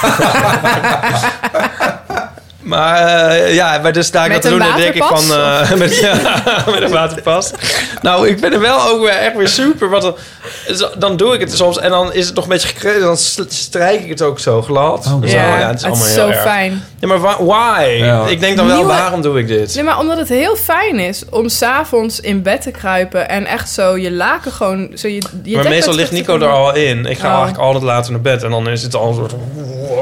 S1: <laughs> Maar eh, ja, maar dus daar ik
S8: Met
S1: dat te
S8: een
S1: doen, dan denk ik van...
S8: waterpas,
S1: eh, <laughs>
S8: of?
S1: met, ja, met een waterpas. Nou, ik ben er wel ook weer echt weer super. Want dan, zo- dan doe ik het soms en dan is het nog een beetje gekregen. Dan s- strijk ik het ook zo glad. Dus Zo,
S2: Ja, het is zo fijn.
S1: Ja, maar wa- why?
S3: Ja.
S1: Ik denk dan wel,
S2: Nieuwe-
S1: waarom doe ik dit?
S2: Nee, maar omdat het heel fijn is om s'avonds in bed te kruipen en echt zo je laken gewoon... Zo je, je dekbed
S1: maar meestal
S2: terug
S1: ligt
S2: te
S1: Nico
S2: komen.
S1: er al in. Ik ga
S2: Oh.
S1: eigenlijk altijd later naar bed. En dan is het al een soort...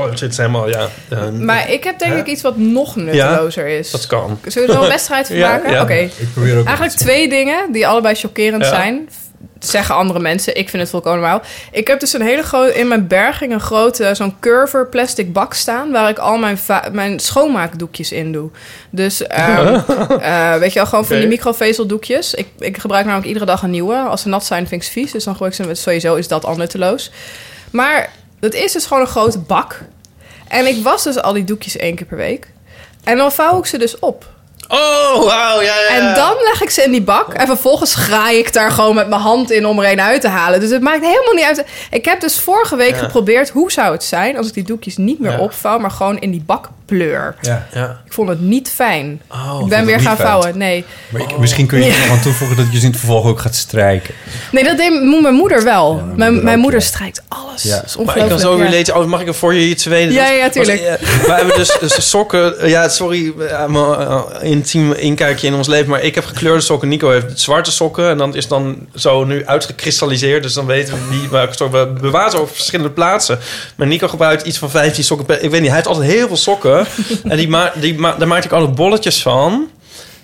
S1: Het zit helemaal, ja. ja.
S2: Maar ik heb denk
S1: Hè?
S2: ik iets wat nog nuttelozer is.
S1: Dat kan. <laughs>
S2: Zullen we er wel een wedstrijd van
S1: Ja,
S2: maken?
S1: ja.
S2: Oké.
S1: Ik probeer ook
S2: Eigenlijk twee dingen die allebei chockerend
S1: Ja.
S2: zijn. zeggen andere mensen. Ik vind het volkomen normaal. Ik heb dus een hele grote, in mijn berging een grote, eh, zo'n curver plastic bak staan. Waar ik al mijn, va- mijn schoonmaakdoekjes in doe. Dus
S1: <laughs>
S2: ehm, eh, weet je wel, gewoon van
S13: Oké.
S2: die microvezeldoekjes. Ik, ik gebruik namelijk iedere dag een nieuwe. Als ze nat zijn, vind ik ze vies. Dus dan gooi ik ze, sowieso is dat al nutteloos. Maar dat is dus gewoon een grote bak. En ik was dus al die doekjes één keer per week. En dan vouw ik ze dus op.
S1: Oh, wauw, ja, ja.
S2: En dan leg ik ze in die bak. En vervolgens graai ik daar gewoon met mijn hand in om er een uit te halen. Dus het maakt helemaal niet uit. Ik heb dus vorige week
S1: Ja.
S2: geprobeerd... hoe zou het zijn als ik die doekjes niet meer opvouw... maar gewoon in die bak pleur.
S3: Ja.
S1: ja.
S2: Ik vond het niet fijn. ik
S3: vond
S2: ben
S3: het
S2: weer
S3: niet
S2: gaan
S3: fijn.
S2: vouwen. Nee.
S3: Maar ik- misschien kun je
S2: Ja.
S3: er nog aan toevoegen dat je ze in het vervolg ook gaat strijken.
S2: nee, dat deed m- mijn moeder wel. mijn mijn moeder, strijkt alles.
S3: Ja.
S2: Dat is
S1: Maar ik
S2: ongelooflijk.
S1: kan zo
S2: ja.
S1: relaten. Oh, mag ik er voor je iets tweede?
S2: Ja,
S1: doen?
S2: ja, tuurlijk.
S1: Was- eh, wij hebben dus, dus sokken. eh, Ja, sorry, eh, aan mijn, eh, intiem inkijkje in ons leven. Maar ik heb gekleurde sokken. Nico heeft zwarte sokken. En dan is dan zo nu uitgekristalliseerd. Dus dan weten we wie welke sokken. We bewaren ze op verschillende plaatsen. Maar Nico gebruikt iets van 15 sokken. per- Ik weet niet, hij heeft altijd heel veel
S2: <laughs>
S1: sokken. en die ma die ma daar maak ik altijd bolletjes van.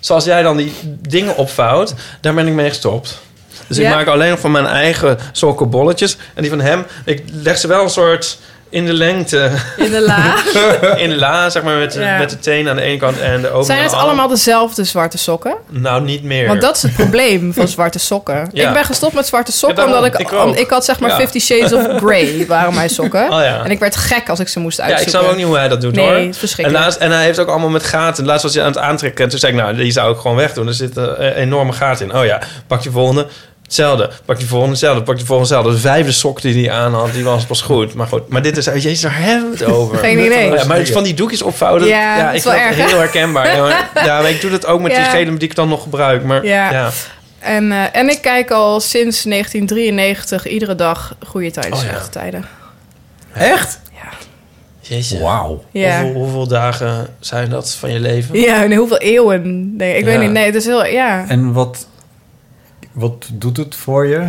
S1: Zoals jij dan die dingen opvouwt. Daar ben ik mee gestopt. Dus
S8: Ja?
S1: ik maak alleen nog van mijn eigen sokken bolletjes. En die van hem, ik leg ze wel een soort in de lengte.
S2: In de la.
S1: <laughs> in de la, zeg maar, met, de-
S2: Ja.
S1: met de teen aan de ene kant en de ogen
S2: Zijn
S1: aan
S2: het
S1: de andere.
S2: allemaal dezelfde zwarte sokken?
S1: Nou, niet meer.
S2: Want dat is het probleem van zwarte sokken.
S1: Ja.
S2: Ik ben gestopt met zwarte sokken
S1: Ja, daarom.
S2: omdat ik...
S1: Ik ook.
S2: om- ik had zeg maar
S1: Ja.
S2: Fifty Shades of Grey waren mijn sokken.
S1: <laughs> Oh ja.
S2: En ik werd gek als ik ze moest
S1: Ja, ik
S2: uitzoeken.
S1: snap ook niet hoe hij dat doet
S2: nee,
S1: hoor.
S2: het is verschrikkelijk.
S1: En, laatst, en hij heeft ook allemaal met gaten. Laatst was hij aan het aantrekken. En toen zei ik, nou, die zou ik gewoon wegdoen. Er zit een enorme gaat in. Oh ja, pak je volgende. Hetzelfde. Pak je volgende, hetzelfde. Pak je volgende, hetzelfde. De vijfde sok die hij aan had, die was pas goed. Maar goed, maar dit is... Jezus, daar hebben we het
S2: <laughs>
S1: over.
S2: Geen idee.
S1: Ja, maar van die doekjes opvouwen... dat-
S2: Ja,
S1: Ja,
S2: dat
S1: ik
S2: is
S1: vind
S2: wel
S1: dat
S2: erg, hè?
S1: heel herkenbaar. Ja, maar,
S2: <laughs>
S1: ja, maar ik doe dat ook met
S2: Ja.
S1: die gele die ik dan nog gebruik. Maar
S2: Ja.
S1: ja...
S2: En, eh, en ik kijk al sinds 1993 iedere dag goede tijden,
S1: Oh ja.
S2: slechte tijden.
S1: Echt? Ja. Jezus. Wauw.
S2: Ja.
S1: Hoeveel, hoeveel dagen zijn dat van je leven?
S2: Ja, en hoeveel eeuwen? Nee, ik
S1: Ja.
S2: weet niet. Nee, het is heel...
S1: <laughs>
S2: Ja.
S3: En wat, wat doet het voor je?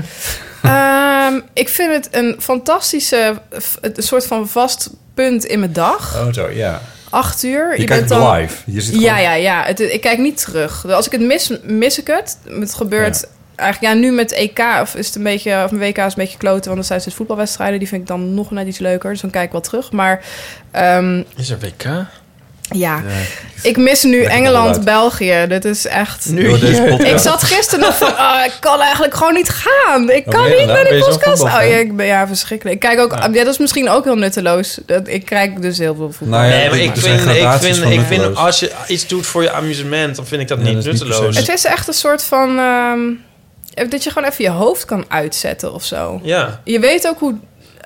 S2: Ehm, ik vind het een fantastische... f- Een soort van vast punt in mijn dag.
S3: Oh, zo, ja.
S2: Acht uur.
S3: Je kijkt live. Je zit gewoon-
S2: ja, ja, ja. Het, ik kijk niet terug. Als ik het mis, mis ik het. Het gebeurt eigenlijk... Ja, nu met EK of is het een beetje... Of mijn WK is een beetje kloten, want dan zijn ze het voetbalwedstrijden. Die vind ik dan nog net iets leuker. Dus dan kijk ik wel terug. Maar... ehm,
S1: Is er WK?
S2: ja. Ik mis nu
S1: Lekker
S2: Engeland,
S1: onderuit.
S2: België. Dit is echt.
S1: Nu Door deze hier. podcast.
S2: <laughs> ik zat gisteren nog van. ah, ik kan eigenlijk gewoon niet gaan. Ik kan
S1: ben
S2: niet
S1: je dan?
S2: naar die
S1: Ben je zo'n
S2: podcast. Oh ja,
S1: voetbalfan?
S2: ik ben ja, verschrikkelijk. Ik kijk ook. Ja. dat is misschien ook heel nutteloos. Dat, ik kijk dus heel veel voetbal.
S3: Nou ja,
S1: nee, maar
S3: dit-
S1: ik
S3: er zijn
S1: vind, ik,
S3: gradaties
S1: vind,
S3: van
S1: ik vind
S3: nutteloos.
S1: als je iets doet voor je amusement, dan vind ik dat niet
S3: dat is niet per se
S1: nutteloos.
S2: Het is echt een soort van. ehm, dat je gewoon even je hoofd kan uitzetten of zo.
S1: Ja.
S2: Je weet ook hoe.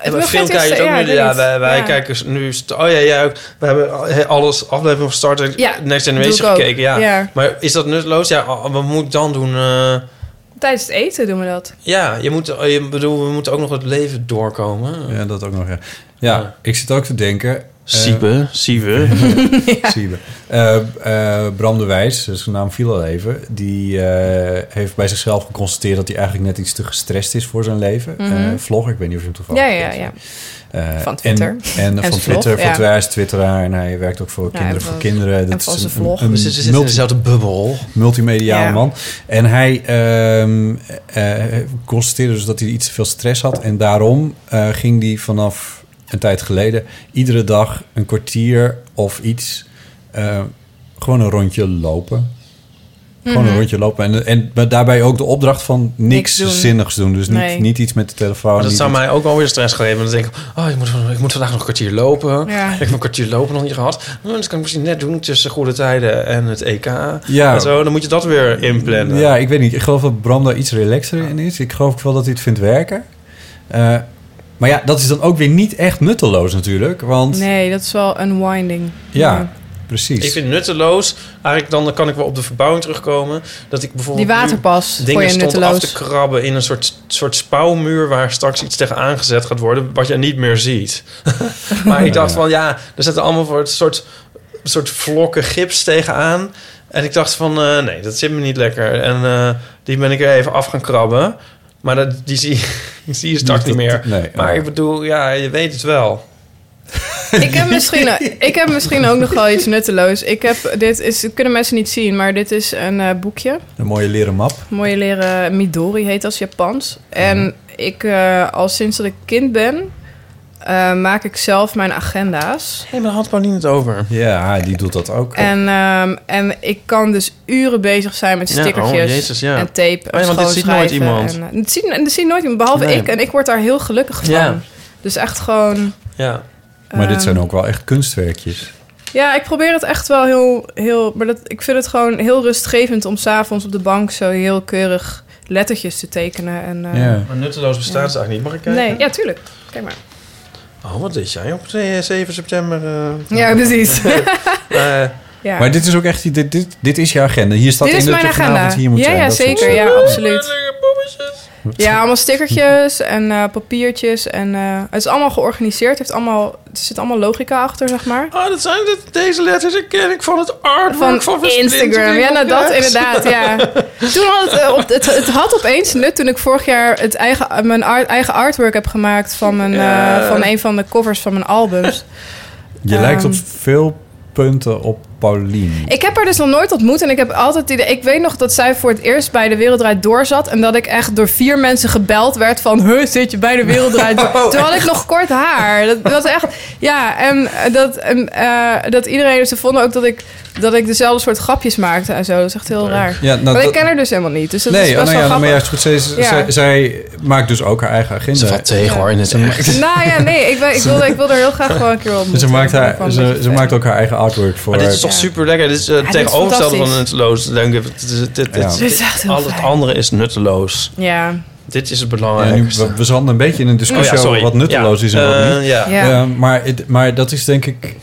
S1: En bij
S2: begint
S1: film kijk je
S2: eerst-
S1: het ook
S2: ja,
S1: nu.
S2: ik weet
S1: Ja,
S2: niet.
S1: wij, wij
S2: Ja.
S1: kijken nu... st- Oh ja, jij ook. We hebben al- he- alles aflevering van Star Trek
S2: Ja,
S1: Next
S2: doe
S1: Generation
S2: ik ook.
S1: gekeken. Ja.
S2: Ja.
S1: Maar is dat nutteloos? Ja, oh, wat moet ik dan doen? Eh,
S2: Tijdens het eten doen we dat.
S1: ja, je moet, eh, je, bedoel, we moeten ook nog het leven doorkomen.
S3: Ja, dat ook nog. Ja, ja ik zit ook te denken. eh,
S1: Siebe,
S3: <laughs>
S1: Siebe.
S3: Siebe. Eh, eh, Bram de Wijs, zijn naam viel al even, die eh, heeft bij zichzelf geconstateerd dat hij eigenlijk net iets te gestrest is voor zijn leven.
S2: Mhm.
S3: Eh, vlog, ik weet niet of je hem toevallig
S2: Ja, ja,
S3: kent.
S2: ja.
S3: Eh,
S2: Van Twitter.
S3: En,
S2: En
S3: en, van
S2: zijn
S3: Twitter,
S2: vlog, ja.
S3: van
S2: Nou,
S3: Twitter, hij is twitteraar en hij werkt ook voor
S2: Ja,
S3: Kinderen
S2: en
S3: voor
S2: van-
S3: Kinderen.
S2: en
S3: Dat
S2: van
S3: is
S2: zijn
S3: een,
S2: vlog.
S3: een
S2: Dus ze zitten in
S1: dezelfde bubbel.
S3: Multimediaal
S2: Ja.
S3: man. En hij ehm, eh, constateerde dus dat hij iets te veel stress had. En daarom eh, ging hij vanaf een tijd geleden iedere dag een kwartier of iets eh, gewoon een rondje lopen. Gewoon
S1: Mhm.
S3: een rondje lopen. En, en maar daarbij ook de opdracht van niks,
S1: Niks doen.
S3: zinnigs doen. Dus
S1: Nee.
S3: niet, niet iets met de telefoon.
S1: Maar dat
S3: Oh, niet
S1: zou
S3: iets-
S1: mij ook alweer stress geven. Dan denk ik, oh, ik moet, van- ik moet vandaag nog een kwartier lopen.
S3: Ja.
S1: Ik heb een kwartier lopen nog niet gehad. Nou, dat kan ik misschien net doen tussen goede tijden en het EK.
S3: Ja.
S1: En zo, dan moet je dat weer inplannen.
S3: Ja, ik weet niet. Ik geloof dat Bram daar iets relaxer in is. Ik geloof ook wel dat hij het vindt werken. Eh, maar ja, dat is dan ook weer niet echt nutteloos natuurlijk. Want
S2: Nee, dat is wel unwinding.
S3: ja, precies.
S1: Ik vind het nutteloos. Eigenlijk dan kan ik wel op de verbouwing terugkomen. Dat ik bijvoorbeeld
S2: Die
S1: nu
S2: waterpas vond je
S1: dingen stond
S2: nutteloos.
S1: af te krabben in een soort, soort spouwmuur... waar straks iets tegen aangezet gaat worden... wat je niet meer ziet. <laughs> maar ik dacht van ja, er zitten allemaal voor het soort, soort vlokken gips tegenaan. En ik dacht van eh, nee, dat zit me niet lekker. En eh, die ben ik er even af gaan krabben. Maar dat, <laughs> die, zie, die zie je straks
S3: Niet
S1: niet meer.
S3: dat- nee,
S1: maar
S3: oh.
S1: ik bedoel, ja, je weet het wel.
S2: Ik heb, misschien, ik heb misschien ook nog wel iets nutteloos. Ik heb, dit is, dit kunnen mensen niet zien, maar dit is een eh, boekje.
S3: Een mooie leren map.
S2: Mooie leren Midori heet als Japans.
S1: Mhm.
S2: En ik, eh, al sinds dat ik kind ben, eh, maak ik zelf mijn agenda's.
S1: Hé, maar daar had Paulien het over.
S3: Ja, die doet dat ook.
S2: En, ehm, en ik kan dus uren bezig zijn met
S1: Ja,
S2: stickertjes
S1: oh, jezus, ja.
S2: en tape en
S1: Oh ja, want dit ziet nooit
S2: schoonschrijven
S1: iemand.
S2: En, eh, het ziet, en het ziet nooit iemand, behalve
S1: Nee.
S2: ik. En ik word daar heel gelukkig van.
S1: Ja.
S2: Dus echt gewoon...
S1: Ja.
S3: Maar dit
S2: ehm,
S3: zijn ook wel echt kunstwerkjes.
S2: Ja, ik probeer het echt wel heel... heel maar dat, ik vind het gewoon heel rustgevend om s'avonds op de bank zo heel keurig lettertjes te tekenen. En, eh,
S1: Maar nutteloos bestaat het eigenlijk niet. Mag ik kijken?
S2: Nee, ja, tuurlijk. Kijk maar.
S1: Oh, wat deed jij op 7 september? eh?
S2: Ja,
S1: <laughs>
S2: precies.
S1: Eh,
S2: Ja.
S3: Maar dit is ook echt, dit, dit, dit is je agenda. Hier staat
S2: Dit
S3: in
S2: is
S3: dat
S2: mijn
S3: je
S2: agenda.
S3: vanavond hier moet
S2: ja,
S3: zijn.
S2: ja,
S3: dat soort
S2: zeker.
S3: dingen.
S2: Ja, absoluut. Ja, allemaal
S3: <laughs>
S2: stickertjes en eh, papiertjes. En, eh, het is allemaal georganiseerd. Het Heeft allemaal, er zit allemaal logica achter, zeg maar.
S1: Oh, dat zijn dit- deze letters ken ik van het artwork van,
S2: Instagram.
S1: Versplintering
S2: Ja, nou
S1: of
S2: dat
S1: Rex.
S2: inderdaad,
S1: <laughs>
S2: ja. Toen had het, eh, op, het, het had opeens nut toen ik vorig jaar het eigen, mijn art- eigen artwork heb gemaakt... Van, mijn, eh,
S3: Ja.
S2: van een van de covers van mijn albums.
S3: Je
S2: Ehm.
S3: lijkt op veel punten op Paulien.
S2: Ik heb haar dus nog nooit ontmoet en ik heb altijd het idee... Ik weet nog dat zij voor het eerst bij De Wereld Draait Door zat... en dat ik echt door vier mensen gebeld werd van... Huh, zit je bij De Wereld Draait
S3: <laughs>
S2: Door?
S4: Oh,
S2: Toen had ik
S4: echt?
S2: nog kort haar. Dat, dat was echt... Ja, en eh, dat, en, eh, dat iedereen... dus Ze vonden ook dat ik, dat ik dezelfde soort grapjes maakte en zo. Dat is echt heel raar.
S3: Ja, nou,
S2: maar ik
S3: dat-
S2: ken haar dus helemaal niet. Dus dat
S3: nee,
S2: is
S3: oh,
S2: best
S3: nou
S2: wel
S3: ja, maar
S2: grappig.
S3: juist goed. Zij,
S2: Ja.
S3: zij, zij maakt dus ook haar eigen agenda. Ze valt tegen hoor.
S1: En
S2: <laughs>
S3: <laughs>
S2: Nou ja, nee, ik, wil- ik, wilde, ik wilde haar heel graag gewoon een keer ontmoeten.
S3: Dus ze, maakt
S2: Van
S3: haar,
S2: een
S3: ze,
S2: beetje
S3: ze maakt ook haar eigen artwork voor.
S1: Maar dit is toch super lekker. Dit is eh,
S2: Ja, dit is
S1: tegenovergestelde van
S2: fantastisch.
S1: nutteloos. Denk ik. Dit, is- dit, dit,
S3: Ja.
S2: Dit is echt heel
S1: al het
S2: fijn.
S1: andere is nutteloos.
S2: Ja.
S1: Dit is het
S3: Ja, nu,
S1: belangrijkste.
S3: we, we zanden een beetje in een discussie
S1: Oh ja, sorry.
S3: over wat nutteloos
S1: Ja.
S3: is en wat
S1: Eh,
S3: niet.
S1: ja.
S2: Ja.
S3: Eh, maar, het- maar dat is denk ik...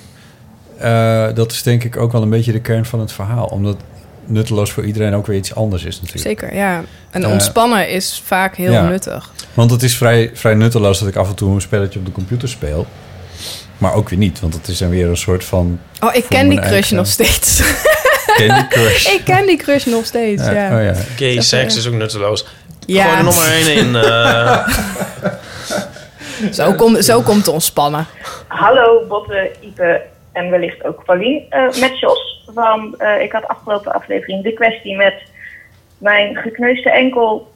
S3: eh, dat is denk ik ook wel een beetje de kern van het verhaal. Omdat nutteloos voor iedereen ook weer iets anders is natuurlijk.
S2: Zeker, ja. En
S3: Eh,
S2: ontspannen is vaak heel
S3: Ja.
S2: nuttig.
S3: Want het is vrij, vrij nutteloos dat ik af en toe een spelletje op de computer speel. Maar ook weer niet, want het is dan weer een soort van...
S2: Oh, ik
S3: voor
S2: ken die
S3: mijn
S2: crush
S3: eigen-
S2: nog steeds.
S3: Candy Crush.
S2: <laughs> ik ken die crush nog steeds, ja. eh,
S3: Ja, oh ja.
S1: Gay seks is ook nutteloos.
S2: Ja.
S1: Gooi er nog maar één
S2: <laughs>
S1: in. eh.
S2: Zo, kom, zo komt ontspannen.
S13: Hallo Botte, Ipe en wellicht ook Paulien. Eh, met Jos. Van, eh, ik had afgelopen aflevering de kwestie met mijn gekneusde enkel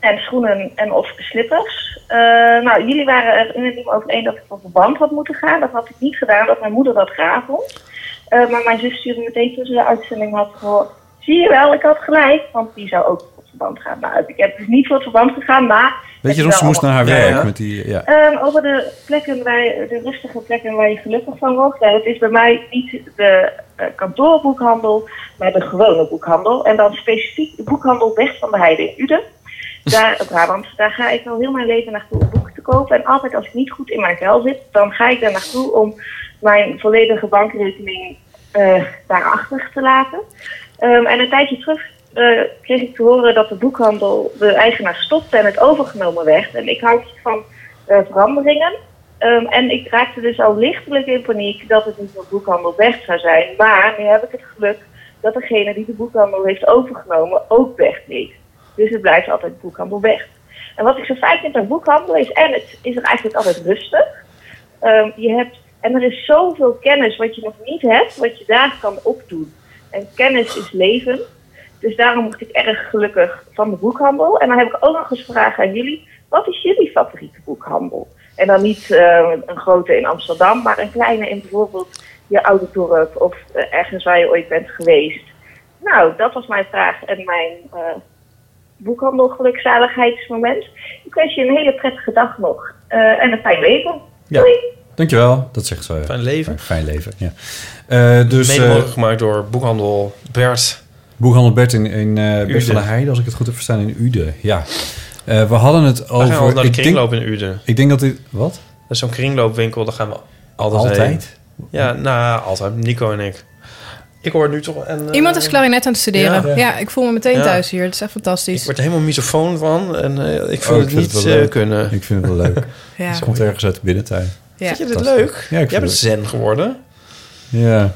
S13: en schoenen en of slippers. Eh, nou, jullie waren er unaniem over één dat ik op verband had moeten gaan. Dat had ik niet gedaan, dat mijn moeder dat graag vond. Eh, maar mijn zus stuurde meteen toen ze de uitzending had gehoord. Zie je wel, ik had gelijk, want die zou ook voor het verband gaan. Nou, ik heb dus niet voor het verband gegaan, maar...
S3: Weet je,
S13: het
S3: soms
S13: wel
S3: moest naar haar
S1: Ja,
S3: werk
S1: ja.
S3: met die... Ja.
S13: Ehm, over de plekken waar je- de rustige plekken waar je gelukkig van wordt. Nou, het is bij mij niet de eh, kantoorboekhandel, maar de gewone boekhandel. En dan specifiek de boekhandel Weg van de Heide in Uden. Daar, op Brabant, daar ga ik al heel mijn leven naartoe om boeken te kopen. En altijd als ik niet goed in mijn vel zit, dan ga ik daar naartoe om mijn volledige bankrekening eh, daarachter te laten. Ehm, en een tijdje terug eh, kreeg ik te horen dat de boekhandel de eigenaar stopte en het overgenomen werd. En ik houd van eh, veranderingen. Ehm, en ik raakte dus al lichtelijk in paniek dat het niet meer boekhandel weg zou zijn. Maar nu heb ik het geluk dat degene die de boekhandel heeft overgenomen ook weg is. Dus het blijft altijd boekhandel weg. En wat ik zo fijn vind aan boekhandel is, en het is er eigenlijk altijd rustig. Ehm, je hebt, en er is zoveel kennis wat je nog niet hebt, wat je daar kan opdoen. En kennis is leven. Dus daarom word ik erg gelukkig van de boekhandel. En dan heb ik ook nog eens vragen aan jullie. Wat is jullie favoriete boekhandel? En dan niet eh, een grote in Amsterdam, maar een kleine in bijvoorbeeld je oude dorp of eh, ergens waar je ooit bent geweest. Nou, dat was mijn vraag en mijn eh boekhandel gelukzaligheidsmoment. Ik wens je een hele prettige dag nog eh, en een fijn leven.
S3: Ja. Dankjewel, <laughs> dat zegt ze. Fijn
S1: leven.
S3: Fijn leven, ja. Eh, dus,
S1: Mede
S3: eh,
S1: mogelijk gemaakt door boekhandel Bert.
S3: Boekhandel Bert in, in eh, Bert
S1: Uden.
S3: van der Heijden, als ik het goed heb verstaan, in Uden. Ja. Eh, we hadden het
S1: We gaan
S3: over...
S1: altijd naar de
S3: ik denk-
S1: kringloop in Uden.
S3: Ik denk dat dit... Wat?
S1: Dat is zo'n kringloopwinkel, daar gaan we altijd,
S3: Altijd?
S1: heen. Ja, nou, altijd. Nico en ik. Ik hoor nu toch... En, eh,
S2: Iemand is klarinet aan het studeren.
S1: Ja.
S2: Ja, ik voel me meteen
S1: Ja.
S2: thuis hier. Dat is echt fantastisch.
S1: Ik word er helemaal misofoon van en eh, ik vind
S3: Oh,
S1: het
S3: vind
S1: niet
S3: wel
S1: eh,
S3: leuk.
S1: kunnen.
S3: Ik
S2: <laughs>
S3: vind het wel leuk.
S2: Ja.
S3: Het komt ergens uit de binnentuin.
S2: Ja.
S1: Vind je dit
S3: Fantastisch.
S1: leuk?
S3: Ja, ik vind
S1: Jij bent
S3: het
S1: zen geworden.
S3: Ja.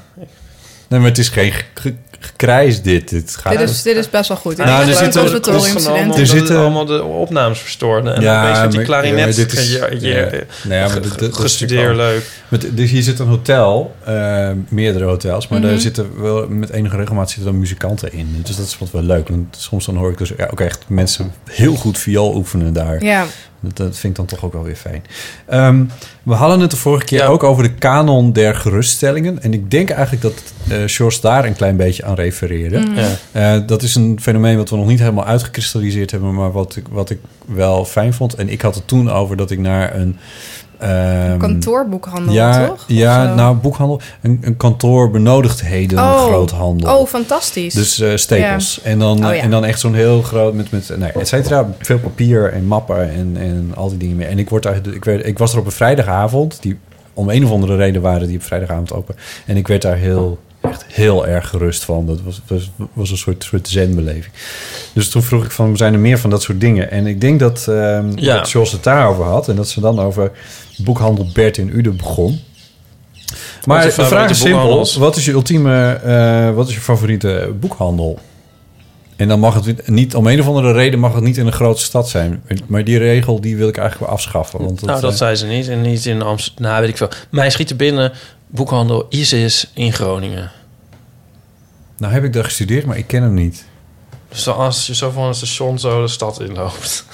S3: Nee, maar het is geen, ge- gekrijs dit. Dit, gaat,
S2: Dit is, dit is best wel goed.
S3: Nou, er zit een-
S2: conservatoriumstudent.
S3: Er
S1: Er
S3: zitten-
S1: zitten allemaal de opnames verstoord. En
S3: Ja,
S1: ja, opeens wordt die
S3: maar- ja, maar
S1: klarinet
S3: dit is-
S1: ge- je- je-
S3: ja. Nee, ja, maar dit- dit- dat is
S1: gestudeerd
S3: natuurlijk
S1: leuk.
S3: wel- Met, dus hier zit een hotel, eh, meerdere hotels, maar daar
S1: Mhm.
S3: zitten wel met enige regelmaat zitten dan muzikanten in. Dus dat is wat wel leuk. Want soms dan hoor ik dus ja, ook echt mensen heel goed viool oefenen daar.
S2: Ja.
S3: Dat, dat vind ik dan toch ook wel weer fijn. Ehm, we hadden het de vorige keer ook over de kanon der geruststellingen. En ik denk eigenlijk dat eh Sjors daar een klein beetje aan refereerde.
S2: Mm.
S1: Mhm. Ja.
S3: Eh, dat is een fenomeen wat we nog niet helemaal uitgekristalliseerd hebben, maar wat ik, wat ik wel fijn vond. En ik had het toen over dat ik naar een. ehm,
S2: kantoorboekhandel,
S3: ja,
S2: toch? Of
S3: Ja,
S2: zo?
S3: nou, boekhandel. Een, een kantoor benodigdheden groothandel.
S2: Oh, fantastisch.
S3: Dus eh stapels.
S2: Ja.
S3: En, dan, eh,
S2: Oh, ja.
S3: en dan echt zo'n heel groot met, met nou, et cetera, veel papier en mappen en, en al die dingen meer. En ik, word, daar- ik, werd, ik was er op een vrijdagavond, die om een of andere reden waren die op vrijdagavond open. En ik werd daar heel, echt heel erg gerust van. Dat was, was, was een soort, soort zenbeleving. Dus toen vroeg ik van, zijn er meer van dat soort dingen? En ik denk dat, ehm
S1: Ja.
S3: dat Charles het daarover had. En dat ze dan over boekhandel Bert in Uden begon. Maar de
S1: Wat is
S3: vraag
S1: je favoriete
S3: is simpel.
S1: boekhandels?
S3: Wat is je ultieme, eh, wat is je favoriete boekhandel? En dan mag het niet, om een of andere reden mag het niet in een grote stad zijn. Maar die regel die wil ik eigenlijk wel afschaffen. Want
S1: nou, dat
S3: eh,
S1: zijn ze niet. En niet in Amsterdam. Nou, weet ik veel. Mij schiet er binnen boekhandel Isis in Groningen.
S3: nou heb ik daar gestudeerd, maar ik ken hem niet. <laughs>
S1: Dus dan als je zo van een station zo de stad inloopt.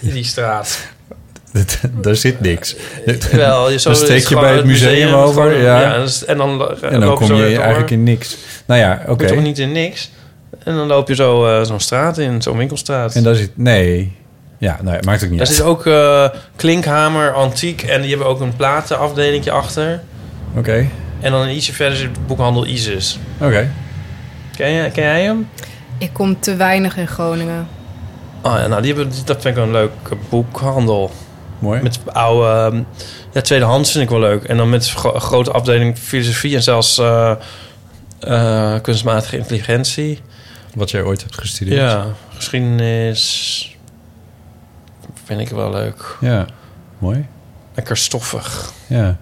S1: in die straat.
S3: daar zit niks.
S1: Eh, Wel, je zo
S3: dan steek je
S1: is gewoon
S3: bij het
S1: het
S3: museum,
S1: museum,
S3: over.
S1: gewoon-
S3: Ja.
S1: ja, en s- en dan, eh,
S3: en dan
S1: loop je
S3: kom
S1: zo
S3: je
S1: weer door.
S3: eigenlijk in niks. Nou ja, oké.
S1: Moet toch niet in niks? En dan loop je zo eh, zo'n straat in, zo'n winkelstraat.
S3: En daar zit... Nee. Ja, nou, ja, maakt ook niet
S1: Daar
S3: uit.
S1: zit ook eh, Klinkhamer Antiek en die hebben ook een platenafdelingje achter.
S3: Oké,
S1: En dan ietsje verder zit de boekhandel Isis.
S3: oké.
S1: Ken, jij- ken jij hem?
S2: Ik kom te weinig in Groningen.
S1: Oh ja, nou, die hebben, dat vind ik wel een leuke boekhandel.
S3: Mooi.
S1: Met oude... ehm, ja, tweedehands vind ik wel leuk. En dan met gro- grote afdeling filosofie en zelfs eh, eh, kunstmatige intelligentie.
S3: Wat jij ooit hebt gestudeerd.
S1: Ja, geschiedenis vind ik wel leuk.
S3: Ja, mooi.
S1: Lekker stoffig.
S3: Ja.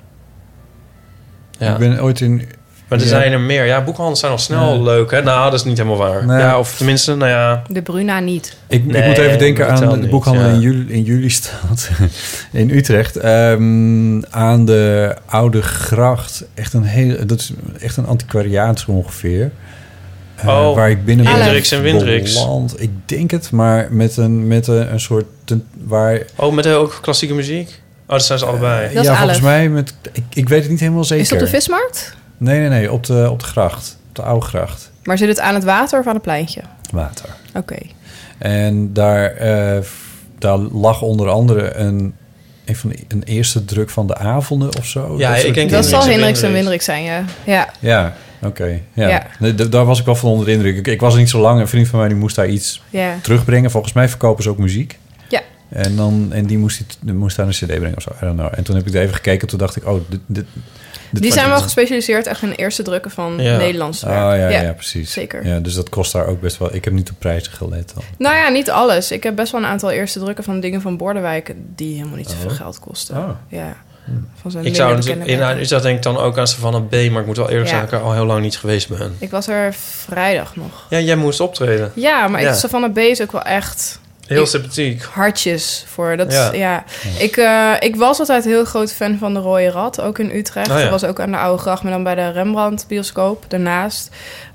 S1: Ja.
S3: Ik ben ooit in...
S1: Maar er
S3: ja.
S1: zijn er meer. Ja, boekhandels zijn al snel
S3: Ja.
S1: leuk, hè? Nou, dat is niet helemaal waar.
S3: Nee.
S1: Ja, of tenminste, nou ja...
S2: De Bruna niet.
S3: Ik, ik
S1: Nee,
S3: moet even denken
S1: dat telt
S3: aan de
S1: niet,
S3: boekhandel
S1: ja.
S3: in, juli, in Julistraat <laughs> in Utrecht. Ehm, aan de Oude Gracht. Echt een, hele, dat is echt een antiquariaat zo ongeveer. Eh,
S1: Oh,
S3: waar ik binnen
S1: Indrix en Windrix.
S3: beland. Ik denk het, maar met een, met een, een soort... tent- waar,
S1: Oh, met eh, ook klassieke muziek? Oh, dat zijn ze allebei.
S3: ja, volgens mij... Met, ik, ik weet het niet helemaal zeker.
S2: Is het op de vismarkt?
S3: Nee, nee, nee. Op de, op de gracht. Op de Oude Gracht.
S2: Maar zit het aan het water of aan het pleintje?
S3: Water.
S2: Oké.
S3: En daar, eh, f- daar lag onder andere een, een, van de- een eerste druk van de avonden of zo.
S1: Ja, ik
S3: soort
S1: denk
S3: dingen.
S2: Dat zal Hendricks en Windrix zijn, ja. Ja.
S3: Ja, oké. ja.
S2: Ja.
S3: Nee, d- daar was ik wel van onder de indruk. Ik, ik was er niet zo lang. Een vriend van mij die moest daar iets
S2: Ja.
S3: terugbrengen. Volgens mij verkopen ze ook muziek.
S2: Ja.
S3: En, dan, en die moest, die t- die moest daar een cd brengen of zo. I don't know. En toen heb ik er even gekeken. Toen dacht ik, oh, dit... dit dit
S2: Die
S3: was-
S2: zijn wel gespecialiseerd echt in eerste drukken van
S3: Ja.
S2: Nederlandse
S3: Oh,
S2: werk.
S3: ja, ja, precies.
S2: Zeker.
S3: Ja, dus dat kost daar ook best wel... Ik heb niet op prijzen gelet al.
S2: Nou ja, niet alles. Ik heb best wel een aantal eerste drukken van dingen van Bordewijk... die helemaal niet zoveel
S1: Oh.
S2: geld kosten.
S1: Oh.
S2: Ja. Van zo'n
S1: Ik
S2: minder
S1: zou natuurlijk...
S2: bekende
S1: In,
S2: merken.
S1: Utrecht denk ik dan ook aan Savannah B, maar ik moet wel eerlijk
S2: Ja.
S1: zeggen dat ik er al heel lang niet geweest ben.
S2: Ik was er vrijdag nog.
S1: Ja, jij moest optreden.
S2: Ja, maar ik, Savannah B is ook wel echt...
S1: Heel
S2: ik-
S1: sympathiek.
S2: Hartjes voor. Dat, ja.
S1: Ja.
S2: Ik, eh, ik was altijd heel groot fan van de Rode Rat, ook in Utrecht.
S1: Oh ja.
S2: Dat was ook aan de Oude Gracht, maar dan bij de Rembrandt bioscoop daarnaast.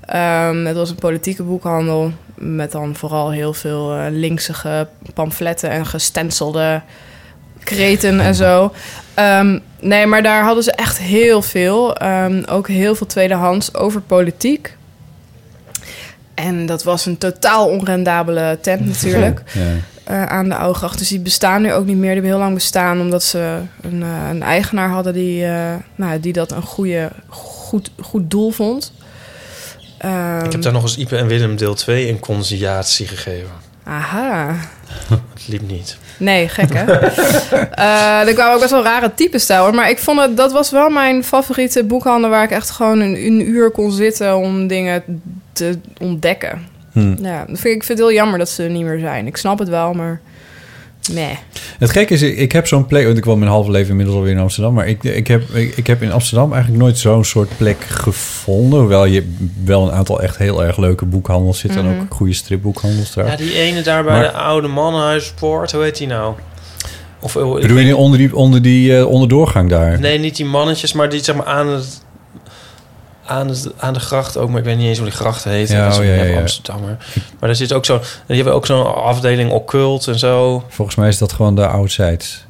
S2: Ehm, het was een politieke boekhandel met dan vooral heel veel eh, linksige pamfletten en gestencelde kreten en zo. Ehm, nee, maar daar hadden ze echt heel veel. Ehm, ook heel veel tweedehands over politiek. En dat was een totaal onrendabele tent natuurlijk. eh, aan de Oude Gracht. Dus die bestaan nu ook niet meer. Die hebben heel lang bestaan omdat ze een, eh, een eigenaar hadden die, eh, nou, die dat een goede, goed, goed doel vond. Ehm,
S1: Ik heb daar nog eens Ipe en Willem deel 2 in conciliatie
S3: <laughs>
S1: gegeven.
S2: Ehm, Aha.
S1: Het liep niet.
S2: Nee, gek
S3: <laughs>
S2: hè? Eh, er kwamen ook best wel rare types daar hoor. Maar ik vond het, dat was wel mijn favoriete boekhandel... waar ik echt gewoon een, een uur kon zitten om dingen te ontdekken.
S3: Hmm.
S2: Ja, dat vind ik, ik vind het heel jammer dat ze er niet meer zijn. Ik snap het wel, maar... Nee.
S3: Het gekke is, ik ik heb zo'n plek... Want ik woon mijn halve leven inmiddels alweer in Amsterdam. Maar ik, ik, heb, ik, ik heb in Amsterdam eigenlijk nooit zo'n soort plek gevonden. Hoewel je wel een aantal echt heel erg leuke boekhandels zit. En
S1: Mhm.
S3: ook goede stripboekhandels
S1: Ja,
S3: trouwens.
S1: die ene daar bij
S3: Maar-
S1: de oude mannenhuispoort, hoe heet die nou? Of, eh, ik
S3: Bedoel
S1: weet-
S3: je onder die, onder die eh, onderdoorgang daar?
S1: Nee, niet die mannetjes, maar die zeg maar aan het... Aan, het, aan de gracht ook, maar ik weet niet eens hoe die gracht heet.
S3: Ja,
S1: dat is
S3: oh,
S1: een
S3: ja, ja, ja.
S1: Amsterdammer. Maar daar zit ook zo'n... Die hebben ook zo'n afdeling occult en zo.
S3: Volgens mij is dat gewoon de outsides.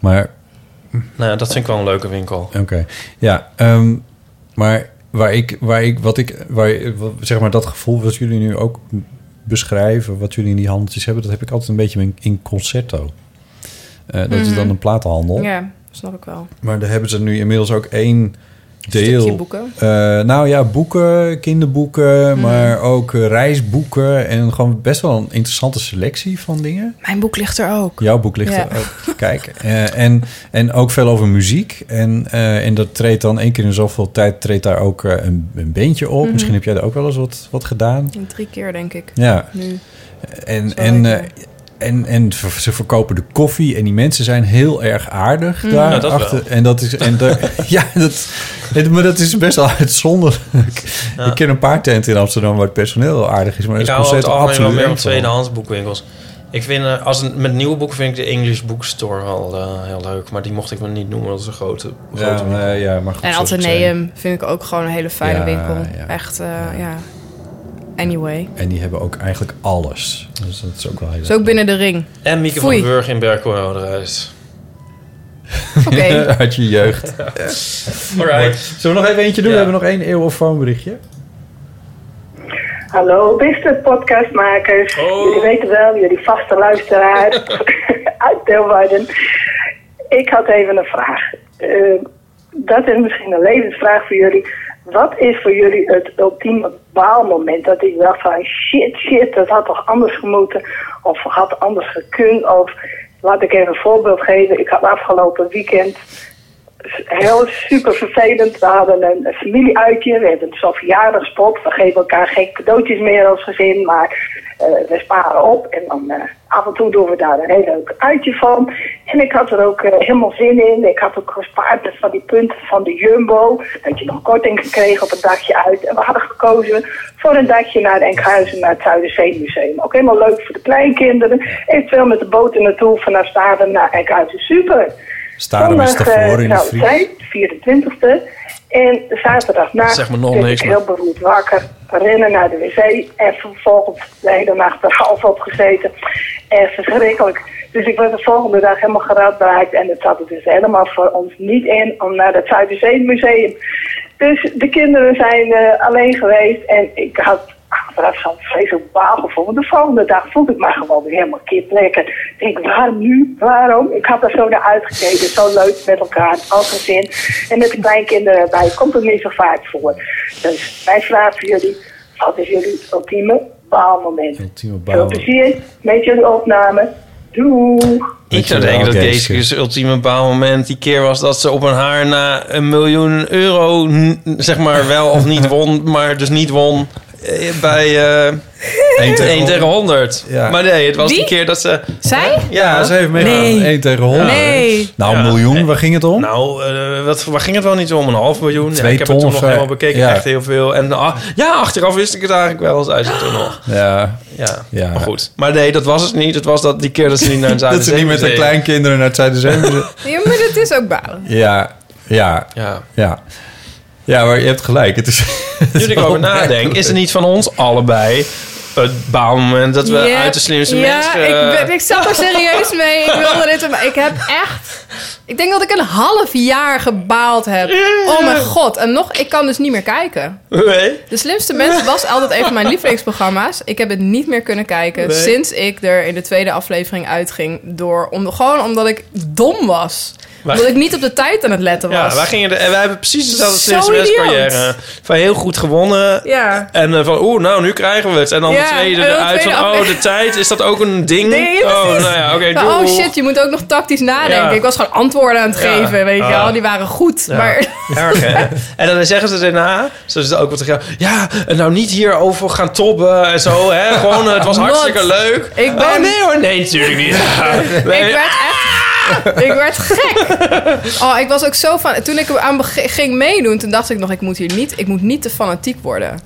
S3: Maar
S1: Nou ja, dat vind ik wel een leuke winkel.
S3: Oké, ja. ehm, maar waar ik, waar ik, wat ik, waar, wat- zeg maar dat gevoel wat jullie nu ook beschrijven, wat jullie in die handeltjes hebben, dat heb ik altijd een beetje in, in concerto. Eh, dat is
S2: Mhm.
S3: dan een platenhandel.
S2: Ja, snap ik wel.
S3: Maar daar hebben ze nu inmiddels ook één deel.
S2: Stukje boeken? Mhm.
S3: Eh, nou ja, boeken, kinderboeken, maar ook eh, reisboeken. En gewoon best wel een interessante selectie van dingen.
S2: Mijn boek ligt er ook.
S3: Jouw boek ligt
S2: Ja.
S3: er ook. Kijk. eh, en, en ook veel over muziek. En, eh, en dat treedt dan één keer in zoveel tijd treedt daar ook eh, een, een beentje op.
S2: Mhm.
S3: Misschien heb jij daar ook wel eens wat, wat gedaan.
S2: Drie keer, denk ik.
S3: Ja.
S2: Nu.
S3: En, en, eh, en, en ver- ze verkopen de koffie. En die mensen zijn heel erg aardig
S2: Mhm.
S3: daar.
S2: Ja, dat
S3: achter.
S2: wel.
S3: En dat is. En
S2: <laughs>
S3: daar- <laughs> ja, dat, het- maar dat is best wel uitzonderlijk.
S1: Ja.
S3: Ik ken een paar tenten in Amsterdam waar het personeel heel aardig is. Maar
S1: ik
S3: dat
S1: hou
S3: is
S1: over het
S3: concept absoluut
S1: algemeen wel meer
S3: eng
S1: op
S3: van.
S1: tweedehands boekwinkels. Ik vind, eh, als een, met nieuwe boeken vind ik de English Bookstore wel eh, heel leuk. Maar die mocht ik me niet noemen, dat is een grote,
S3: Ja,
S1: grote winkel.
S3: nee, ja, maar goed,
S2: En
S3: zoals ik zei.
S2: Atheneum vind ik ook gewoon een hele fijne
S3: Ja,
S2: winkel.
S3: ja.
S2: Echt, eh, ja. Anyway.
S3: En die hebben ook eigenlijk alles. Dus dat is ook wel heel
S2: Zo ook binnen de ring.
S1: En Mieke
S2: Foei.
S1: van Burg in Berkelhouderhuis.
S2: <laughs> Oké.
S3: <laughs> uit je
S1: <laughs>
S3: jeugd.
S1: Alright.
S3: Zullen we nog even eentje doen? We hebben nog één eeuw of berichtje.
S14: Hallo, beste podcastmakers.
S1: Oh.
S14: Jullie weten wel, jullie vaste
S1: <laughs>
S14: luisteraars uit Deelwarden. Ik had even een vraag. Eh, dat is misschien een levensvraag voor jullie. Wat is voor jullie het ultieme baalmoment? Dat ik dacht van shit, shit, dat had toch anders gemoeten? Of had anders gekund? Of laat ik even een voorbeeld geven. Ik had afgelopen weekend heel super vervelend. We hadden een een familieuitje, we hebben zo'n verjaardagspop. We geven elkaar geen cadeautjes meer als gezin, maar eh, we sparen op. En dan eh, af en toe doen we daar een heel leuk uitje van. En ik had er ook eh, helemaal zin in. Ik had ook gespaard met van die punten van de Jumbo. Dat je nog korting gekregen op een dagje uit. En we hadden gekozen voor een dagje naar Enkhuizen, naar het Zuiderzeemuseum. Ook helemaal leuk voor de kleinkinderen. Eventueel met de boten naartoe vanaf Staden naar Enkhuizen. Super!
S3: Staren is
S14: Zondag, eh,
S3: daarvoor in de
S14: zou het
S3: Fries.
S14: zijn, 24e. En zaterdagnacht
S3: Zeg maar nog
S14: werd
S3: niks,
S14: ik
S3: maar-
S14: heel beroerd wakker. Rennen naar de wc en vervolgens de hele nacht er half op gezeten. En verschrikkelijk. Dus ik werd de volgende dag helemaal geradbraakt. En het zat er dus helemaal voor ons niet in om naar het Zuiderzeemuseum. Dus de kinderen zijn eh, alleen geweest. En ik had achteraf zo'n vreselijk baalgevoel. Want de volgende dag voelde ik me gewoon weer helemaal kip lekker. Ik denk, waarom nu? Waarom? Ik had er zo naar uitgekeken. Zo leuk met elkaar, als gezin. En met de kleinkinderen erbij. Komt er niet zo vaak voor. Dus mijn vraag voor jullie. Wat is jullie ultieme baalmoment?
S3: Ultieme
S14: Veel plezier met jullie opname. Doeg!
S1: Ik zou denken dat Kees' ultieme baalmoment die keer was dat ze op een haar na een miljoen euro, n- zeg maar wel of niet won, maar dus niet won eh, bij eh 1
S3: tegen
S1: tegen 100. Maar nee, het was die
S2: Wie?
S1: keer dat ze.
S2: Zij?
S1: Ja,
S3: ze heeft meegedaan.
S2: Nee.
S3: 1 tegen 100.
S2: Nee.
S3: Nou, een miljoen, waar ging het om?
S1: Nou, eh, wat, waar ging het wel niet om? Een half miljoen? Ja,
S3: Twee
S1: ik heb
S3: ton
S1: het toen
S3: of
S1: nog
S3: zo.
S1: helemaal bekeken.
S3: Ja.
S1: Echt heel veel. En ah, ja, achteraf wist ik het eigenlijk wel eens uit het toen nog.
S3: Ja.
S1: Ja.
S3: ja.
S1: Maar
S3: <laughs>
S1: goed. Maar nee, dat was het niet. Het was dat die keer dat ze niet naar het
S3: Dat ze niet met hun
S1: Zuiderzeemuseum-
S3: kleinkinderen naar het
S1: <laughs>
S3: Zuiderzee...
S2: Ja, maar dat is ook balen.
S3: <laughs> ja, ja,
S1: ja,
S3: ja. Ja, maar je hebt gelijk. Het is, <laughs>
S1: Nu ik erover nadenk, is er niet van ons allebei het baalmoment dat we
S2: Ja,
S1: uit de eh, slimste
S2: ja,
S1: mensen...
S2: Ik, ben- ik zat er serieus mee. Ik wilde dit, maar ik heb echt. Ik denk dat ik een half jaar gebaald heb. Oh mijn god. En nog, ik kan dus niet meer kijken.
S1: Nee?
S2: De slimste mensen was altijd een van mijn lievelingsprogramma's. Ik heb het niet meer kunnen kijken
S1: Nee.
S2: sinds ik er in de tweede aflevering uitging. Door, om, gewoon omdat ik dom was.
S1: Wij-
S2: Omdat ik niet op de tijd aan het letten was.
S1: Ja, wij, gingen de, en wij hebben precies dezelfde
S2: Zo
S1: sms-carrière. eh, Van heel goed gewonnen.
S2: Ja.
S1: En eh, van, oeh, nou, nu krijgen we het. En dan
S2: Ja,
S1: de tweede
S2: en dan de
S1: eruit
S2: tweede
S1: van, oh,
S2: aflevering.
S1: de tijd. Is dat ook een ding?
S2: Nee,
S1: oh,
S2: precies.
S1: nou ja, oké,
S2: Nou,
S1: doei.
S2: oh shit, je moet ook nog tactisch nadenken.
S1: Ja.
S2: Ik was gewoon antwoorden aan het
S1: Ja.
S2: geven, weet je
S1: Ah.
S2: wel. Die waren goed,
S1: Ja.
S2: maar...
S1: Erg, hè? En dan zeggen ze daarna, ze zitten ook wat tegen jou, ja, en nou niet hierover gaan tobben en zo, hè? Gewoon, eh, het was
S2: <laughs> Wat?
S1: hartstikke leuk.
S2: Ik
S1: Oh,
S2: ben-
S1: nee hoor, nee, natuurlijk
S2: <laughs>
S1: niet.
S2: Ik werd echt... <laughs> Ik werd gek. Oh, ik was ook zo van... Toen ik aan beg- ging meedoen, toen dacht ik nog... Ik moet hier niet... Ik moet niet te fanatiek worden.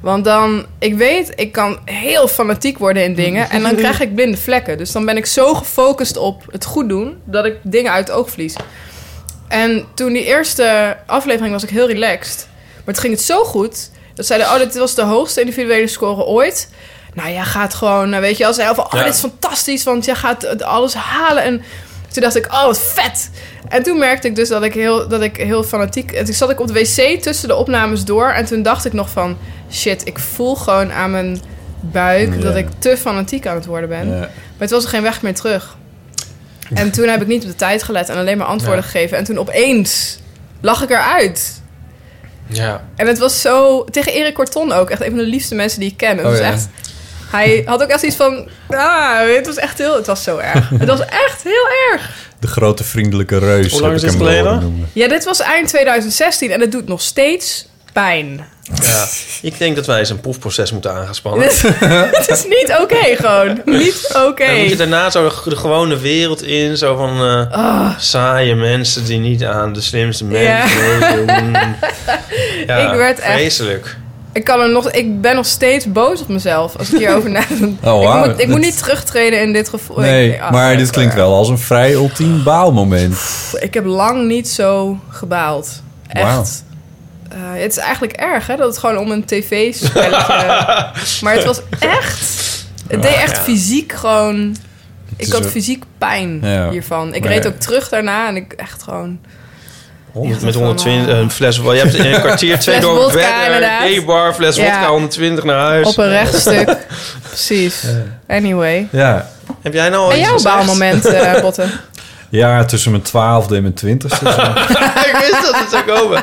S2: Want dan... Ik weet, ik kan heel fanatiek worden in dingen. En dan krijg ik blinde vlekken. Dus dan ben ik zo gefocust op het goed doen... dat ik dingen uit het oog verlies. En toen die eerste aflevering was ik heel relaxed. Maar het ging het zo goed... dat zeiden, oh, dit was de hoogste individuele score ooit... Nou, jij gaat gewoon, eh, weet je, als hij van, oh,
S4: Ja.
S2: dit is fantastisch, want jij gaat het alles halen. En toen dacht ik, oh, wat vet. En toen merkte ik dus dat ik heel, dat ik heel fanatiek... En toen zat ik op de wc tussen de opnames door. En toen dacht ik nog van... Shit, ik voel gewoon aan mijn buik
S3: Ja.
S2: dat ik te fanatiek aan het worden ben.
S3: Ja.
S2: Maar het was er geen weg meer terug. En toen heb ik niet op de tijd gelet en alleen maar antwoorden
S1: Ja.
S2: gegeven. En toen opeens lag ik eruit.
S1: Ja.
S2: En het was zo... Tegen Erik Corton ook. Echt een van de liefste mensen die ik ken. Het
S1: Oh
S2: was
S1: ja.
S2: echt... Hij had ook echt iets van... Ah, het was echt heel... Het was zo
S1: <laughs>
S2: erg. Het was echt heel erg.
S3: De grote vriendelijke reus.
S1: Hoe lang
S3: heb
S1: is
S3: ik
S1: dit
S3: hem
S1: geleden?
S3: horen noemen.
S2: Ja, dit was eind 2016 en het doet nog steeds pijn.
S1: Ja, ik denk dat wij eens een proefproces moeten aangaan spannen.
S2: het is niet <laughs> oké gewoon. Niet oké.
S1: <laughs> Dan moet je daarna zo de, de gewone wereld in. Zo van eh,
S2: Ah.
S1: saaie mensen die niet aan de slimste
S2: Ja.
S1: mensen
S2: <laughs>
S1: meedoen. Ja,
S2: Ik werd echt-
S1: vreselijk.
S2: Ik, kan er nog, ik ben nog steeds boos op mezelf als ik hierover nadenk.
S3: <laughs> Oh, wauw.
S2: Ik, moet, ik
S3: Dat-
S2: moet niet terugtreden in dit gevoel.
S3: Nee,
S2: Ik- ah,
S3: maar dit klinkt wel als een vrij
S1: Ah.
S3: ultiem baalmoment.
S2: pff, Ik heb lang niet zo gebaald. Echt.
S3: Wauw.
S2: Eh, het is eigenlijk erg, hè? Dat het gewoon om een
S3: <laughs>
S1: eh,
S2: <laughs> tv-spelletje... maar het was echt... Het deed
S3: Ja,
S2: echt
S3: ja.
S2: fysiek gewoon...
S3: is
S2: Ik had
S3: een-
S2: fysiek pijn
S1: Ja.
S2: hiervan. Ik
S1: Maar
S2: reed
S1: ja.
S2: ook terug daarna en ik echt gewoon...
S1: Honderd- met 120, een fles... Je hebt in
S2: <laughs>
S1: een kwartier twee
S2: Fles
S1: door
S2: wodka,
S1: weg.
S2: inderdaad.
S1: Een bar, fles
S2: Ja.
S1: wodka, 120 naar huis.
S2: Op een
S1: <laughs>
S2: rechtstuk. Precies. Anyway.
S3: Ja.
S1: Heb jij nou al
S2: En
S1: iets
S2: jouw
S1: gezegd?
S2: baalmoment, eh
S1: <laughs>
S2: Botten?
S3: ja, tussen mijn twaalfde en mijn twintigste. zo.
S1: <laughs> ik wist dat het zou komen.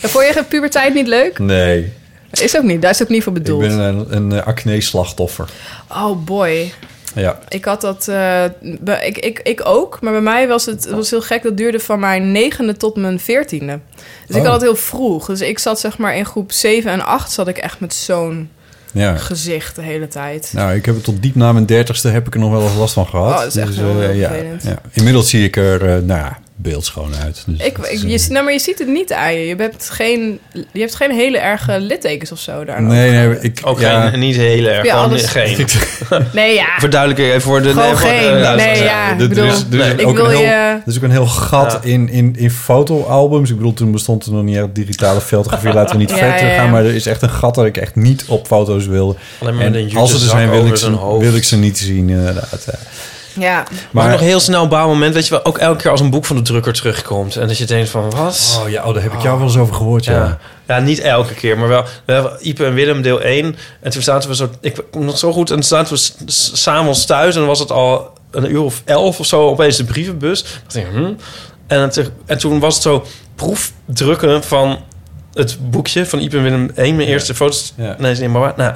S2: En Vond je geen puberteit niet leuk?
S3: Nee,
S2: Is ook niet. Daar is ook niet voor
S3: ik
S2: bedoeld.
S3: ben een, een eh, acne-slachtoffer.
S2: Oh boy.
S3: Ja.
S2: Ik had dat... eh, bij- ik, ik, ik ook. Maar bij mij was het, het was heel gek. Dat duurde van mijn negende tot mijn veertiende. Dus ik
S3: Oh.
S2: had het heel vroeg. Dus ik zat zeg maar in groep 7 en 8... zat ik echt met zo'n
S3: Ja.
S2: gezicht de hele tijd.
S3: Nou, ik heb het tot diep na mijn dertigste heb ik er nog wel eens last van gehad.
S2: Oh, dat is echt
S3: eh,
S2: wel heel
S3: ja,
S2: vervelend.
S3: ja. Inmiddels zie ik er, eh, nou ja, beeldschoon uit. Dus
S2: Ik,
S3: dat
S2: ik,
S3: is,
S2: je,
S3: eh,
S2: nou, maar je ziet het niet aan je. Je hebt geen, je hebt geen hele erge littekens of zo daar.
S3: nee, nee, ik...
S1: Ook
S3: ja.
S1: geen, niet heel erg.
S2: Ja,
S1: gewoon
S2: alles-
S1: <laughs> geen.
S2: Nee, ja.
S1: Verduidelijk even voor de...
S2: Gewoon
S1: voor de-
S2: geen.
S1: ja,
S2: Nee,
S1: zo-
S2: ja.
S3: Er- er,
S2: bedoel,
S3: is, er, is
S2: nee.
S3: ook
S2: Ik
S3: een
S2: wil
S3: heel,
S2: je-
S3: er is ook een heel gat in, in, in fotoalbums. Ik bedoel, toen bestond er nog niet echt digitale fotografie. Laten
S2: <laughs>
S3: we niet
S1: Ja,
S3: verder
S1: ja, ja.
S3: gaan. Maar er is echt een gat dat ik echt niet op foto's wil.
S1: Alleen maar met een
S3: En als ze er
S1: jutezak
S3: zijn, wil ik,
S1: over zijn
S3: ze,
S1: hoofd.
S3: wil ik ze niet zien, inderdaad. Ja.
S2: Ja.
S1: Maar,
S3: Maar-
S1: nog heel snel een bouwmoment. Weet je wel, ook elke keer als een boek van de drukker terugkomt. En dat je denkt van, wat?
S3: Oh ja, oh, daar heb ik jou wel eens over gehoord, ja.
S1: Ja, Ja, niet elke keer, maar wel. We hebben Ipe en Willem deel 1. En toen zaten we zo... Ik kom nog zo goed. En toen zaten we s- s- s'avonds thuis. En dan was het al een uur of elf of zo. Opeens de brievenbus. Ik dacht, hm. en, toen- en toen was het zo proefdrukken van het boekje van Ipe en Willem 1. Mijn eerste foto's. Nee, is niet maar waar. Nou,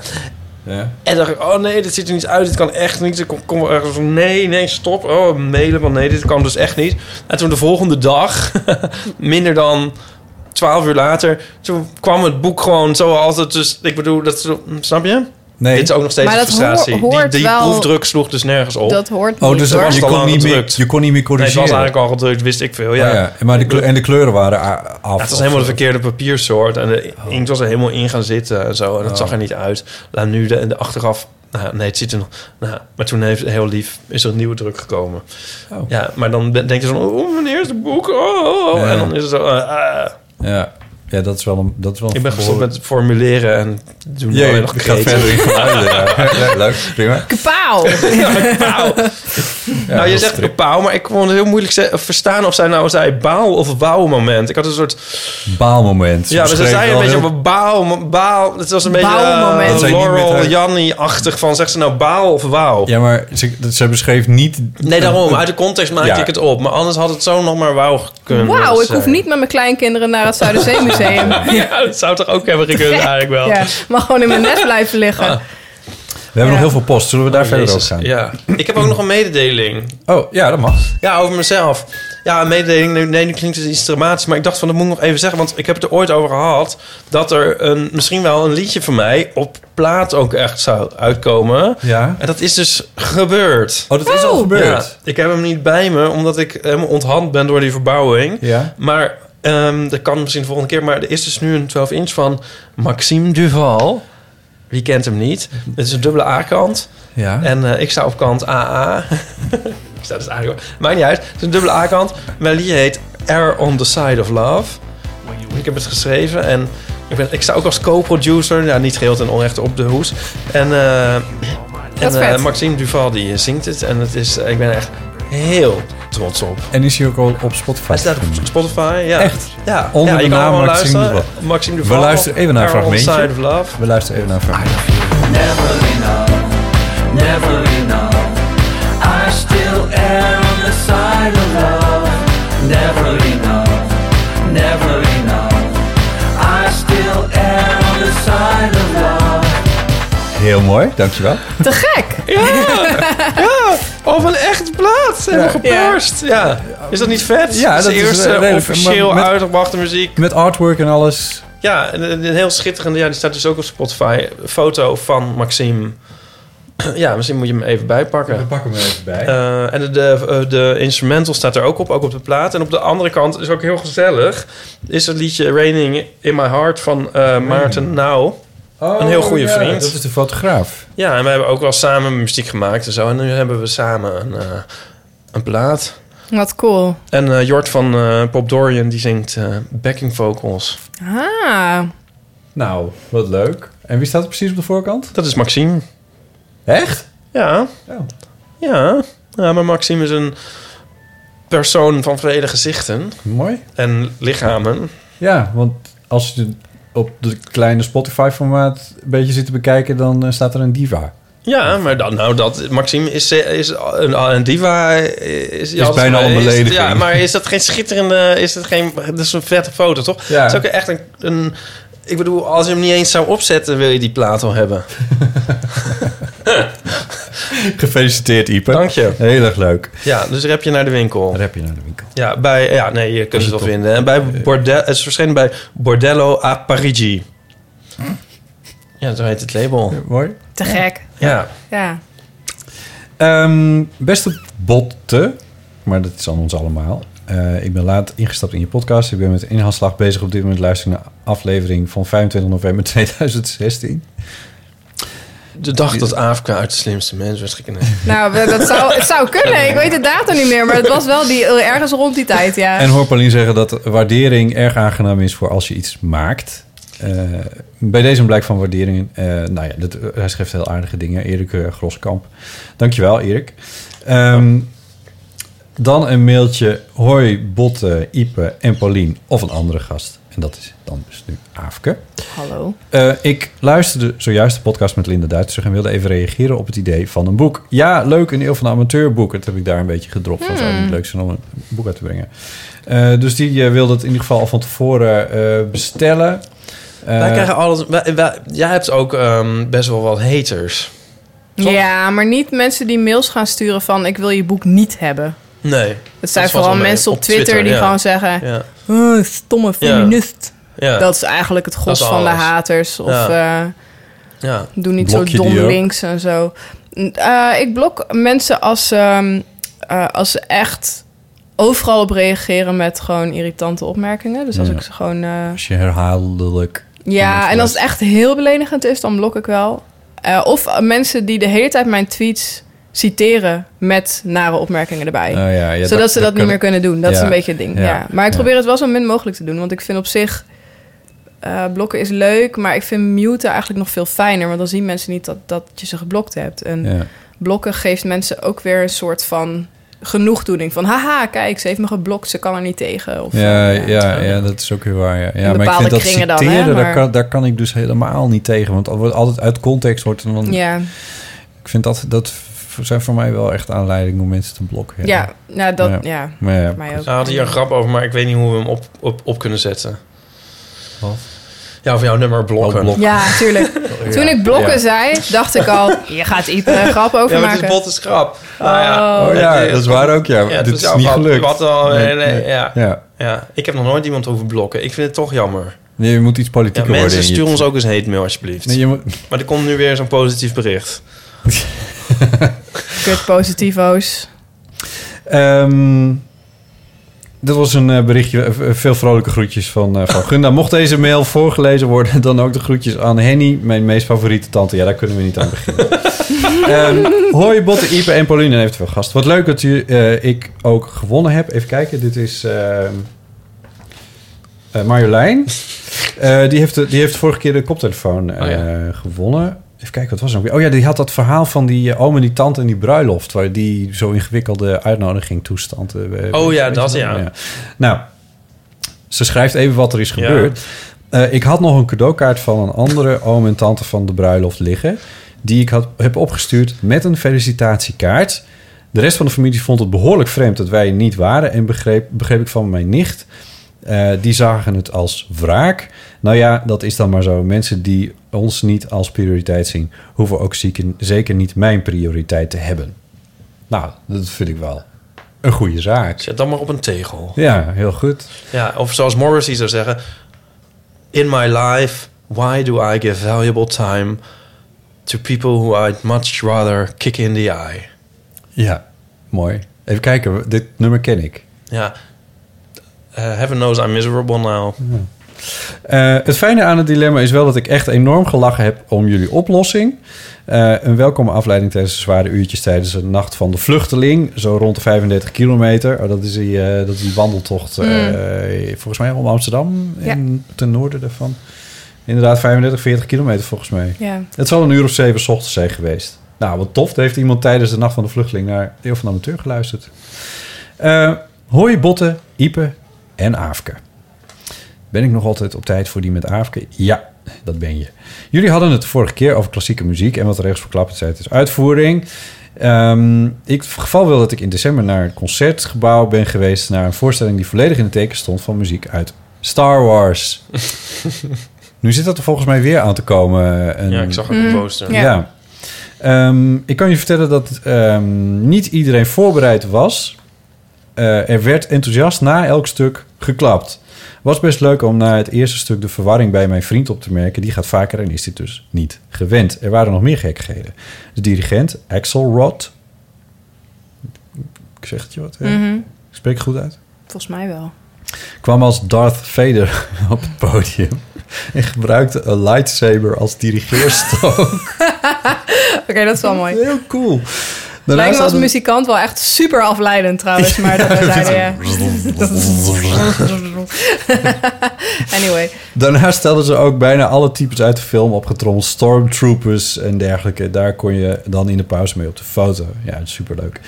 S1: en dacht ik, oh nee, dit ziet er niet uit. Dit kan echt niet. Ik kom, kom ergens van, nee, nee, stop. Oh, mailen, want nee, dit kan dus echt niet. En toen de volgende dag, <laughs> minder dan twaalf uur later... toen kwam het boek gewoon zo altijd. Dus ik bedoel, dat, is- snap je?
S3: Nee.
S1: Dit is ook nog steeds
S2: Maar
S1: een
S2: dat hoor-
S1: frustratie. die
S2: hoort
S1: die
S2: wel-
S1: proefdruk sloeg dus nergens op.
S2: Dat hoort
S3: Oh,
S2: niet,
S3: dus
S2: hoor.
S3: je kon,
S1: lang
S3: niet meer,
S1: gedrukt.
S3: je kon niet meer
S1: Nee, het was
S3: corrigeren.
S1: eigenlijk al gedrukt, wist ik veel. Ja,
S3: Oh ja, Maar de kleur- en de kleuren waren a- af.
S1: Ja, het was helemaal de verkeerde papiersoort. En de inkt was er helemaal in gaan zitten en zo. En dat
S3: Oh.
S1: zag er niet uit. Nou, nu de, de achteraf... Nou, nee, het ziet er nog... Nou, maar toen heeft heel lief is er een nieuwe druk gekomen. Ja, maar dan ben- denk je zo... Oh, mijn eerste boek. Oh, oh, oh.
S3: Ja.
S1: En dan is het zo... eh, ah.
S3: Ja. Ja, dat is wel een... Dat is wel
S1: Ik ben gestopt met formuleren en doen
S3: Ja,
S1: alleen
S3: je
S1: nog
S3: gaat
S1: kreten.
S3: verder in verhuizen,
S1: <laughs>
S3: ja. Ja, leuk, prima.
S2: Kapaal!
S1: nou, je
S2: heel
S1: zegt pauw, maar ik kon het heel moeilijk ze- verstaan of zij nou zei baal of bouwmoment. Ik had een soort...
S3: Baalmoment.
S1: Ja, maar ze
S3: Beschreef
S1: zei een
S3: wel
S1: beetje
S3: heel-
S1: op baal, baal. Het was een beetje
S3: Bouwmoment.
S1: eh,
S3: Dat zei niet met
S1: Laurel,
S3: haar-
S1: Janny-achtig van, zegt ze nou baal of wauw?
S3: Ja, maar ze, ze beschreef niet...
S1: Nee, daarom. Uit de context maakte
S3: Ja.
S1: ik het op. Maar anders had het zo nog maar wauw kunnen
S2: Wauw, ik
S1: zijn.
S2: hoef niet met mijn kleinkinderen naar het
S3: <laughs>
S2: Zuiderzeemuseum.
S1: <laughs> ja, dat zou toch ook hebben gekund eigenlijk
S2: <laughs>
S1: wel. Ah.
S2: Ja, mag gewoon in mijn nest blijven liggen.
S3: We hebben nog heel veel post. Zullen we daar verder
S1: Oh, Jezus,
S3: over gaan?
S1: Ja. Ik heb ook nog een mededeling.
S3: Oh, ja, dat mag.
S1: Ja, over mezelf. Ja, een mededeling. Nee, nee, nu klinkt het iets dramatisch. Maar ik dacht van, dat moet ik nog even zeggen. Want ik heb het er ooit over gehad. Dat er een, misschien wel een liedje van mij op plaat ook echt zou uitkomen.
S3: Ja.
S1: En dat is dus gebeurd.
S3: Oh, dat is al gebeurd?
S1: ik heb hem niet bij me, omdat ik helemaal onthand ben door die verbouwing.
S3: Ja.
S1: Maar ehm, dat kan misschien de volgende keer. Maar er is dus nu een 12-inch van Maxime Duval. Wie kent hem niet? Het is een dubbele A-kant.
S3: Ja.
S1: En eh, ik sta op kant <laughs> AA. ik sta dus eigenlijk... Maakt niet uit. Het is een dubbele A-kant. Mijn liedje heet Air on the Side of Love. Ik heb het geschreven en ik, ben, ik sta ook als co-producer. Ja, niet geheel ten onrechte op de hoes. En, eh, en
S3: is
S1: eh,
S3: vet.
S1: Maxime Duval die eh, zingt het. En het is, eh, ik ben er echt heel trots op.
S3: En is hij ook al op Spotify?
S1: Hij staat op Spotify, ja. Echt? Ja,
S3: Hmm. Onder
S1: ja,
S3: de
S1: je kan
S3: naam
S1: allemaal
S3: Maxime
S1: luisteren.
S3: Duval.
S1: Maxime
S3: We
S1: Duval.
S3: luisteren even naar een
S1: Air on the
S3: fragmentje.
S1: Side of Love.
S3: We luisteren even naar een fragmentje.
S4: Never enough. I still err on the side of love. Never enough. Never enough. I still err on the side of love.
S3: Heel mooi, dankjewel.
S2: Te gek!
S3: <laughs>
S1: Ja! ja! Of een echt plaat. Helemaal geperst. Ja. Is dat niet vet?
S3: Ja,
S1: dat is
S3: dat
S1: de
S3: is,
S1: eerste
S3: eh, redelijk-
S1: officieel
S3: maar met-
S1: uitgebrachte muziek.
S3: Met artwork en alles.
S1: Ja, en een, een heel schitterende. Ja, die staat dus ook op Spotify. Een Foto van Maxime. <clears throat> Ja, misschien moet je hem even bijpakken.
S3: We pakken hem even bij.
S1: Eh, en de, de, eh, de instrumental staat er ook op, ook op de plaat. En op de andere kant is ook heel gezellig. Is het liedje Raining in My Heart van eh, Maarten Nauw. een heel goede
S3: Oh, ja,
S1: vriend.
S3: Dat is de fotograaf.
S1: Ja, en we hebben ook wel samen muziek gemaakt en zo. En nu hebben we samen een, eh, een plaat.
S2: Wat cool.
S1: En eh, Jort van eh, Pop Dorian, die zingt eh, backing vocals.
S2: Ah,
S3: Nou, wat leuk. En wie staat er precies op de voorkant?
S1: Dat is Maxime.
S3: Echt?
S1: Ja. Ja. ja, maar Maxime is een persoon van vele gezichten.
S3: Mooi.
S1: En lichamen.
S3: Ja, want als je op de kleine Spotify-formaat een beetje zit te bekijken, dan eh, staat er een diva.
S1: Ja, maar dan, nou dat... Maxime is, is een, een diva. Is,
S3: Is bijna
S1: altijd
S3: een
S1: geweest.
S3: belediging.
S1: Ja, maar is dat geen schitterende... Is dat geen... Dat is een vette foto, toch?
S3: Ja.
S1: Het is ook echt een... een- ik bedoel, als je hem niet eens zou opzetten... wil je die plaat al hebben.
S3: Gefeliciteerd, Ipe. Dank
S1: je.
S3: Heel erg leuk.
S1: Ja, dus rap je naar de winkel.
S3: Rap je naar de winkel.
S1: Ja, bij, ja nee, je kunt het wel vinden. En bij bordel, het is verschenen bij Bordello a Parigi. Ja, zo heet het label.
S3: mooi.
S2: te gek.
S1: Ja.
S2: Ja.
S3: Ehm, beste botte, maar dat is aan ons allemaal. Eh, ik ben laat ingestapt in je podcast. Ik ben met een inhaalslag bezig op dit moment. Luister naar aflevering van 25 november <laughs> 2016.
S1: De dag dat AFK uit de slimste mens werd geknipt.
S2: Nou, we- dat zou, het zou kunnen. Ik weet de datum niet meer, maar het was wel die, ergens rond die tijd, ja.
S3: En hoor Paulien zeggen dat waardering erg aangenaam is voor als je iets maakt. Eh, bij deze een blijk van waardering. eh, nou ja, dat, hij schrijft heel aardige dingen. Erik eh, Groskamp. Dankjewel, Erik. Ehm, dan een mailtje. Hoi, Botte, Ipe en Paulien. Of een andere gast. En dat is dan dus nu Aafke.
S2: Hallo.
S3: Eh, ik luisterde zojuist de podcast met Linda Duitser en wilde even reageren op het idee van een boek. Ja, leuk, een eeuw van de amateurboek. Dat heb ik daar een beetje gedropt. Van zou het
S5: Hmm.
S3: niet leuk zijn om een boek uit te brengen. Eh, dus die eh, wilde het in ieder geval al van tevoren eh, bestellen.
S1: wij
S3: Eh,
S1: krijgen alles... Wij, wij- jij hebt ook ehm, best wel wat haters.
S2: Ja, maar niet mensen die mails gaan sturen van... ik wil je boek niet hebben.
S1: Nee.
S2: Het zijn vooral mensen op Twitter, die
S1: gaan
S2: gewoon zeggen...
S1: Ja.
S2: "Oh, stomme
S1: Ja.
S2: feminist.
S1: Ja.
S2: Dat is eigenlijk het gros
S1: Dat is
S2: van de
S1: alles.
S2: haters. Of
S1: Ja.
S2: eh,
S1: Ja.
S2: doe niet
S1: Blok je
S2: zo
S1: die
S2: dom
S1: ook?
S2: links en zo. Eh, ik blok mensen als, ze, ehm, eh, als ze echt overal op reageren... met gewoon irritante opmerkingen. Dus als
S3: Ja.
S2: ik ze gewoon... eh,
S3: Als je herhaaldelijk...
S2: Ja, en als het echt heel beledigend is, dan blok ik wel. Eh, of eh, mensen die de hele tijd mijn tweets citeren met nare opmerkingen erbij.
S3: Oh ja, ja, dat-
S2: Zodat ze dat,
S3: dat
S2: niet
S3: kan-
S2: meer kunnen doen. Dat is
S3: Ja,
S2: een beetje het ding.
S3: ja,
S2: Ja. Maar ik
S3: ja.
S2: probeer het wel zo min mogelijk te doen. Want ik vind op zich eh, blokken is leuk, maar ik vind muten eigenlijk nog veel fijner. Want dan zien mensen niet dat, dat je ze geblokt hebt. En
S3: Ja.
S2: blokken geeft mensen ook weer een soort van genoegdoening. Van haha, kijk, ze heeft me geblokt, ze kan er niet tegen. Of, eh,
S3: Ja, ja, ja, dat is ook weer waar. Ja. Ja, maar ik
S2: bepaalde
S3: vind dat
S2: kringen
S3: citeren,
S2: dan, hè, maar-
S3: daar, kan, daar kan ik dus helemaal niet tegen. Want al wordt altijd uit context wordt er dan...
S2: Ja.
S3: Ik vind dat, dat zijn voor mij wel echt aanleidingen om mensen te blokken.
S2: Ja, nou, dat-
S3: Maar
S2: ja,
S3: Maar ja.
S2: voor mij ook.
S1: Ze hadden hier een grap over, maar ik weet niet hoe we hem op, op, op kunnen zetten.
S3: Wat?
S1: Ja, of jouw nummer blokken.
S2: Ja, tuurlijk.
S1: <laughs> Ja.
S2: Toen ik blokken
S1: Ja.
S2: zei, dacht ik al, <laughs> je gaat Ipe een grap over
S1: Ja, maar het
S2: maken.
S1: is Nou botte schrap.
S2: Oh.
S3: Oh ja, dat is waar ook, ja. Dit is niet gelukt.
S1: dus Wat al,
S3: Nee, nee.
S1: Ja.
S3: Ja.
S1: Ja. Ik heb nog nooit iemand over blokken. Ik vind het toch jammer.
S3: Nee, je moet iets
S1: Ja,
S3: politieker worden.
S1: mensen,
S3: in je-
S1: stuur ons ook eens een hate mail alsjeblieft.
S3: Nee, je moet-
S1: Maar er komt nu weer zo'n
S3: <laughs>
S1: positief bericht.
S2: Kut positivo's.
S3: Ehm, dat was een eh, berichtje. eh, Veel vrolijke groetjes van, eh,
S1: <laughs>
S3: van Gunda. Mocht deze mail voorgelezen worden, dan ook de groetjes aan Henny, mijn meest favoriete tante. Ja, daar kunnen we niet aan beginnen. Ehm, hoi Botte, Ipe en Pauline en eventueel gast. Wat leuk dat u, eh, ik ook gewonnen heb. Even kijken, dit is ehm, eh, Marjolein. Eh, die, heeft, de- die heeft vorige keer de
S1: Oh,
S3: koptelefoon eh, gewonnen. Even kijken, wat was het ook weer? Oh ja, die had dat verhaal van die eh, oom en die tante en die bruiloft... waar die zo ingewikkelde uitnodiging toestand... eh,
S1: Oh ja,
S3: weet je
S1: dat,
S3: wel?
S1: ja.
S3: Nou, ze schrijft even wat er is
S1: Ja.
S3: gebeurd. Eh, ik had nog een cadeaukaart van een andere oom en tante van de bruiloft liggen... die ik had, heb opgestuurd met een felicitatiekaart. De rest van de familie vond het behoorlijk vreemd dat wij er niet waren... en begreep, begreep ik van mijn nicht... eh, die zagen het als wraak. Nou ja, dat is dan maar zo. Mensen die ons niet als prioriteit zien... hoeven ook zieken- zeker niet mijn prioriteit te hebben. Nou, dat vind ik wel een goede zaak.
S1: Zet dan maar op een tegel.
S3: Ja, heel goed.
S1: Ja, of zoals Morrissey zou zeggen... In my life, why do I give valuable time... to people who I'd much rather kick in the eye?
S3: Ja, mooi. Even kijken, dit nummer ken ik.
S1: Ja. Eh, heaven knows I'm miserable now.
S3: Hmm. Eh, het fijne aan het dilemma is wel dat ik echt enorm gelachen heb om jullie oplossing. Eh, een welkome afleiding tijdens de zware uurtjes tijdens de nacht van de vluchteling. Zo rond de 35 kilometer. Oh, dat, is die, eh, dat is die wandeltocht eh, volgens mij om Amsterdam.
S2: Mm. Ja.
S3: En ten noorden daarvan. Inderdaad, 35, 40 kilometer volgens mij.
S2: Ja.
S3: Het zal een uur of zeven 's ochtends zijn geweest. Nou, wat tof. Er heeft iemand tijdens de Nacht van de Vluchteling naar Deel van de Amateur geluisterd. Eh, hoi Botte, Ipe en Aafke. Ben ik nog altijd op tijd voor die met Aafke? Ja, dat ben je. Jullie hadden het de vorige keer over klassieke muziek... en wat er rechts verklapt zei, het is uitvoering. Ehm, ik het geval wil dat ik in december naar een concertgebouw ben geweest... naar een voorstelling die volledig in het teken stond van muziek uit Star Wars. nu zit dat er volgens mij weer aan te komen. eh, Een,
S1: Ja, ik zag het op de Mm, poster.
S3: Ja.
S1: ja.
S3: Ehm, ik kan je vertellen dat ehm, niet iedereen voorbereid was... Eh, er werd enthousiast na elk stuk geklapt. Was best leuk om na het eerste stuk de verwarring bij mijn vriend op te merken. Die gaat vaker en is dit dus niet gewend. Er waren nog meer gekkigheden. De dirigent, Axel Rod. Ik zeg het je wat, hè?
S2: Mhm.
S3: Ik spreek het goed uit
S2: Volgens mij wel.
S3: kwam als Darth Vader <laughs> op het podium en gebruikte een lightsaber als dirigeerstook.
S2: Oké, dat is wel mooi.
S3: Heel cool.
S2: Lijkt me als
S3: hadden-
S2: muzikant wel echt super afleidend trouwens. Maar dat
S1: <laughs>
S2: we <laughs> eh, zeiden, ja. <laughs> anyway.
S3: Daarna stelden ze ook bijna alle types uit de film opgetrommeld. Stormtroopers en dergelijke. Daar kon je dan in de pauze mee op de foto. Ja, superleuk.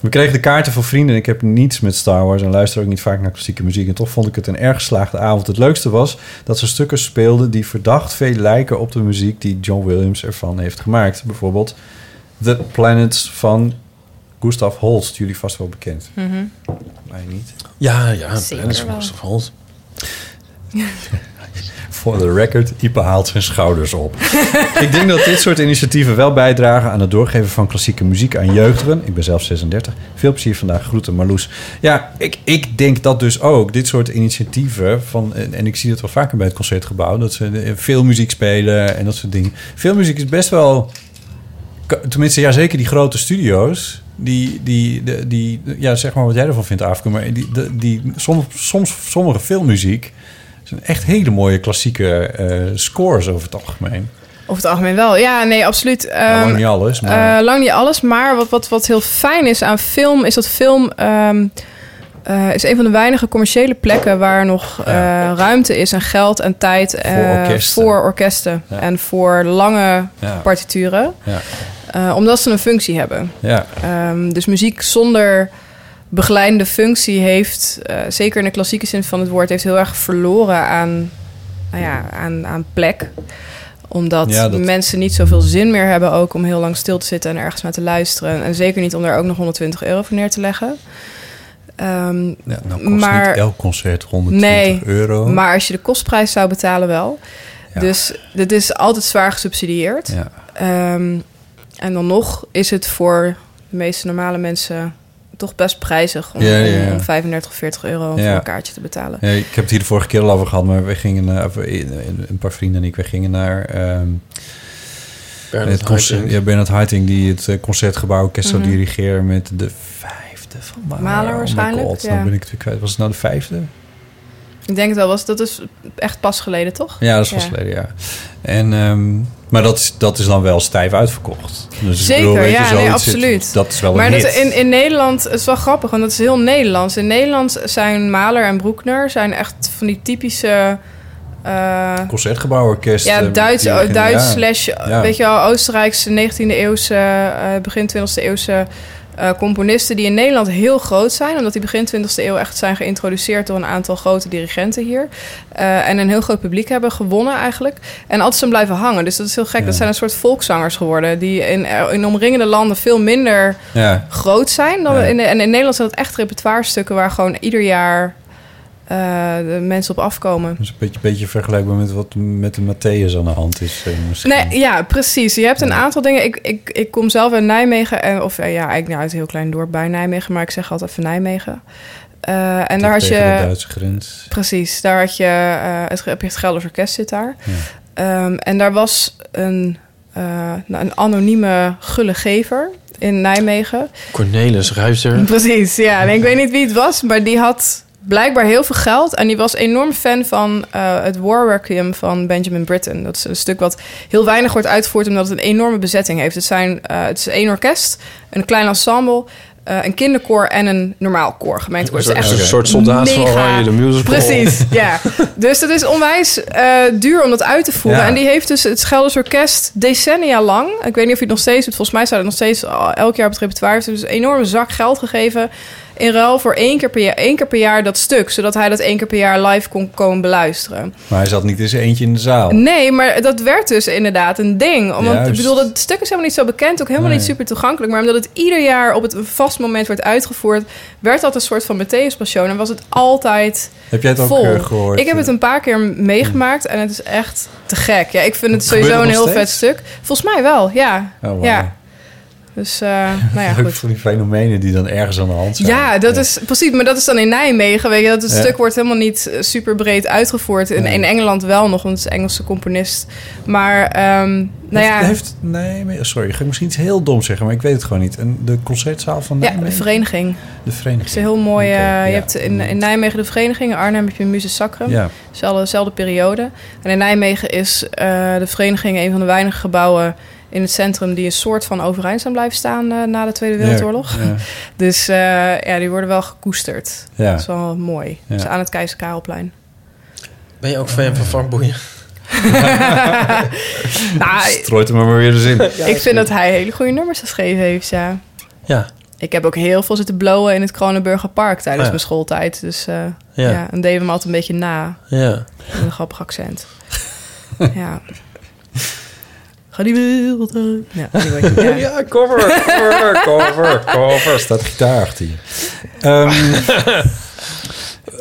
S3: We kregen de kaarten van vrienden. en Ik heb niets met Star Wars en luister ook niet vaak naar klassieke muziek. En toch vond ik het een erg geslaagde avond. Het leukste was dat ze stukken speelden die verdacht veel lijken op de muziek die John Williams ervan heeft gemaakt. Bijvoorbeeld The Planets van Gustav Holst. Jullie vast wel bekend.
S2: Mhm.
S3: Mij niet.
S1: Ja, ja.
S2: Zeker
S1: Dennis
S2: wel.
S1: Foster Holt.
S3: Voor de record, Ipe haalt zijn schouders op. <laughs> ik denk dat dit soort initiatieven wel bijdragen aan het doorgeven van klassieke muziek aan jeugdigen. Ik ben zelf 36. Veel plezier vandaag. Groeten, Marloes. Ja, ik, ik denk dat dus ook. Dit soort initiatieven, van, en, en ik zie dat wel vaker bij het Concertgebouw, dat ze eh, veel muziek spelen en dat soort dingen. Veel muziek is best wel... ka- Tenminste, ja, zeker die grote studio's. Die, die, de- die, ja, zeg maar wat jij ervan vindt, Afke. Maar die, de- die, soms, soms, sommige filmmuziek zijn echt hele mooie klassieke eh, scores over het algemeen.
S2: Over het algemeen wel. Ja, nee, absoluut.
S3: Nou, lang
S2: Ehm,
S3: niet alles, maar...
S2: Eh, lang niet alles, maar wat, wat, wat heel fijn is aan film... is dat film ehm, eh, eh, is een van de weinige commerciële plekken waar nog eh, ruimte is en geld en tijd eh,
S3: Voor orkesten.
S2: voor orkesten
S3: Ja.
S2: en voor lange
S3: Ja.
S2: partituren.
S3: Ja.
S2: Eh, omdat ze een functie hebben.
S3: Ja.
S2: Ehm, dus muziek zonder begeleidende functie heeft, eh, zeker in de klassieke zin van het woord, heeft heel erg verloren aan, nou ja, aan, aan plek. Omdat
S3: Ja, dat-
S2: mensen niet zoveel zin meer hebben ook om heel lang stil te zitten en ergens naar te luisteren. En zeker niet om daar ook nog 120 euro voor neer te leggen. Ehm,
S3: Ja, nou kost niet elk concert 120
S2: nee,
S3: euro.
S2: maar als je de kostprijs zou betalen wel. Dus dit is altijd zwaar gesubsidieerd.
S3: Ja.
S2: Ehm, en dan nog is het voor de meeste normale mensen toch best prijzig om,
S3: Ja, ja, ja.
S2: om 35, 40 euro
S3: Ja.
S2: voor een kaartje te betalen.
S3: Ja, ik heb het hier de vorige keer al over gehad, maar we gingen naar, of, eh, een paar vrienden en ik, we gingen naar ehm,
S1: Bernard
S3: het concert-
S1: Haitink.
S3: ja, Bernard Haitink, die het eh, concertgebouw orkest zou
S2: Mhm.
S3: dirigeren met de vijfde van Mahler.
S2: Mahler
S3: Oh my
S2: waarschijnlijk,
S3: God,
S2: ja.
S3: nou ben ik het weer kwijt. Was het nou de vijfde?
S2: Ik denk het wel, was, dat is echt pas geleden, toch?
S3: Ja, dat is pas geleden, ja. En, ehm, maar dat is, dat is dan wel stijf uitverkocht. Dus ik
S2: Zeker,
S3: bedoel, weet je,
S2: ja, nee,
S3: zoiets is-
S2: absoluut.
S3: dat is wel
S2: maar
S3: een
S2: dat
S3: hit.
S2: in, in Nederland, het is wel grappig, want dat is heel Nederlands. In Nederland zijn Maler en Broekner zijn echt van die typische... eh,
S3: Concertgebouworkest.
S2: ja,
S3: eh,
S2: Duits,
S3: die
S2: oh,
S3: beginnen-
S2: Duits
S3: ja.
S2: slash, eh,
S3: Ja.
S2: weet je wel, Oostenrijkse 19e eeuwse, eh, begin 20e eeuwse eh, componisten die in Nederland heel groot zijn. Omdat die begin 20e eeuw echt zijn geïntroduceerd door een aantal grote dirigenten hier. eh, en een heel groot publiek hebben gewonnen eigenlijk. En altijd zijn blijven hangen. Dus dat is heel gek. Dat zijn een soort volkszangers geworden. Die in, eh, in omringende landen veel minder
S3: Ja.
S2: groot zijn. Dan
S3: Ja.
S2: in, en in Nederland zijn dat echt repertoirestukken waar gewoon ieder jaar eh, de mensen op afkomen.
S3: Dat is een beetje, beetje vergelijkbaar met wat met de Matthäus aan de hand is. eh, misschien.
S2: Nee, ja, precies. Je hebt een aantal dingen. Ik, ik, ik kom zelf uit Nijmegen. En, of eh, ja, eigenlijk nou, uit een heel klein dorp bij Nijmegen. Maar ik zeg altijd even Nijmegen. Eh, en daar had je...
S3: Tegen de Duitse grens.
S2: Precies, daar had je, eh, het, heb je het Gelders Orkest zit daar. Ehm, en daar was een, eh, nou, een anonieme gullegever in Nijmegen.
S1: Cornelis Ruiter.
S2: Precies, ja. En ik weet niet wie het was, maar die had blijkbaar heel veel geld. En die was enorm fan van eh, het War Requiem van Benjamin Britten. Dat is een stuk wat heel weinig wordt uitgevoerd, omdat het een enorme bezetting heeft. Het, zijn, eh, het is één orkest, een klein ensemble, eh, een kinderkoor en een normaal koor, gemeentekoor. Het is echt
S1: Een soort soldaat van
S2: mega-
S1: Oranje, de musical.
S2: Precies, ja. Dus dat is onwijs eh, duur om dat uit te voeren.
S1: Ja.
S2: En die heeft dus het Schelders Orkest decennia lang... Ik weet niet of je het nog steeds doet. Volgens mij staat het nog steeds al- elk jaar op het repertoire. Heeft dus een enorme zak geld gegeven... in ruil voor één keer, per jaar, één keer per jaar dat stuk. Zodat hij dat één keer per jaar live kon komen beluisteren.
S3: Maar hij zat niet eens eentje in de zaal.
S2: Nee, maar dat werd dus inderdaad een ding. Omdat, ik
S3: Juist.
S2: bedoel, dat stuk is helemaal niet zo bekend, ook helemaal
S3: Nee.
S2: niet super toegankelijk. Maar omdat het ieder jaar op het een vast moment werd uitgevoerd, werd dat een soort van Matthäus Passion. En was het altijd
S3: Heb jij het ook,
S2: vol.
S3: eh, gehoord?
S2: Ik heb het een paar keer meegemaakt en het is echt te gek. Ja, ik vind het
S3: Gebeurt
S2: sowieso
S3: het
S2: een heel
S3: nog
S2: vet
S3: steeds?
S2: stuk. Volgens mij wel, ja.
S3: Oh, wauw.
S2: ja. Dus, eh, nou
S3: <laughs>
S2: ja,
S3: Leuk
S2: goed.
S3: voor die fenomenen die dan ergens aan de hand zijn.
S2: Ja, dat is precies. Maar dat is dan in Nijmegen. Weet je, dat het
S3: Ja.
S2: stuk wordt helemaal niet eh, super breed uitgevoerd. In, in Engeland wel nog, want het is een Engelse componist. Maar, ehm, nou ja.
S3: Heeft, heeft, nee, maar- sorry, ga ik misschien iets heel dom zeggen, maar ik weet het gewoon niet. En de concertzaal van
S2: ja,
S3: Nijmegen?
S2: de vereniging.
S3: De
S2: Het is
S3: vereniging.
S2: een heel mooi. eh, je
S3: ja.
S2: hebt in, in Nijmegen de vereniging, in Arnhem heb je Muse Sacrum.
S3: Ja.
S2: Zelfde, zelfde periode. En in Nijmegen is eh, de vereniging een van de weinige gebouwen in het centrum die een soort van overeind zijn blijven staan eh, na de Tweede
S3: Ja,
S2: Wereldoorlog.
S3: ja.
S2: <laughs> Dus eh, ja, die worden wel gekoesterd.
S3: Ja.
S2: Dat is wel mooi.
S3: Ja.
S2: Dus aan het Keizer Karelplein.
S1: Ben je ook fan van Frank Boeien?
S2: <laughs> Nou,
S3: Strooit hem er maar weer eens <laughs> in.
S2: ik vind dat hij hele goede nummers geschreven heeft, ja.
S1: Ja.
S2: Ik heb ook heel veel zitten blowen in het Kronenburger Park
S3: Oh
S2: tijdens
S1: Ja.
S2: mijn schooltijd. Dus eh,
S1: Ja.
S2: ja. en deden we hem altijd een beetje na.
S1: Ja.
S2: Met een grappig accent. ja. Ga die wereld uit. Ja, anyway, ja.
S1: Ja, cover,
S2: <laughs>
S1: cover, cover, cover.
S3: Staat gitaar achter je. Ehm,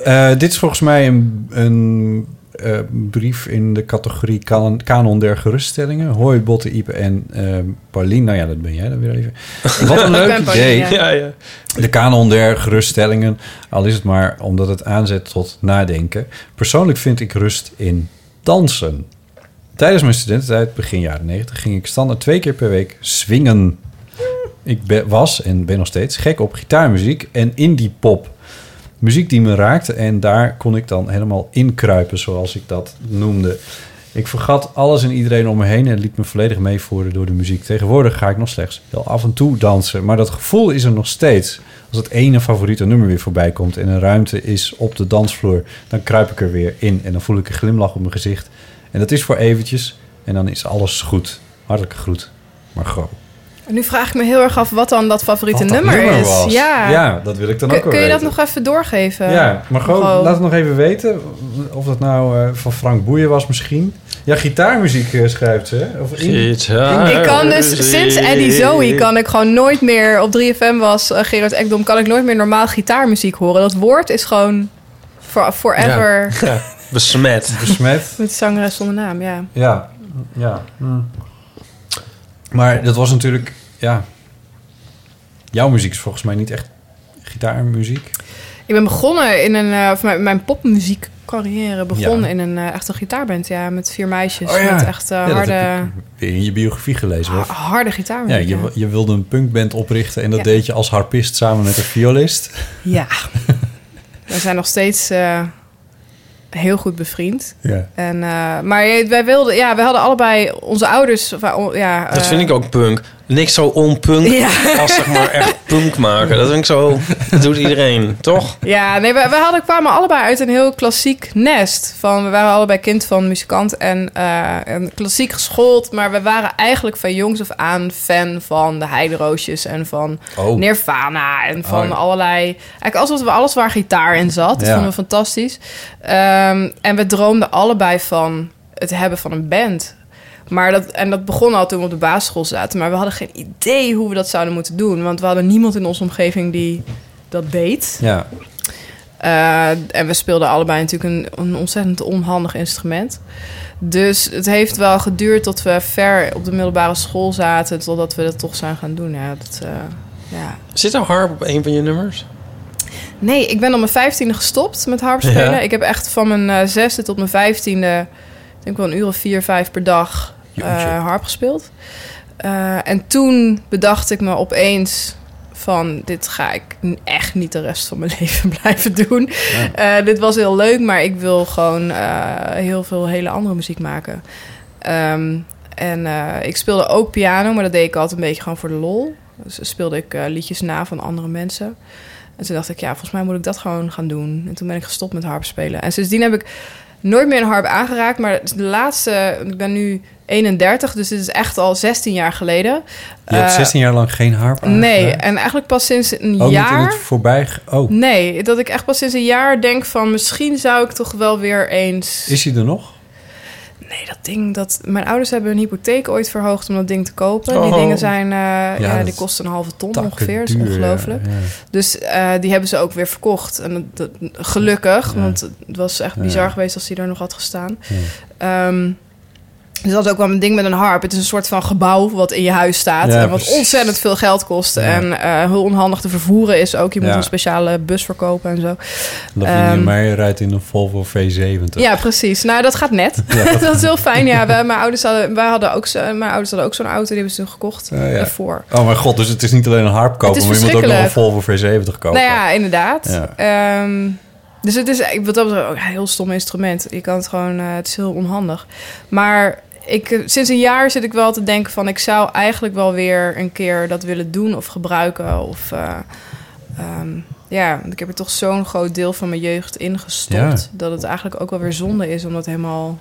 S3: eh, dit is volgens mij een, een eh, brief in de categorie kan- kanon der geruststellingen. Hoi, Botte, Ipe en eh Paulien. Nou ja, dat ben jij dan weer even. <laughs> Wat een
S1: Ik
S3: leuk
S1: ben Paulien,
S3: idee.
S1: ja. Ja, ja.
S3: De kanon der geruststellingen, al is het maar omdat het aanzet tot nadenken. Persoonlijk vind ik rust in dansen. Tijdens mijn studententijd, begin jaren 90, ging ik standaard twee keer per week swingen. Ik ben- was en ben nog steeds gek op gitaarmuziek en indie pop. Muziek die me raakte en daar kon ik dan helemaal inkruipen, zoals ik dat noemde. Ik vergat alles en iedereen om me heen en liet me volledig meevoeren door de muziek. Tegenwoordig ga ik nog slechts heel af en toe dansen, maar dat gevoel is er nog steeds. Als het ene favoriete nummer weer voorbij komt en een ruimte is op de dansvloer, dan kruip ik er weer in en dan voel ik een glimlach op mijn gezicht. En dat is voor eventjes en dan is alles goed. Hartelijke groet, Margot.
S2: En nu vraag ik me heel erg af wat dan dat favoriete
S3: Wat dat
S2: nummer,
S3: nummer
S2: is.
S3: was.
S2: Ja.
S3: Ja, dat wil ik dan
S2: Kun-
S3: ook wel
S2: Kun je dat
S3: weten.
S2: nog even doorgeven?
S3: Ja, maar gewoon,
S2: Margot?
S3: laat het nog even weten of dat nou eh, van Frank Boeien was misschien. Ja, gitaarmuziek eh, schrijft ze. hè? Of
S1: Gitaar.
S2: Ik kan dus sinds Eddie Zoe kan ik gewoon nooit meer op 3FM was eh, Gerard Ekdom kan ik nooit meer normaal gitaarmuziek horen. Dat woord is gewoon for, forever
S1: Ja. Ja. Besmet.
S3: Besmet.
S2: met zangeres zonder naam. Ja.
S3: Ja, ja. hm. Maar dat was natuurlijk, ja... Jouw muziek is volgens mij niet echt gitaarmuziek.
S2: Ik ben begonnen in een eh, of mijn, mijn popmuziekcarrière begon
S3: Ja.
S2: in een eh, echte gitaarband ja met vier meisjes
S3: Oh ja.
S2: met echt eh,
S3: Ja, dat heb
S2: harde
S3: ik weer in je biografie gelezen. hoor.
S2: harde
S3: Ja,
S2: gitaarmuziek.
S3: je,
S2: ja.
S3: je wilde een punkband oprichten en dat
S2: Ja.
S3: deed je als harpist samen met een violist. <laughs>
S2: Ja. We zijn nog steeds eh, heel goed bevriend.
S3: Ja.
S2: En, eh, maar je- wij wilden, ja, we hadden allebei onze ouders. of, eh, Ja,
S1: Dat vind ik ook punk. Niks zo onpunk
S2: Ja.
S1: als zeg maar echt punk maken. Dat vind ik zo... Dat doet iedereen, toch?
S2: Ja, nee, we, we hadden, kwamen allebei uit een heel klassiek nest. Van, we waren allebei kind van muzikant en, eh, en klassiek geschoold. Maar we waren eigenlijk van jongs af aan fan van de Heideroosjes en van
S15: Oh.
S2: Nirvana. En van
S15: Oh.
S2: allerlei... Eigenlijk alsof we alles waar gitaar in zat. Dat
S15: Ja.
S2: vonden we fantastisch. Ehm, en we droomden allebei van het hebben van een band. Maar dat, en dat begon al toen we op de basisschool zaten. Maar we hadden geen idee hoe we dat zouden moeten doen. Want we hadden niemand in onze omgeving die dat deed.
S3: Ja.
S2: Eh, en we speelden allebei natuurlijk een, een ontzettend onhandig instrument. Dus het heeft wel geduurd tot we ver op de middelbare school zaten. Totdat we dat toch zijn gaan doen. Ja, dat, eh, ja.
S1: Zit er harp op een van je nummers?
S2: Nee, ik ben op mijn vijftiende gestopt met harp spelen.
S1: Ja.
S2: Ik heb echt van mijn eh, zesde tot mijn vijftiende... Ik denk wel een uur of vier, vijf per dag eh, harp gespeeld. Eh, en toen bedacht ik me opeens van... dit ga ik n- echt niet de rest van mijn <laughs> leven blijven doen. Eh, dit was heel leuk, maar ik wil gewoon eh, heel veel hele andere muziek maken. Ehm, en eh, ik speelde ook piano, maar dat deed ik altijd een beetje gewoon voor de lol. Dus speelde ik eh, liedjes na van andere mensen. En toen dacht ik, ja, volgens mij moet ik dat gewoon gaan doen. En toen ben ik gestopt met harp spelen. En sindsdien heb ik nooit meer een harp aangeraakt. Maar de laatste, ik ben nu 31, dus dit is echt al 16 jaar geleden.
S3: Je hebt
S2: Eh,
S3: 16 jaar lang geen harp
S2: Nee,
S3: aangeraakt?
S2: en eigenlijk pas sinds een
S3: Ook
S2: jaar.
S3: niet in het voorbij... Oh,
S2: Nee, dat ik echt pas sinds een jaar denk van misschien zou ik toch wel weer eens
S3: is hij er nog?
S2: Nee, dat ding dat mijn ouders hebben hun hypotheek ooit verhoogd om dat ding te kopen. Die
S15: Oh.
S2: dingen zijn, eh, ja,
S15: dat
S2: die
S15: is
S2: kosten een halve ton
S15: takken
S2: ongeveer. Dat is
S15: duur, ja,
S2: ongelooflijk.
S15: ja.
S2: Dus eh, die hebben ze ook weer verkocht. En dat, dat- gelukkig, want het was echt
S15: Ja.
S2: bizar geweest als die er nog had gestaan. Ehm, dus dat is ook wel een ding met een harp. Het is een soort van gebouw wat in je huis staat.
S15: Ja,
S2: en wat
S15: precies.
S2: ontzettend veel geld kost.
S15: Ja.
S2: En eh, heel onhandig te vervoeren is ook. Je moet
S3: Ja.
S2: een speciale bus verkopen en zo.
S3: Lavinia
S2: Ehm,
S3: Meijer rijdt in een Volvo V70.
S2: ja, precies. Nou, dat gaat net.
S3: Ja,
S2: <laughs>
S3: dat-
S2: dat is heel fijn. Ja, wij, mijn, ouders hadden, wij hadden ook, zo- mijn ouders hadden ook zo'n auto. Die hebben ze toen gekocht
S3: Oh, ja.
S2: daarvoor.
S3: Oh mijn god, dus het is niet alleen een harp
S2: Het
S3: kopen,
S2: is
S3: maar je moet ook nog een Volvo
S2: verschrikkelijk.
S3: V70 kopen.
S2: Nou ja, inderdaad.
S3: Ja.
S2: Ehm, dus het is ik- wat dat betreft ook een heel stom instrument. Je kan het gewoon, eh, het is heel onhandig. Maar ik, eh, sinds een jaar zit ik wel te denken van... ik zou eigenlijk wel weer een keer dat willen doen of gebruiken. Of, eh, ehm, ja, want ik heb er toch zo'n groot deel van mijn jeugd ingestopt...
S3: Ja.
S2: dat het eigenlijk ook wel weer zonde is om dat helemaal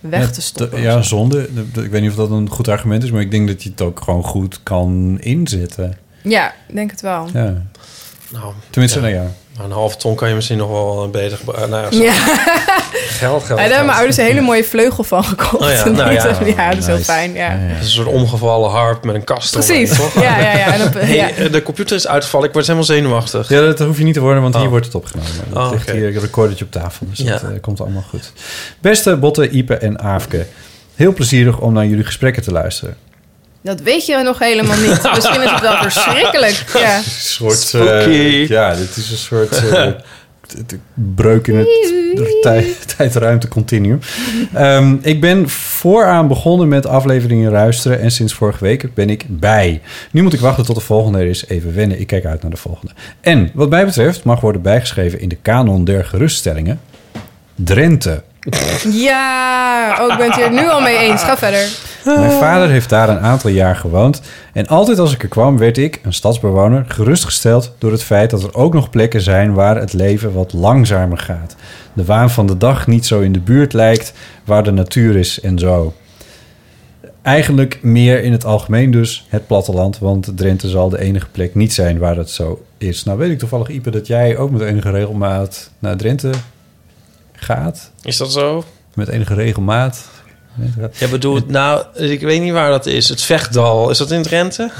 S2: weg
S3: Ja,
S2: te stoppen.
S3: d- Ja, zonde. D- Ik weet niet of dat een goed argument is, maar ik denk dat je het ook gewoon goed kan inzetten.
S2: Ja, ik denk het wel.
S3: Ja.
S1: Nou,
S3: Tenminste,
S1: ja.
S3: nou ja.
S1: Maar een halve ton kan je misschien nog wel beter... gebru- eh, Nou, ja, zo-
S2: Ja.
S1: Geld,
S2: Ja, daar
S1: geld,
S2: hebben mijn
S1: geld.
S2: ouders een hele mooie vleugel van gekocht. <laughs>
S1: Oh ja, nou ja.
S2: ja, dat is heel
S1: Nice.
S2: fijn. Ja.
S1: Het is Een soort omgevallen harp met een kast
S2: Precies.
S1: eromheen, toch?
S2: Ja, ja, ja. En op-
S1: Hey,
S2: ja.
S1: eh, De computer is uitgevallen. Ik word dus helemaal zenuwachtig.
S3: Ja, dat hoef je niet te worden, want hier wordt het opgenomen. Dat
S1: Oh,
S3: ligt
S1: oké.
S3: hier, ik record op tafel, dus dat
S1: Ja.
S3: eh, komt allemaal goed. Beste Botte, Ipe en Aafke. Heel plezierig om naar jullie gesprekken te luisteren.
S2: Dat weet je nog helemaal niet. Misschien is het wel verschrikkelijk. Ja.
S3: Een soort... eh,
S1: Spooky.
S3: ja, dit is een soort...
S1: <laughs>
S3: eh, t- t- breuk in het tij- <laughs> tijd-ruimte-continuum. Ehm, ik ben vooraan begonnen met afleveringen luisteren... en sinds vorige week ben ik bij. Nu moet ik wachten tot de volgende er is. Even wennen, ik kijk uit naar de volgende. En wat mij betreft mag worden bijgeschreven... in de kanon der geruststellingen... Drenthe.
S2: Ja, oh, ik ben het hier nu al mee eens. Ga verder.
S3: Mijn vader heeft daar een aantal jaar gewoond. En altijd als ik er kwam, werd ik, een stadsbewoner, gerustgesteld door het feit dat er ook nog plekken zijn waar het leven wat langzamer gaat. De waan van de dag niet zo in de buurt lijkt, waar de natuur is en zo. Eigenlijk meer in het algemeen dus het platteland, want Drenthe zal de enige plek niet zijn waar dat zo is. Nou weet ik toevallig, Ipe, dat jij ook met enige regelmaat naar Drenthe gaat.
S1: Is dat zo?
S3: Met enige regelmaat.
S1: Ja, bedoel, nou, ik weet niet waar dat is. Het Vechtdal, is dat
S3: <laughs>
S1: in Drenthe?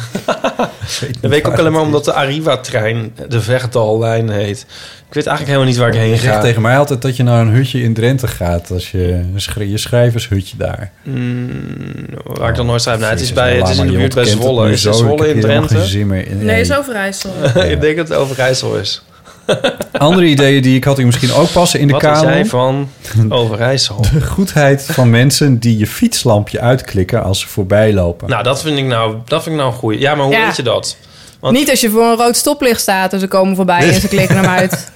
S1: dat weet ik ook alleen maar omdat de Arriva-trein de Vechtdallijn heet. Ik weet eigenlijk helemaal niet waar ik heen
S3: Je zegt
S1: ga.
S3: tegen mij altijd dat je naar een hutje in Drenthe gaat. Als je, schrij- je schrijvershutje daar.
S1: Mm, waar ik dan nooit schrijf. Nou, het is,
S3: Jezus,
S1: bij, het is in
S3: lama,
S1: de
S3: je
S1: buurt bij
S3: ontkent het
S1: Zwolle.
S3: nu
S1: Is het
S3: zo. Ik
S1: Zwolle
S3: heb
S1: in
S3: hier helemaal
S1: Drenthe?
S3: geen zin meer in.
S2: Nee, is Overijssel.
S1: ik denk dat het Overijssel is.
S3: Andere ideeën die ik had, die misschien ook passen in de
S1: Wat
S3: kamer.
S1: is jij van Overijssel?
S3: <laughs> De goedheid van mensen die je fietslampje uitklikken als ze voorbij lopen.
S1: nou, dat vind ik nou, dat vind ik nou een goeie. Ja, maar hoe
S2: Ja.
S1: weet je dat? <laughs> Want
S2: Niet als je voor een rood stoplicht staat en ze komen voorbij en ze klikken hem <laughs> uit.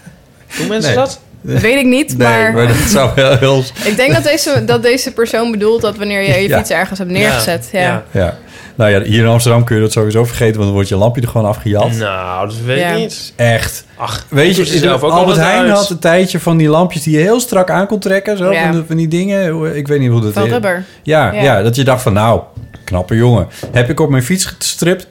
S1: doen mensen
S3: Nee.
S1: dat?
S2: Dat weet ik niet,
S3: Nee, maar...
S2: maar...
S3: dat zou heel... heel...
S2: <laughs> Ik denk dat deze, dat deze persoon bedoelt dat wanneer je je
S3: Ja.
S2: fiets ergens
S1: Nou,
S2: hebt Nou, neergezet. Ja.
S3: Ja. Nou ja, hier in Amsterdam kun je dat sowieso vergeten, want dan wordt je lampje er gewoon afgejat.
S1: Nou, dat weet ik
S2: Ja.
S1: niet.
S3: Echt.
S1: Ach,
S3: Weet
S1: doet
S3: je,
S1: ze zelf ook
S3: Albert
S1: altijd
S3: Heijn
S1: uit.
S3: had een tijdje van die lampjes die je heel strak aan kon trekken. Zo,
S2: Ja.
S3: van, de- van die dingen. Hoe- Ik weet niet hoe dat
S2: Van
S3: heet.
S2: rubber.
S3: Ja,
S2: Ja.
S3: ja. dat je dacht van nou, knappe jongen. Heb ik op mijn fiets gestript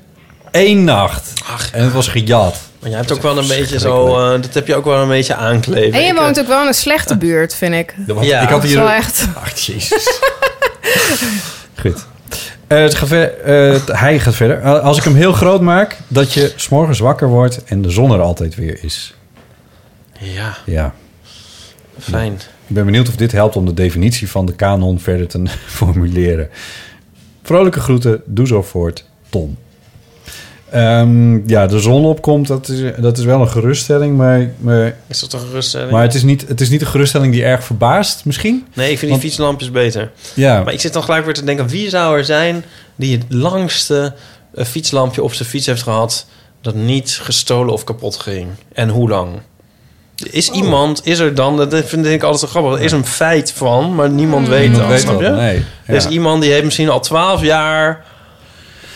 S3: één nacht. en het was gejat.
S1: Maar jij hebt ook wel een beetje zo... eh, dat heb je ook wel een beetje aankleven.
S2: En je
S1: Ik, eh,
S2: woont ook wel in een slechte buurt, vind ik.
S1: Ja. ik had
S2: Dat is
S1: hier-
S2: wel echt...
S3: Ach,
S1: eh, <laughs>
S3: jezus. Goed. Eh, het gaat ver- eh, het- hij gaat verder. Eh, Als ik hem heel groot maak, dat je s'morgens wakker wordt en de zon er altijd weer is.
S1: Ja,
S3: Ja.
S1: fijn.
S3: Ik ben benieuwd of dit helpt om de definitie van de kanon verder te <laughs> formuleren. Vrolijke groeten, doe zo voort, Tom. Ehm, ja, de zon opkomt, dat is, dat is wel een geruststelling, maar, maar,
S1: Is dat een geruststelling?
S3: maar het, is niet, het is niet een geruststelling die erg verbaast, misschien.
S1: Nee, ik vind
S3: Want-
S1: die fietslampjes beter.
S3: Ja.
S1: Maar ik zit dan gelijk weer te denken... wie zou er zijn die het langste eh, fietslampje op zijn fiets heeft gehad... dat niet gestolen of kapot ging? En hoe lang? Is iemand, is er dan... Dat vind ik altijd zo grappig. Er is een feit van, maar niemand weet
S3: Niemand
S1: dat.
S3: weet
S1: snap
S3: dat,
S1: je?
S3: nee.
S1: Er is
S3: Ja.
S1: iemand die heeft misschien al twaalf jaar...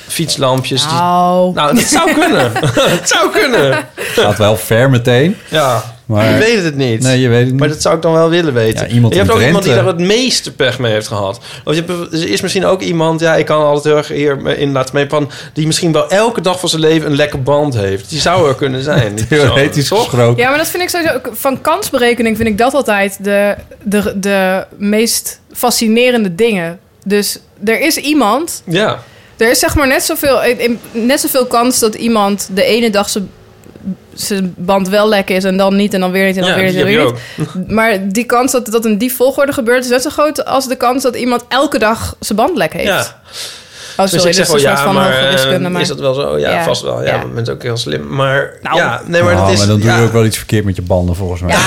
S1: fietslampjes... die-
S2: Nou,
S1: dat zou kunnen. <laughs> Het zou kunnen.
S3: Gaat wel ver meteen.
S1: Ja,
S3: Maar-
S1: je weet het niet.
S3: Nee, je weet het niet.
S1: Maar dat zou ik dan wel willen weten.
S3: Ja, iemand
S1: je hebt
S3: in
S1: ook iemand die daar
S3: Drenthe.
S1: het meeste pech mee heeft gehad. Of je hebt, er is misschien ook iemand, ja, ik kan altijd heel erg hier me- in laten meepannen, die misschien wel elke dag van zijn leven een lekke band heeft. Die zou er kunnen
S3: <laughs>
S1: zijn. die persoon.
S3: Theoretisch gesproken.
S2: Ja, maar dat vind ik sowieso... ook- Van kansberekening vind ik dat altijd de, de, de meest fascinerende dingen. Dus er is iemand...
S1: Ja.
S2: Er is zeg maar net zoveel, eh, in- in- net zoveel kans dat iemand de ene dag zijn- zijn band wel lek is... en dan niet, en dan weer niet, en dan
S1: Ja,
S2: weer niet,
S1: die
S2: en
S1: heb
S2: weer
S1: je
S2: niet.
S1: <laughs>
S2: Maar die kans dat dat in die volgorde gebeurt... is net zo groot als de kans dat iemand elke dag zijn band lek heeft.
S1: Ja.
S2: Oh,
S1: Dus
S2: sorry,
S1: ik
S2: dat
S1: zeg wel
S2: is een soort
S1: ja,
S2: van
S1: maar,
S2: hoge wiskunde,
S1: eh,
S2: maar-
S1: is dat wel zo? Ja,
S2: Ja.
S1: vast wel. Ja, je bent ook heel slim. Maar
S2: Nou.
S1: ja, nee, maar
S3: Ah,
S1: dat is...
S3: maar dan doe je
S1: ja.
S3: ook wel iets verkeerd met je banden, volgens mij. <laughs>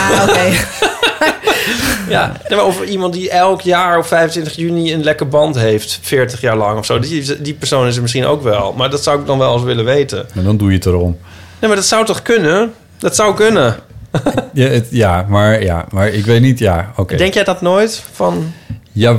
S1: Ja, nee, maar of iemand die elk jaar op 25 juni een lekker band heeft, 40 jaar lang of zo. Die, die persoon is er misschien ook wel. Maar dat zou ik dan wel eens willen weten.
S3: Maar dan doe je het erom.
S1: Nee, maar dat zou toch kunnen? Dat zou kunnen.
S3: Ja, het- ja, maar, ja maar ik weet niet. Ja, oké.
S1: Denk jij dat nooit? Van,
S3: Ja,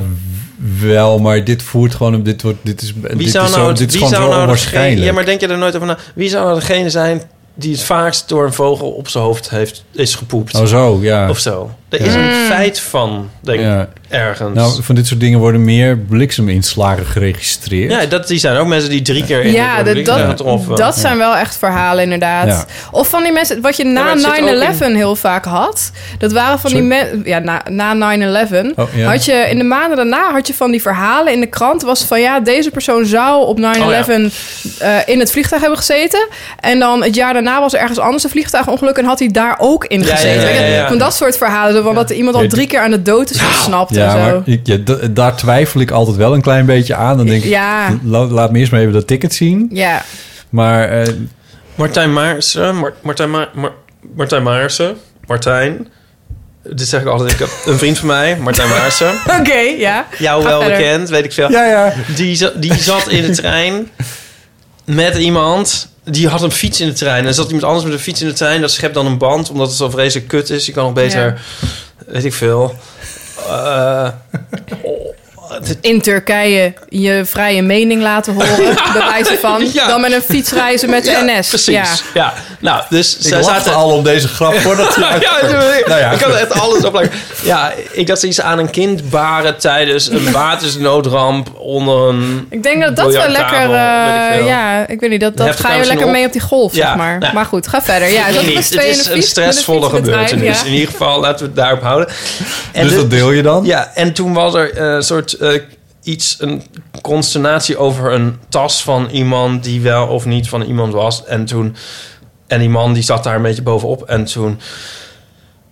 S3: wel, maar dit voert gewoon... een- Dit, wordt, dit is,
S1: wie
S3: dit
S1: zou
S3: is,
S1: nou,
S3: zo,
S1: het-
S3: dit is
S1: wie
S3: gewoon
S1: zou
S3: zo
S1: nou degene,
S3: onwaarschijnlijk.
S1: ja, maar denk je er nooit over na? Wie zou nou degene zijn die het vaakst door een vogel op zijn hoofd heeft, is gepoept?
S3: Oh, zo, ja.
S1: Of zo. Er
S3: Ja.
S1: is een feit van, denk ik,
S3: Ja.
S1: ergens.
S3: Nou, van dit soort dingen worden meer blikseminslagen geregistreerd.
S1: ja, dat, die zijn ook mensen die drie keer in
S2: Ja,
S1: de
S2: dat, dat,
S1: getroffen.
S2: dat zijn wel echt verhalen inderdaad.
S1: Ja.
S2: Of van die mensen, wat je
S1: maar
S2: na
S1: het zit ook
S2: 9-11 heel vaak had. Dat waren van die mensen, ja, na, na 9-11.
S1: Oh, ja.
S2: Had je in de maanden daarna had je van die verhalen in de krant. Was van ja, deze persoon zou op 9-11 eh, in het vliegtuig hebben gezeten. En dan het jaar daarna was er ergens anders een vliegtuigongeluk. En had hij daar ook in
S3: Ja, ja,
S2: gezeten.
S3: ja, ja, ja.
S2: Van dat soort verhalen. zo Van dat iemand al
S3: Ja,
S2: drie keer aan de dood is ontsnapt en
S3: Ja,
S2: zo.
S3: maar ik, ja, d- daar twijfel ik altijd wel een klein beetje aan. Dan denk ik,
S2: Ja.
S3: la- laat me eerst maar even dat ticket zien.
S2: Ja.
S3: Maar eh,
S1: Martijn Maarsen. Mar- Martijn, Ma- Mar- Martijn Maarsen. Martijn. Dit zeg ik altijd. Ik heb een vriend van
S3: <laughs>
S1: mij, Martijn Maarsen.
S2: Oké, ja.
S1: Jou
S2: Ga
S1: wel
S2: verder.
S1: bekend, weet ik veel.
S3: Ja, ja.
S1: Die, za- die zat in de trein met iemand. Die had een fiets in de trein. En zat iemand anders met een fiets in de trein. Dat schept dan een band, omdat het zo vreselijk kut is. Je kan nog beter, weet ik veel, eh,
S2: In Turkije je vrije mening laten horen, bij wijze van,
S1: Ja.
S2: dan met een fiets reizen met de
S1: Ja,
S2: NS.
S1: Precies. Ja. Nou, dus
S3: Ik lachte al om deze grap voordat hij
S1: <laughs> ja,
S3: uitkwam.
S1: natuurlijk.
S3: Nou ja,
S1: ik kan er
S3: goed.
S1: echt alles op plakken. Ja, ik dacht iets aan een kind baren tijdens een watersnoodramp onder een.
S2: Ik denk dat dat wel lekker,
S1: biljarttafel,
S2: eh,
S1: weet ik veel.
S2: ja, ik weet niet, dat, dat
S1: Heft
S2: ga
S1: elkaar
S2: je
S1: misschien
S2: lekker
S1: op.
S2: mee op die golf,
S1: Ja,
S2: zeg maar.
S1: nou.
S2: maar goed, ga verder. Ja, dat
S1: Weet
S2: was
S1: ik niet.
S2: twee
S1: Het
S2: in
S1: is
S2: de
S1: een
S2: fiets, met de fiets
S1: stressvolle
S2: in de trein,
S1: gebeurtenis.
S2: ja.
S1: In ieder geval, laten we het daarop houden.
S3: Dus dat deel je dan?
S1: Ja, en toen was er eh, een soort eh, iets, een consternatie over een tas van iemand die wel of niet van iemand was. En toen, en die man die zat daar een beetje bovenop. En toen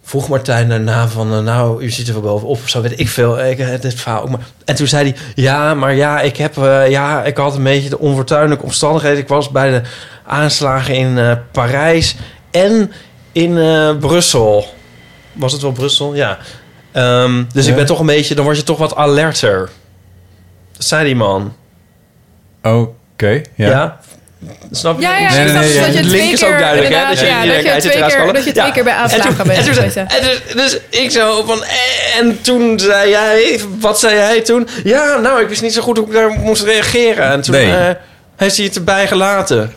S1: vroeg Martijn daarna van, eh, nou, u zit er wel bovenop of zo, weet ik veel. Ik, eh, dit verhaal ook maar. En toen zei hij, ja, maar ja, ik heb, eh, ja, ik had een beetje de onfortuinlijke omstandigheden. Ik was bij de aanslagen in eh, Parijs en in eh, Brussel. Was het wel Brussel? Ja. Ehm, dus ik
S3: Ja.
S1: ben toch een beetje, dan word je toch wat alerter. Dat zei die man.
S3: Oké, ja.
S1: Snap je?
S2: Ja, ja,
S3: Nee,
S2: ik
S3: nee,
S2: snap dat
S3: nee, ja.
S2: je
S3: De
S2: twee
S1: link is ook
S2: keer...
S1: duidelijk, hè?
S2: inderdaad,
S1: Dat je
S2: ja,
S1: direct
S2: dat je
S1: uit het
S2: twee
S1: raam
S2: keer,
S1: scrollen.
S2: dat je twee
S1: Ja.
S2: keer bij
S1: En
S2: aanslagen
S1: toen-
S2: bent
S1: en toen-
S2: geweest, ja.
S1: en dus- Dus ik zo van... eh, En toen zei jij... Wat zei hij toen? Ja, nou, ik wist niet zo goed hoe ik daar moest reageren. En toen
S3: Nee.
S1: eh, heeft hij het erbij gelaten.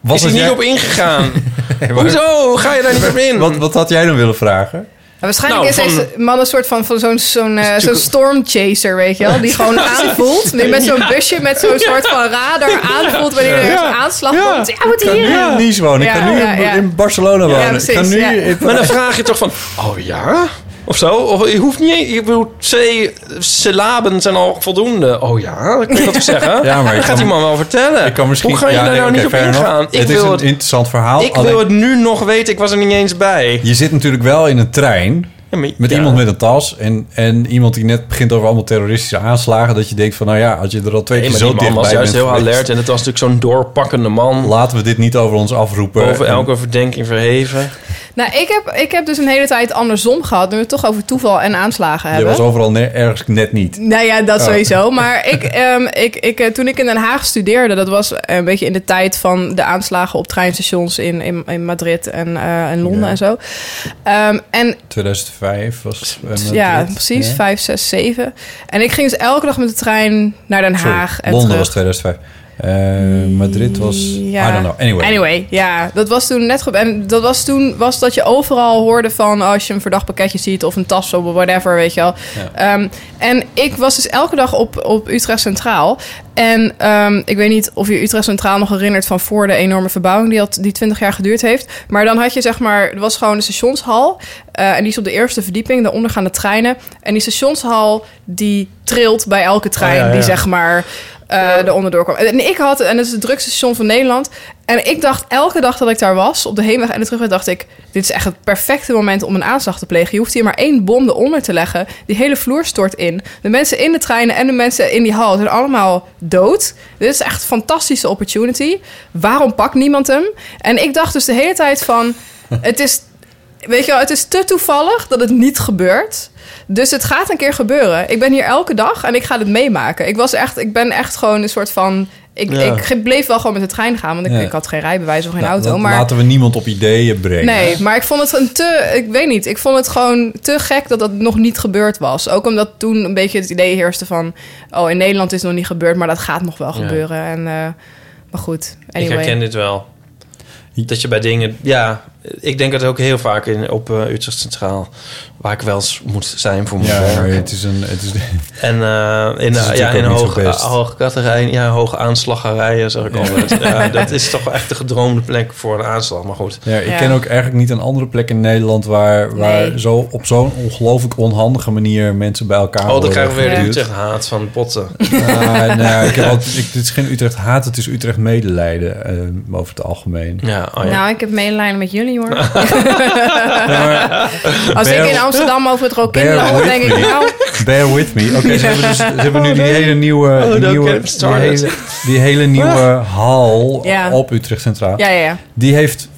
S3: Was
S1: is hij
S3: het
S1: niet
S3: jij-
S1: op ingegaan.
S3: Maar-
S1: Hoezo? Hoe Ga je daar niet op in?
S3: Wat, wat had jij dan willen vragen?
S2: Ja, waarschijnlijk
S1: Nou,
S2: is
S1: van-
S2: deze man een soort van, van zo'n zo'n eh, zo'n stormchaser, weet je wel? Die gewoon aanvoelt. Die met zo'n
S3: Ja.
S2: busje met zo'n soort van radar aanvoelt wanneer er
S3: Ja.
S2: een aanslag komt. Ja,
S3: ik
S2: moet
S3: kan
S2: hier
S3: nu in Nice wonen. <laughs> Ik
S2: Ja,
S3: kan nu
S2: ja,
S3: in-
S2: ja.
S3: in Barcelona wonen. ik kan nu in-
S1: Maar dan vraag je toch van... Oh ja? Of zo? Of, je hoeft niet... Je bedoelt, twee syllaben zijn al voldoende. Oh ja? Ik kan dat toch zeggen?
S3: Ja, maar
S1: dat
S3: ik
S1: gaat
S3: kan-
S1: die man wel vertellen.
S3: Ik kan misschien...
S1: Hoe ga je
S3: ja,
S1: daar
S3: nee,
S1: nou
S3: oké,
S1: niet op
S3: fair enough.
S1: ingaan? Ik
S3: Het is
S1: wil
S3: een
S1: het-
S3: interessant verhaal.
S1: Ik
S3: alleen-
S1: wil het nu nog weten. Ik was er niet eens bij.
S3: Je zit natuurlijk wel in een trein met iemand met een tas en, en iemand die net begint over allemaal terroristische aanslagen. Dat je denkt van, nou ja, als je er al twee
S1: Nee,
S3: keer
S1: maar
S3: zo
S1: die man
S3: dichtbij
S1: was juist
S3: bent
S1: heel
S3: geweest,
S1: alert en het was natuurlijk zo'n doorpakkende man.
S3: Laten we dit niet over ons afroepen.
S1: Boven
S3: En-
S1: elke verdenking verheven.
S2: Nou, ik heb, ik heb dus een hele tijd andersom gehad. Nu we het toch over toeval en aanslagen
S3: Je
S2: hebben.
S3: was overal ne- ergens net niet.
S2: Nou ja, dat
S3: Oh. <laughs>
S2: sowieso. Maar ik, ehm, ik, ik, eh, toen ik in Den Haag studeerde, dat was een beetje in de tijd van de aanslagen op treinstations in, in, in Madrid en eh, in Londen
S3: Ja.
S2: en zo. Ehm, en
S3: 2005 was... eh, Madrid.
S2: ja, precies,
S3: Ja.
S2: vijf, zes, zeven. En ik ging dus elke dag met de trein naar Den
S3: Sorry,
S2: Haag. en
S3: Londen
S2: terug.
S3: was 2005. Eh, Madrid was...
S2: Ja.
S3: I don't know. Anyway.
S2: ja, dat was toen net. ge- En dat was toen was dat je overal hoorde van oh, als je een verdacht pakketje ziet of een tas of whatever, weet je wel. Ehm, en ik was dus elke dag op, op Utrecht Centraal. En ehm, ik weet niet of je Utrecht Centraal nog herinnert van voor de enorme verbouwing die, had, die 20 jaar geduurd heeft. Maar dan had je zeg maar, er was gewoon een stationshal. eh, en die is op de eerste verdieping, daaronder gaan de treinen. En die stationshal die trilt bij elke trein
S3: Oh
S15: ja,
S2: die
S15: ja.
S2: zeg maar eh eronder doorkwam. En ik had, en het is het drukste station van Nederland. En ik dacht elke dag dat ik daar was, op de heenweg en de terugweg, dacht ik: dit is echt het perfecte moment om een aanslag te plegen. Je hoeft hier maar één bom eronder te leggen. Die hele vloer stort in. De mensen in de treinen en de mensen in die hal zijn allemaal dood. Dit is echt een fantastische opportunity. Waarom pakt niemand hem? En ik dacht dus de hele tijd van: het is Weet je wel, het is te toevallig dat het niet gebeurt. Dus het gaat een keer gebeuren. Ik ben hier elke dag en ik ga het meemaken. Ik, was echt, ik ben echt gewoon een soort van... Ik,
S3: Ja.
S2: ik bleef wel gewoon met de trein gaan, want ik,
S3: Ja.
S2: ik had geen rijbewijs of geen
S3: Nou,
S2: auto.
S3: dat
S2: Maar
S3: Laten we niemand op ideeën brengen.
S2: Nee, maar ik vond het een te. Ik weet niet. Ik vond het gewoon te gek dat dat nog niet gebeurd was. Ook omdat toen een beetje het idee heerste van. Oh, in Nederland is het nog niet gebeurd, maar dat gaat nog wel
S1: Ja.
S2: gebeuren. En, eh, maar goed. Anyway.
S1: Ik herken dit wel. Dat je bij dingen... Ja, ik denk dat ook heel vaak in, op eh, Utrecht Centraal... waar ik wel eens moet zijn voor mijn
S3: Ja,
S1: werk.
S3: het is een... Het is, <laughs>
S1: En eh, in,
S3: Het is
S1: eh, ja,
S3: natuurlijk
S1: in
S3: ook niet zo
S1: hoog,
S3: best.
S1: hoog ja, hoog aanslaggerijen, zeg ik altijd.
S3: <laughs>
S1: Ja, dat is toch echt de gedroomde plek voor een aanslag, maar goed.
S3: Ja, ik ken ook eigenlijk niet een andere plek in Nederland waar, waar
S1: Nee.
S3: zo op zo'n ongelooflijk onhandige manier mensen bij elkaar
S1: Oh, dan
S3: worden
S1: krijgen we weer de
S3: geduwd.
S1: Utrecht haat van botten.
S3: Ah, nou, ik heb
S1: <laughs>
S3: altijd- ik- dit is geen Utrecht haat, het is Utrecht medelijden eh, over het algemeen.
S1: Ja,
S2: Nou, ik heb medelijden met jullie hoor.
S3: <laughs>
S2: <laughs>
S3: maar-
S2: Nou, Als ik in
S3: Bear-
S2: Amsterdam over het Rokin
S3: Bear
S2: loop,
S3: with
S2: denk ik
S3: me.
S2: nou...
S3: Bear with me. Oké, ze hebben, dus, ze hebben nu
S2: Oh,
S3: die
S2: nee.
S3: hele nieuwe,
S1: Oh,
S3: die
S1: don't
S3: nieuwe,
S1: get me
S3: die
S1: started. Ah.
S3: hele, die hele nieuwe hal
S2: Ja.
S3: op Utrecht Centraal.
S2: Ja, ja, ja.
S3: Die heeft,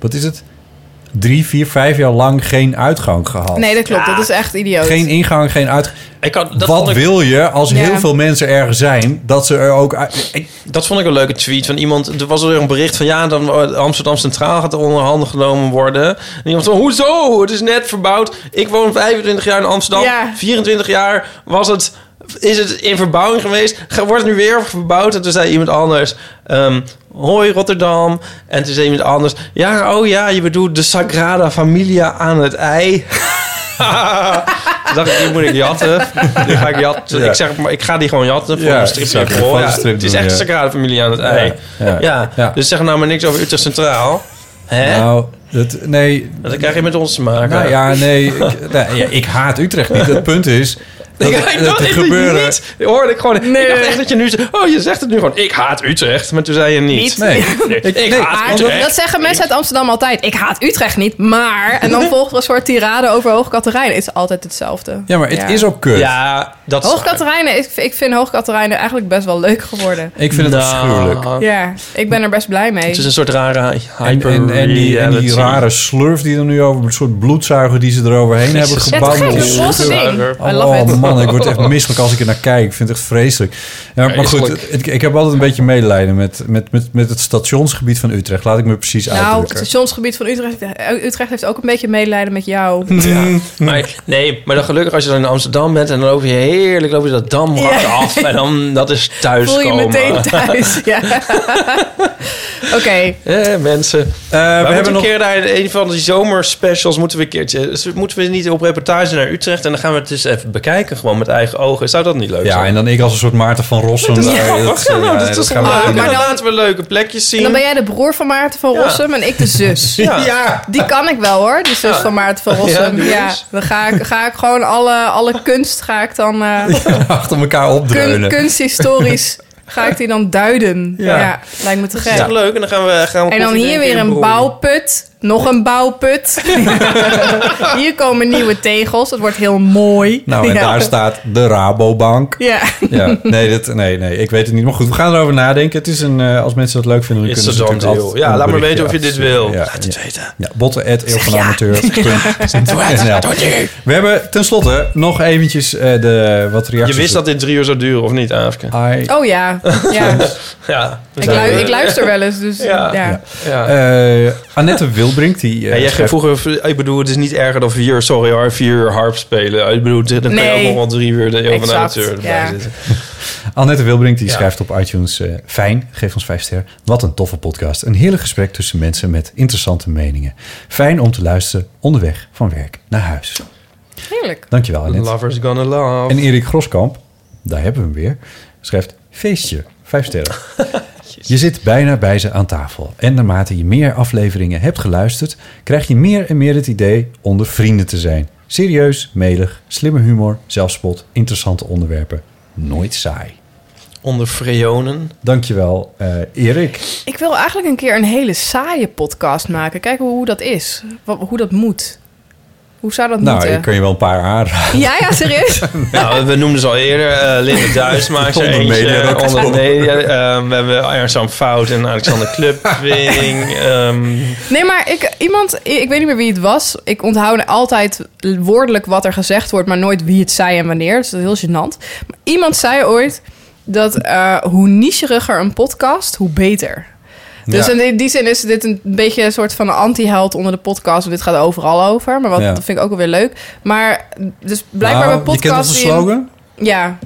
S3: wat is het? drie, vier, vijf jaar lang geen uitgang gehad.
S2: Nee, dat klopt. Dat is echt idioot.
S3: Geen ingang, geen uitgang.
S1: dat
S3: Wat
S1: vond ik-
S3: wil je als
S2: Ja.
S3: heel veel mensen ergens zijn, dat ze er ook... uit- Ik,
S1: Dat vond ik een leuke tweet van iemand. Er was er een bericht van ja, dan eh, Amsterdam Centraal gaat onder handen genomen worden. En iemand van hoezo? Het is net verbouwd. Ik woon 25 jaar in Amsterdam. 24 jaar was het, is het in verbouwing geweest. Ge- Wordt het nu weer verbouwd? En toen zei iemand anders. ehm, Hoi Rotterdam. En toen zei iemand anders. Ja, oh ja, je bedoelt de Sagrada Familia aan het ei. Toen dacht ik, die moet ik jatten. Die ga ik jatten.
S3: Ja.
S1: Ik zeg, maar ik ga die gewoon jatten voor
S3: Ja,
S1: een stripje.
S3: exact.
S1: gewoon.
S3: Voor
S1: Ja,
S3: een strip
S1: het is
S3: doen,
S1: echt
S3: ja.
S1: een Sagrada Familie aan het ei. Ja,
S3: Ja, ja,
S1: Dus zeg nou maar niks over Utrecht Centraal. Hè?
S3: Nou, dat, nee.
S1: dat krijg je met ons te maken.
S3: Nou ja, nee. Ik, <laughs> nou ja, ik haat Utrecht niet. Het punt is... Dat,
S1: <laughs> Ik- ik dacht
S3: dat er
S1: echt dat je
S3: gebeuren...
S1: niet- hoorde ik gewoon. Ik dacht echt dat je nu zegt, oh je zegt het nu gewoon, ik haat Utrecht. Maar toen zei je niet.
S2: Niet.
S3: Nee.
S1: ik haat
S2: Maar
S1: Utrecht.
S2: dat zeggen mensen uit Amsterdam altijd. Ik haat Utrecht niet, maar... En
S3: <laughs>
S2: dan volgt er een soort tirade over Hoog-Katerijnen. Het is altijd hetzelfde.
S3: Ja, maar het is ook kut.
S1: Ja, dat
S2: Hoog-Katerijnen, ik, ik vind Hoog-Katerijnen eigenlijk best wel leuk geworden.
S3: Ik vind het
S1: Nou.
S3: afschuwelijk.
S2: Ja, ik ben er best blij mee.
S1: Het is een soort rare
S3: En,
S1: hyper
S3: en, en, die, en die rare slurf die er nu over... Een soort bloedzuiger die ze eroverheen hebben
S2: Jezus. Ja,
S3: gebouwd.
S2: te gek, een roze ding. I love
S3: oh
S2: it.
S3: man, ik word echt misselijk als ik er naar kijk. Ik vind het echt vreselijk. Ja, maar goed,
S2: Vreselijk.
S3: ik, ik heb altijd een beetje medelijden met, met, met, met het stationsgebied van Utrecht. Laat ik me precies
S2: Nou, het
S3: uitdrukken.
S2: stationsgebied van Utrecht... eh, Utrecht heeft ook een beetje medelijden met jou.
S1: Ja. Maar, nee, maar dan gelukkig als je dan in Amsterdam bent en dan loop je heerlijk loop je dat damrak
S2: Ja.
S1: af en dan dat is thuis
S2: Voel je
S1: <laughs>
S2: meteen thuis, ja. Oké.
S1: Eh, mensen. we
S2: hebben
S1: hebben een
S2: nog-
S1: keer naar een van die zomerspecials moeten we een keertje. dus Moeten we niet op reportage naar Utrecht en dan gaan we het dus even bekijken, gewoon met eigen ogen. Zou dat niet leuk zijn?
S3: Ja, en dan ik als een soort Maarten van Rossum.
S1: Dat is
S3: daar- eh,
S1: grappig. Ja, nou, dat
S3: nee,
S1: is toch
S3: gaan we
S1: leuk.
S3: niet doen.
S1: Maar dan laten we leuke plekjes zien.
S2: En dan ben jij de broer van Maarten van
S1: Ja.
S2: Rossum en ik de zus.
S1: <laughs> Ja. Ja.
S2: Die kan ik wel hoor, de zus
S1: Ja.
S2: van Maarten van
S1: Ja,
S2: Rossum.
S1: doe
S2: Ja,
S1: eens.
S2: dan ga ik, ga ik gewoon alle, alle kunst ga ik dan... eh,
S3: <laughs> achter elkaar
S2: kun,
S3: opdreunen.
S1: <laughs>
S2: kunsthistorisch ga ik die dan duiden. Ja,
S3: Ja.
S2: lijkt me te
S1: Dat is
S2: gek.
S1: toch leuk? En dan gaan we, gaan we
S2: En dan
S1: koffie
S2: hier
S1: drinken
S2: weer
S1: in
S2: een
S1: Broei.
S2: bouwput. Nog een
S1: <laughs>
S2: bouwput. hier komen nieuwe tegels. Dat wordt heel mooi.
S3: Nou, en
S2: Ja.
S3: daar staat de Rabobank.
S2: Ja.
S3: Ja, nee, dit, nee, nee, ik weet het niet. Maar goed, we gaan erover nadenken. Het is een, eh, als mensen dat leuk vinden, dan
S1: It's
S3: kunnen ze
S1: a done
S3: natuurlijk
S1: deal.
S3: altijd
S1: Ja,
S3: een
S1: laat maar
S3: berichtje
S1: weten of je dit
S3: afsturen.
S1: wil.
S3: Ja,
S1: Laat het
S3: ja.
S1: weten.
S3: Ja, botten at eeuw van <laughs>
S1: Ja.
S3: amateur. punt
S1: Doe het,
S3: NL.
S1: doe het.
S3: We hebben tenslotte nog eventjes eh, de, wat
S1: Je
S3: reacties.
S1: wist dat dit drie uur zou duren, of niet, Aafke?
S3: I-
S2: Oh ja. ja.
S1: ja.
S2: Ik, lu- ik luister wel eens, dus ja.
S1: Ja. Ja.
S3: Eh, Annette Wilbrink, die... eh,
S1: Ja, jij ging
S3: schrijft-
S1: vroeger, ik bedoel, het is niet erger dan vier uur, sorry hoor, vier uur harp spelen. Ik bedoel, dan kan je
S2: Nee.
S1: ook nog wel drie uur de eeuw van de
S2: Exact,
S1: amateur erbij
S2: ja.
S1: zitten.
S3: Annette Wilbrink die schrijft op iTunes... eh, fijn, geef ons vijf ster. Wat een toffe podcast. Een heerlijk gesprek tussen mensen met interessante meningen. Fijn om te luisteren onderweg van werk naar huis.
S2: Heerlijk.
S3: Dankjewel, Nou, Annette.
S1: Lovers gonna love.
S3: En Erik Groskamp, daar hebben we hem weer, schrijft... Feestje, vijf
S1: <laughs>
S3: sterren. Je zit bijna bij ze aan tafel. En naarmate je meer afleveringen hebt geluisterd... krijg je meer en meer het idee onder vrienden te zijn. Serieus, melig, slimme humor, zelfspot, interessante onderwerpen. Nooit saai.
S1: Onder freonen.
S3: Dankjewel, eh Erik.
S2: Ik wil eigenlijk een keer een hele saaie podcast maken. Kijken hoe dat is. Wat, hoe dat moet. Hoe zou dat
S3: nou,
S2: moeten?
S3: ik kan je wel een paar aanraden.
S2: Ja, ja, serieus?
S1: <laughs>
S3: <laughs>
S1: Nou, we noemden ze al eerder. eh Linde Duismaak,
S3: Onder media,
S1: eentje.
S3: dat
S1: Onder
S3: klopt.
S1: media. eh, we hebben Arjan Fout en Alexander
S3: <laughs>
S1: Clubwing. ehm
S2: Nee, maar ik, iemand, ik weet niet meer wie het was. Ik onthoud altijd woordelijk wat er gezegd wordt, maar nooit wie het zei en wanneer. Dus dat is heel gênant. Maar iemand zei ooit dat eh, hoe nicheriger een podcast, hoe beter. Dus
S15: Ja.
S2: in die- die zin is dit een beetje een soort van anti-held onder de podcast. Want dit gaat overal over. Maar wat,
S3: Ja.
S2: dat vind ik ook wel weer leuk. Maar dus blijkbaar
S3: Nou,
S2: bij podcasts...
S3: je kent onze
S2: die een-
S3: slogan?
S2: Ja.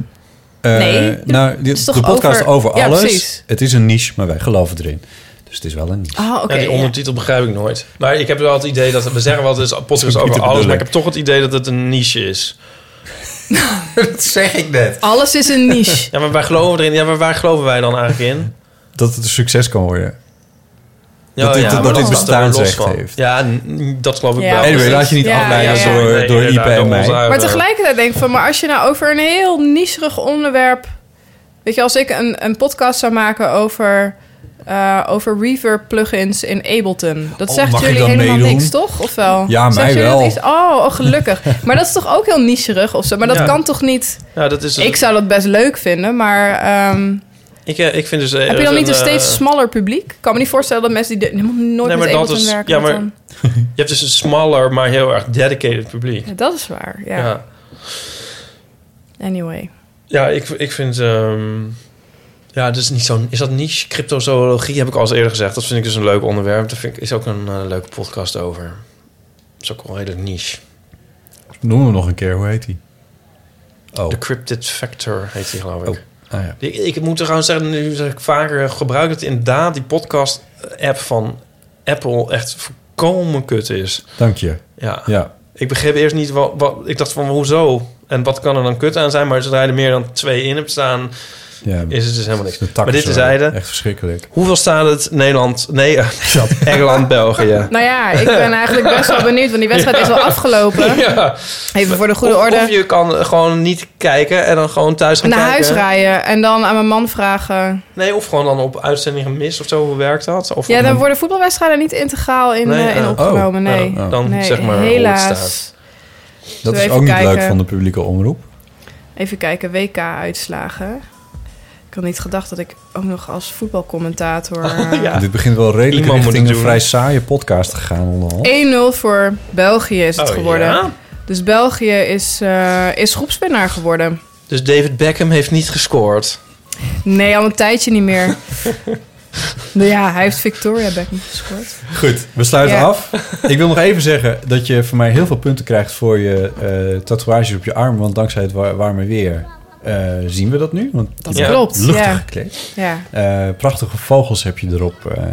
S3: Eh,
S2: Nee,
S3: nou, de,
S2: is toch
S3: de podcast
S2: over-
S3: over,
S2: Ja,
S3: alles.
S2: precies.
S3: het is een niche, maar wij geloven erin. Dus het is wel een niche.
S2: Oh, oké.
S1: ja, die ondertitel begrijp ik nooit. Maar ik heb wel het idee dat... We zeggen wel, het is een podcast
S3: niet
S1: over
S3: de
S1: alles. Maar ik
S3: bedoeling.
S1: heb toch het idee dat het een niche
S2: <laughs>
S1: is.
S3: dat zeg ik net.
S2: Alles is een niche.
S1: Ja, maar wij geloven erin. Ja, maar waar geloven wij dan eigenlijk in?
S3: Dat het een succes kan worden.
S1: Ja,
S3: dat dit,
S1: ja, maar
S3: dat dit
S1: los- los
S3: bestaansrecht
S1: van.
S3: heeft.
S1: Ja, n- dat geloof ik
S2: Ja.
S1: wel.
S3: Anyway, laat je niet
S2: Ja,
S3: afleiden
S2: ja, ja.
S3: door,
S1: Nee,
S3: door
S1: inderdaad,
S3: Ipe en
S1: door
S3: mij.
S1: ons uit.
S2: Maar tegelijkertijd denk ik van, maar als je nou over een heel niezerig onderwerp. Weet je, als ik een, een podcast zou maken over, eh, over reverb plugins in Ableton. Dat
S3: Oh,
S2: zegt
S3: mag ik
S2: jullie
S3: dan
S2: helemaal
S3: meedoen?
S2: niks, toch? Of wel?
S3: Ja,
S2: Zegt
S3: mij
S2: jullie dat
S3: wel.
S2: iets? Oh, oh, gelukkig.
S3: <laughs>
S2: maar dat is toch ook heel niezerig of zo? Maar dat
S1: Ja.
S2: kan toch niet.
S1: Ja, dat is
S2: Ik zou dat best leuk vinden, maar. ehm,
S1: Ik, eh, ik vind dus... eh,
S2: Heb je dan niet een
S1: eh,
S2: steeds smaller publiek? Ik kan me niet voorstellen dat mensen die de- helemaal nooit met
S1: dat
S2: Ableton
S1: is-
S2: werken...
S1: ja,
S2: dat
S1: maar
S2: dan-
S1: je hebt dus een smaller, maar heel erg dedicated publiek.
S2: Ja, dat is waar, ja.
S1: ja.
S2: Anyway.
S1: Ja, ik, ik vind... ehm, ja, dus niet zo'n... Is dat niche? Cryptozoologie heb ik al eens eerder gezegd. Dat vind ik dus een leuk onderwerp. Daar vind ik, is ook een eh, leuke podcast over. Dat is ook wel redelijk niche.
S3: Noem hem nog een keer, hoe heet die?
S1: Oh. The Cryptid Factor heet die, geloof ik.
S3: Ah ja.
S1: Ik, ik moet trouwens zeggen, nu zeg ik vaker eh, gebruik dat inderdaad die podcast-app van Apple echt volkomen kut is.
S3: Dank je.
S1: Ja.
S3: Ja.
S1: Ik begreep eerst niet wat, wat. Ik dacht van hoezo? En wat kan er dan kut aan zijn? Maar zodra je er meer dan twee in hebt staan,
S3: Ja,
S1: is het dus helemaal niks.
S3: een
S1: Maar dit is
S3: takkenzorg.
S1: zijde.
S3: Echt verschrikkelijk.
S1: Hoeveel staat het Nederland? Nee, eh, dat, <laughs>
S2: <laughs>
S1: Engeland, België.
S2: Nou ja, ik ben eigenlijk best wel benieuwd, want die wedstrijd is wel afgelopen.
S1: Ja.
S2: Even voor de goede
S1: Of-
S2: orde.
S1: Of je kan gewoon niet kijken en dan gewoon thuis gaan
S2: Naar huis
S1: kijken.
S2: rijden en dan aan mijn man vragen...
S1: Nee, of gewoon dan op uitzending gemist of zo. Hoe werkt dat? Of
S2: Ja, dan worden voetbalwedstrijden niet integraal in,
S1: Nee,
S2: eh, in
S1: eh,
S2: opgenomen.
S1: oh,
S2: nee.
S1: eh, oh. Dan
S2: Nee,
S1: zeg maar hoe het
S2: helaas.
S1: staat.
S3: Dat
S2: Zullen we
S3: is
S2: even
S3: ook niet leuk
S2: kijken?
S3: van de publieke omroep.
S2: Even kijken, WK-uitslagen. Ik had niet gedacht dat ik ook nog als voetbalcommentator... eh,
S3: Dit begint wel redelijk
S1: Iemand moet
S3: richting
S1: het
S3: een
S1: doen.
S3: vrij saaie podcast te gaan onderhand.
S2: 1-0 voor België is het
S1: Oh,
S2: geworden.
S1: ja?
S2: Dus België is, eh, is groepswinnaar geworden.
S1: Dus David Beckham heeft niet gescoord.
S2: Nee, al een tijdje niet meer. nou ja, hij heeft Victoria Beckham gescoord.
S3: Goed, we sluiten
S2: Ja.
S3: af. Ik wil nog even zeggen dat je van mij heel veel punten krijgt voor je eh, tatoeages op je arm. Want dankzij het wa- warme weer eh, zien we dat nu. Want je
S2: Dat
S3: bent
S2: klopt,
S3: Luchtig
S2: ja.
S3: gekleed.
S2: Ja.
S3: Eh, prachtige vogels heb je erop eh, eh,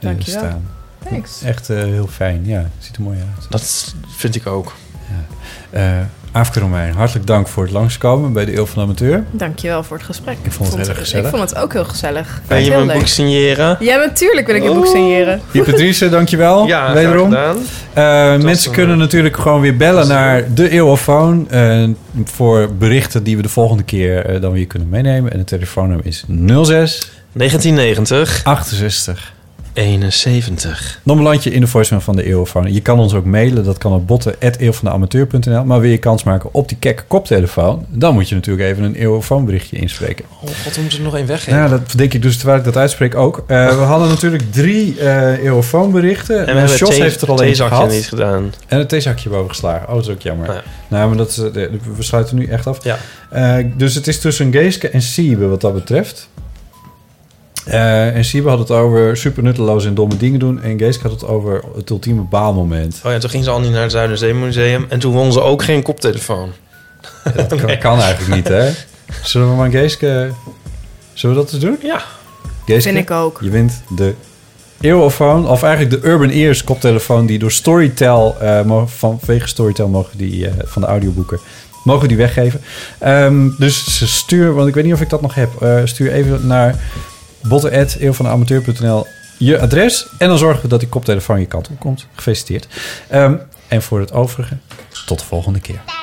S2: Dankjewel.
S3: staan.
S2: Thanks.
S3: Echt eh, heel fijn, ja. Ziet er mooi uit.
S1: Dat vind ik ook.
S3: Ja. Eh, Aafke Romein, hartelijk dank voor het langskomen bij de Eeuw van de Amateur.
S2: Dankjewel voor het gesprek.
S3: Ik vond het heel erg gezellig.
S2: Ik vond het ook heel gezellig.
S3: Ben je
S2: Heel
S3: mijn
S2: leuk.
S3: boek signeren?
S2: Ja, natuurlijk wil ik je boek
S3: Oeh.
S2: signeren.
S3: Hier, Patrice, dankjewel.
S1: Ja, graag
S3: wederom.
S1: gedaan.
S3: Eh, mensen kunnen natuurlijk gewoon weer bellen naar de Eeuwofoon. eh, voor berichten die we de volgende keer eh, dan weer kunnen meenemen. En het telefoonnummer is 06
S1: 1990
S3: 68
S1: 71.
S3: Nog een landje in de voicemail van de Eeuwofoon. Je kan ons ook mailen. Dat kan op botten.eeuwvandeamateur.nl. Maar wil je kans maken op die kekke koptelefoon... dan moet je natuurlijk even een Eeuwofoon berichtje inspreken.
S1: Oh god, we moeten er nog één weggeven.
S3: Nou, ja, dat denk ik dus terwijl ik dat uitspreek ook. Eh, we hadden natuurlijk drie eh eeuwfoonberichten.
S1: en we hebben
S3: Jos
S1: thee-
S3: heeft er al eentje
S1: theezakje
S3: gehad.
S1: niet gedaan.
S3: En het theezakje boven geslagen. Oh, dat is ook jammer. Nou, maar dat is, eh, we sluiten nu echt af.
S1: Ja.
S3: Eh, dus het is tussen Geeske en Siebe wat dat betreft. Eh, en Siebe had het over super nutteloze en domme dingen doen. En Geeske had het over het ultieme baalmoment.
S1: Oh ja, toen ging ze al niet naar het Zuiderzeemuseum. En toen won ze ook geen koptelefoon.
S3: <laughs> Dat kan, kan eigenlijk niet, hè? Zullen we maar Geeske... Zullen we dat eens doen?
S1: Ja.
S3: Geeske,
S2: Vind ik ook.
S3: Je wint de Eeuwofoon, of eigenlijk de Urban Ears koptelefoon... die door Storytel, eh, mo- vanwege Storytel mogen die, eh, van de audioboeken... mogen die weggeven. Ehm, dus ze stuur, want ik weet niet of ik dat nog heb... eh, stuur even naar botten.eeuwvanamateur.nl je adres... en dan zorgen we dat die koptelefoon je kant op komt. Gefeliciteerd. Ehm, en voor het overige, tot de volgende keer.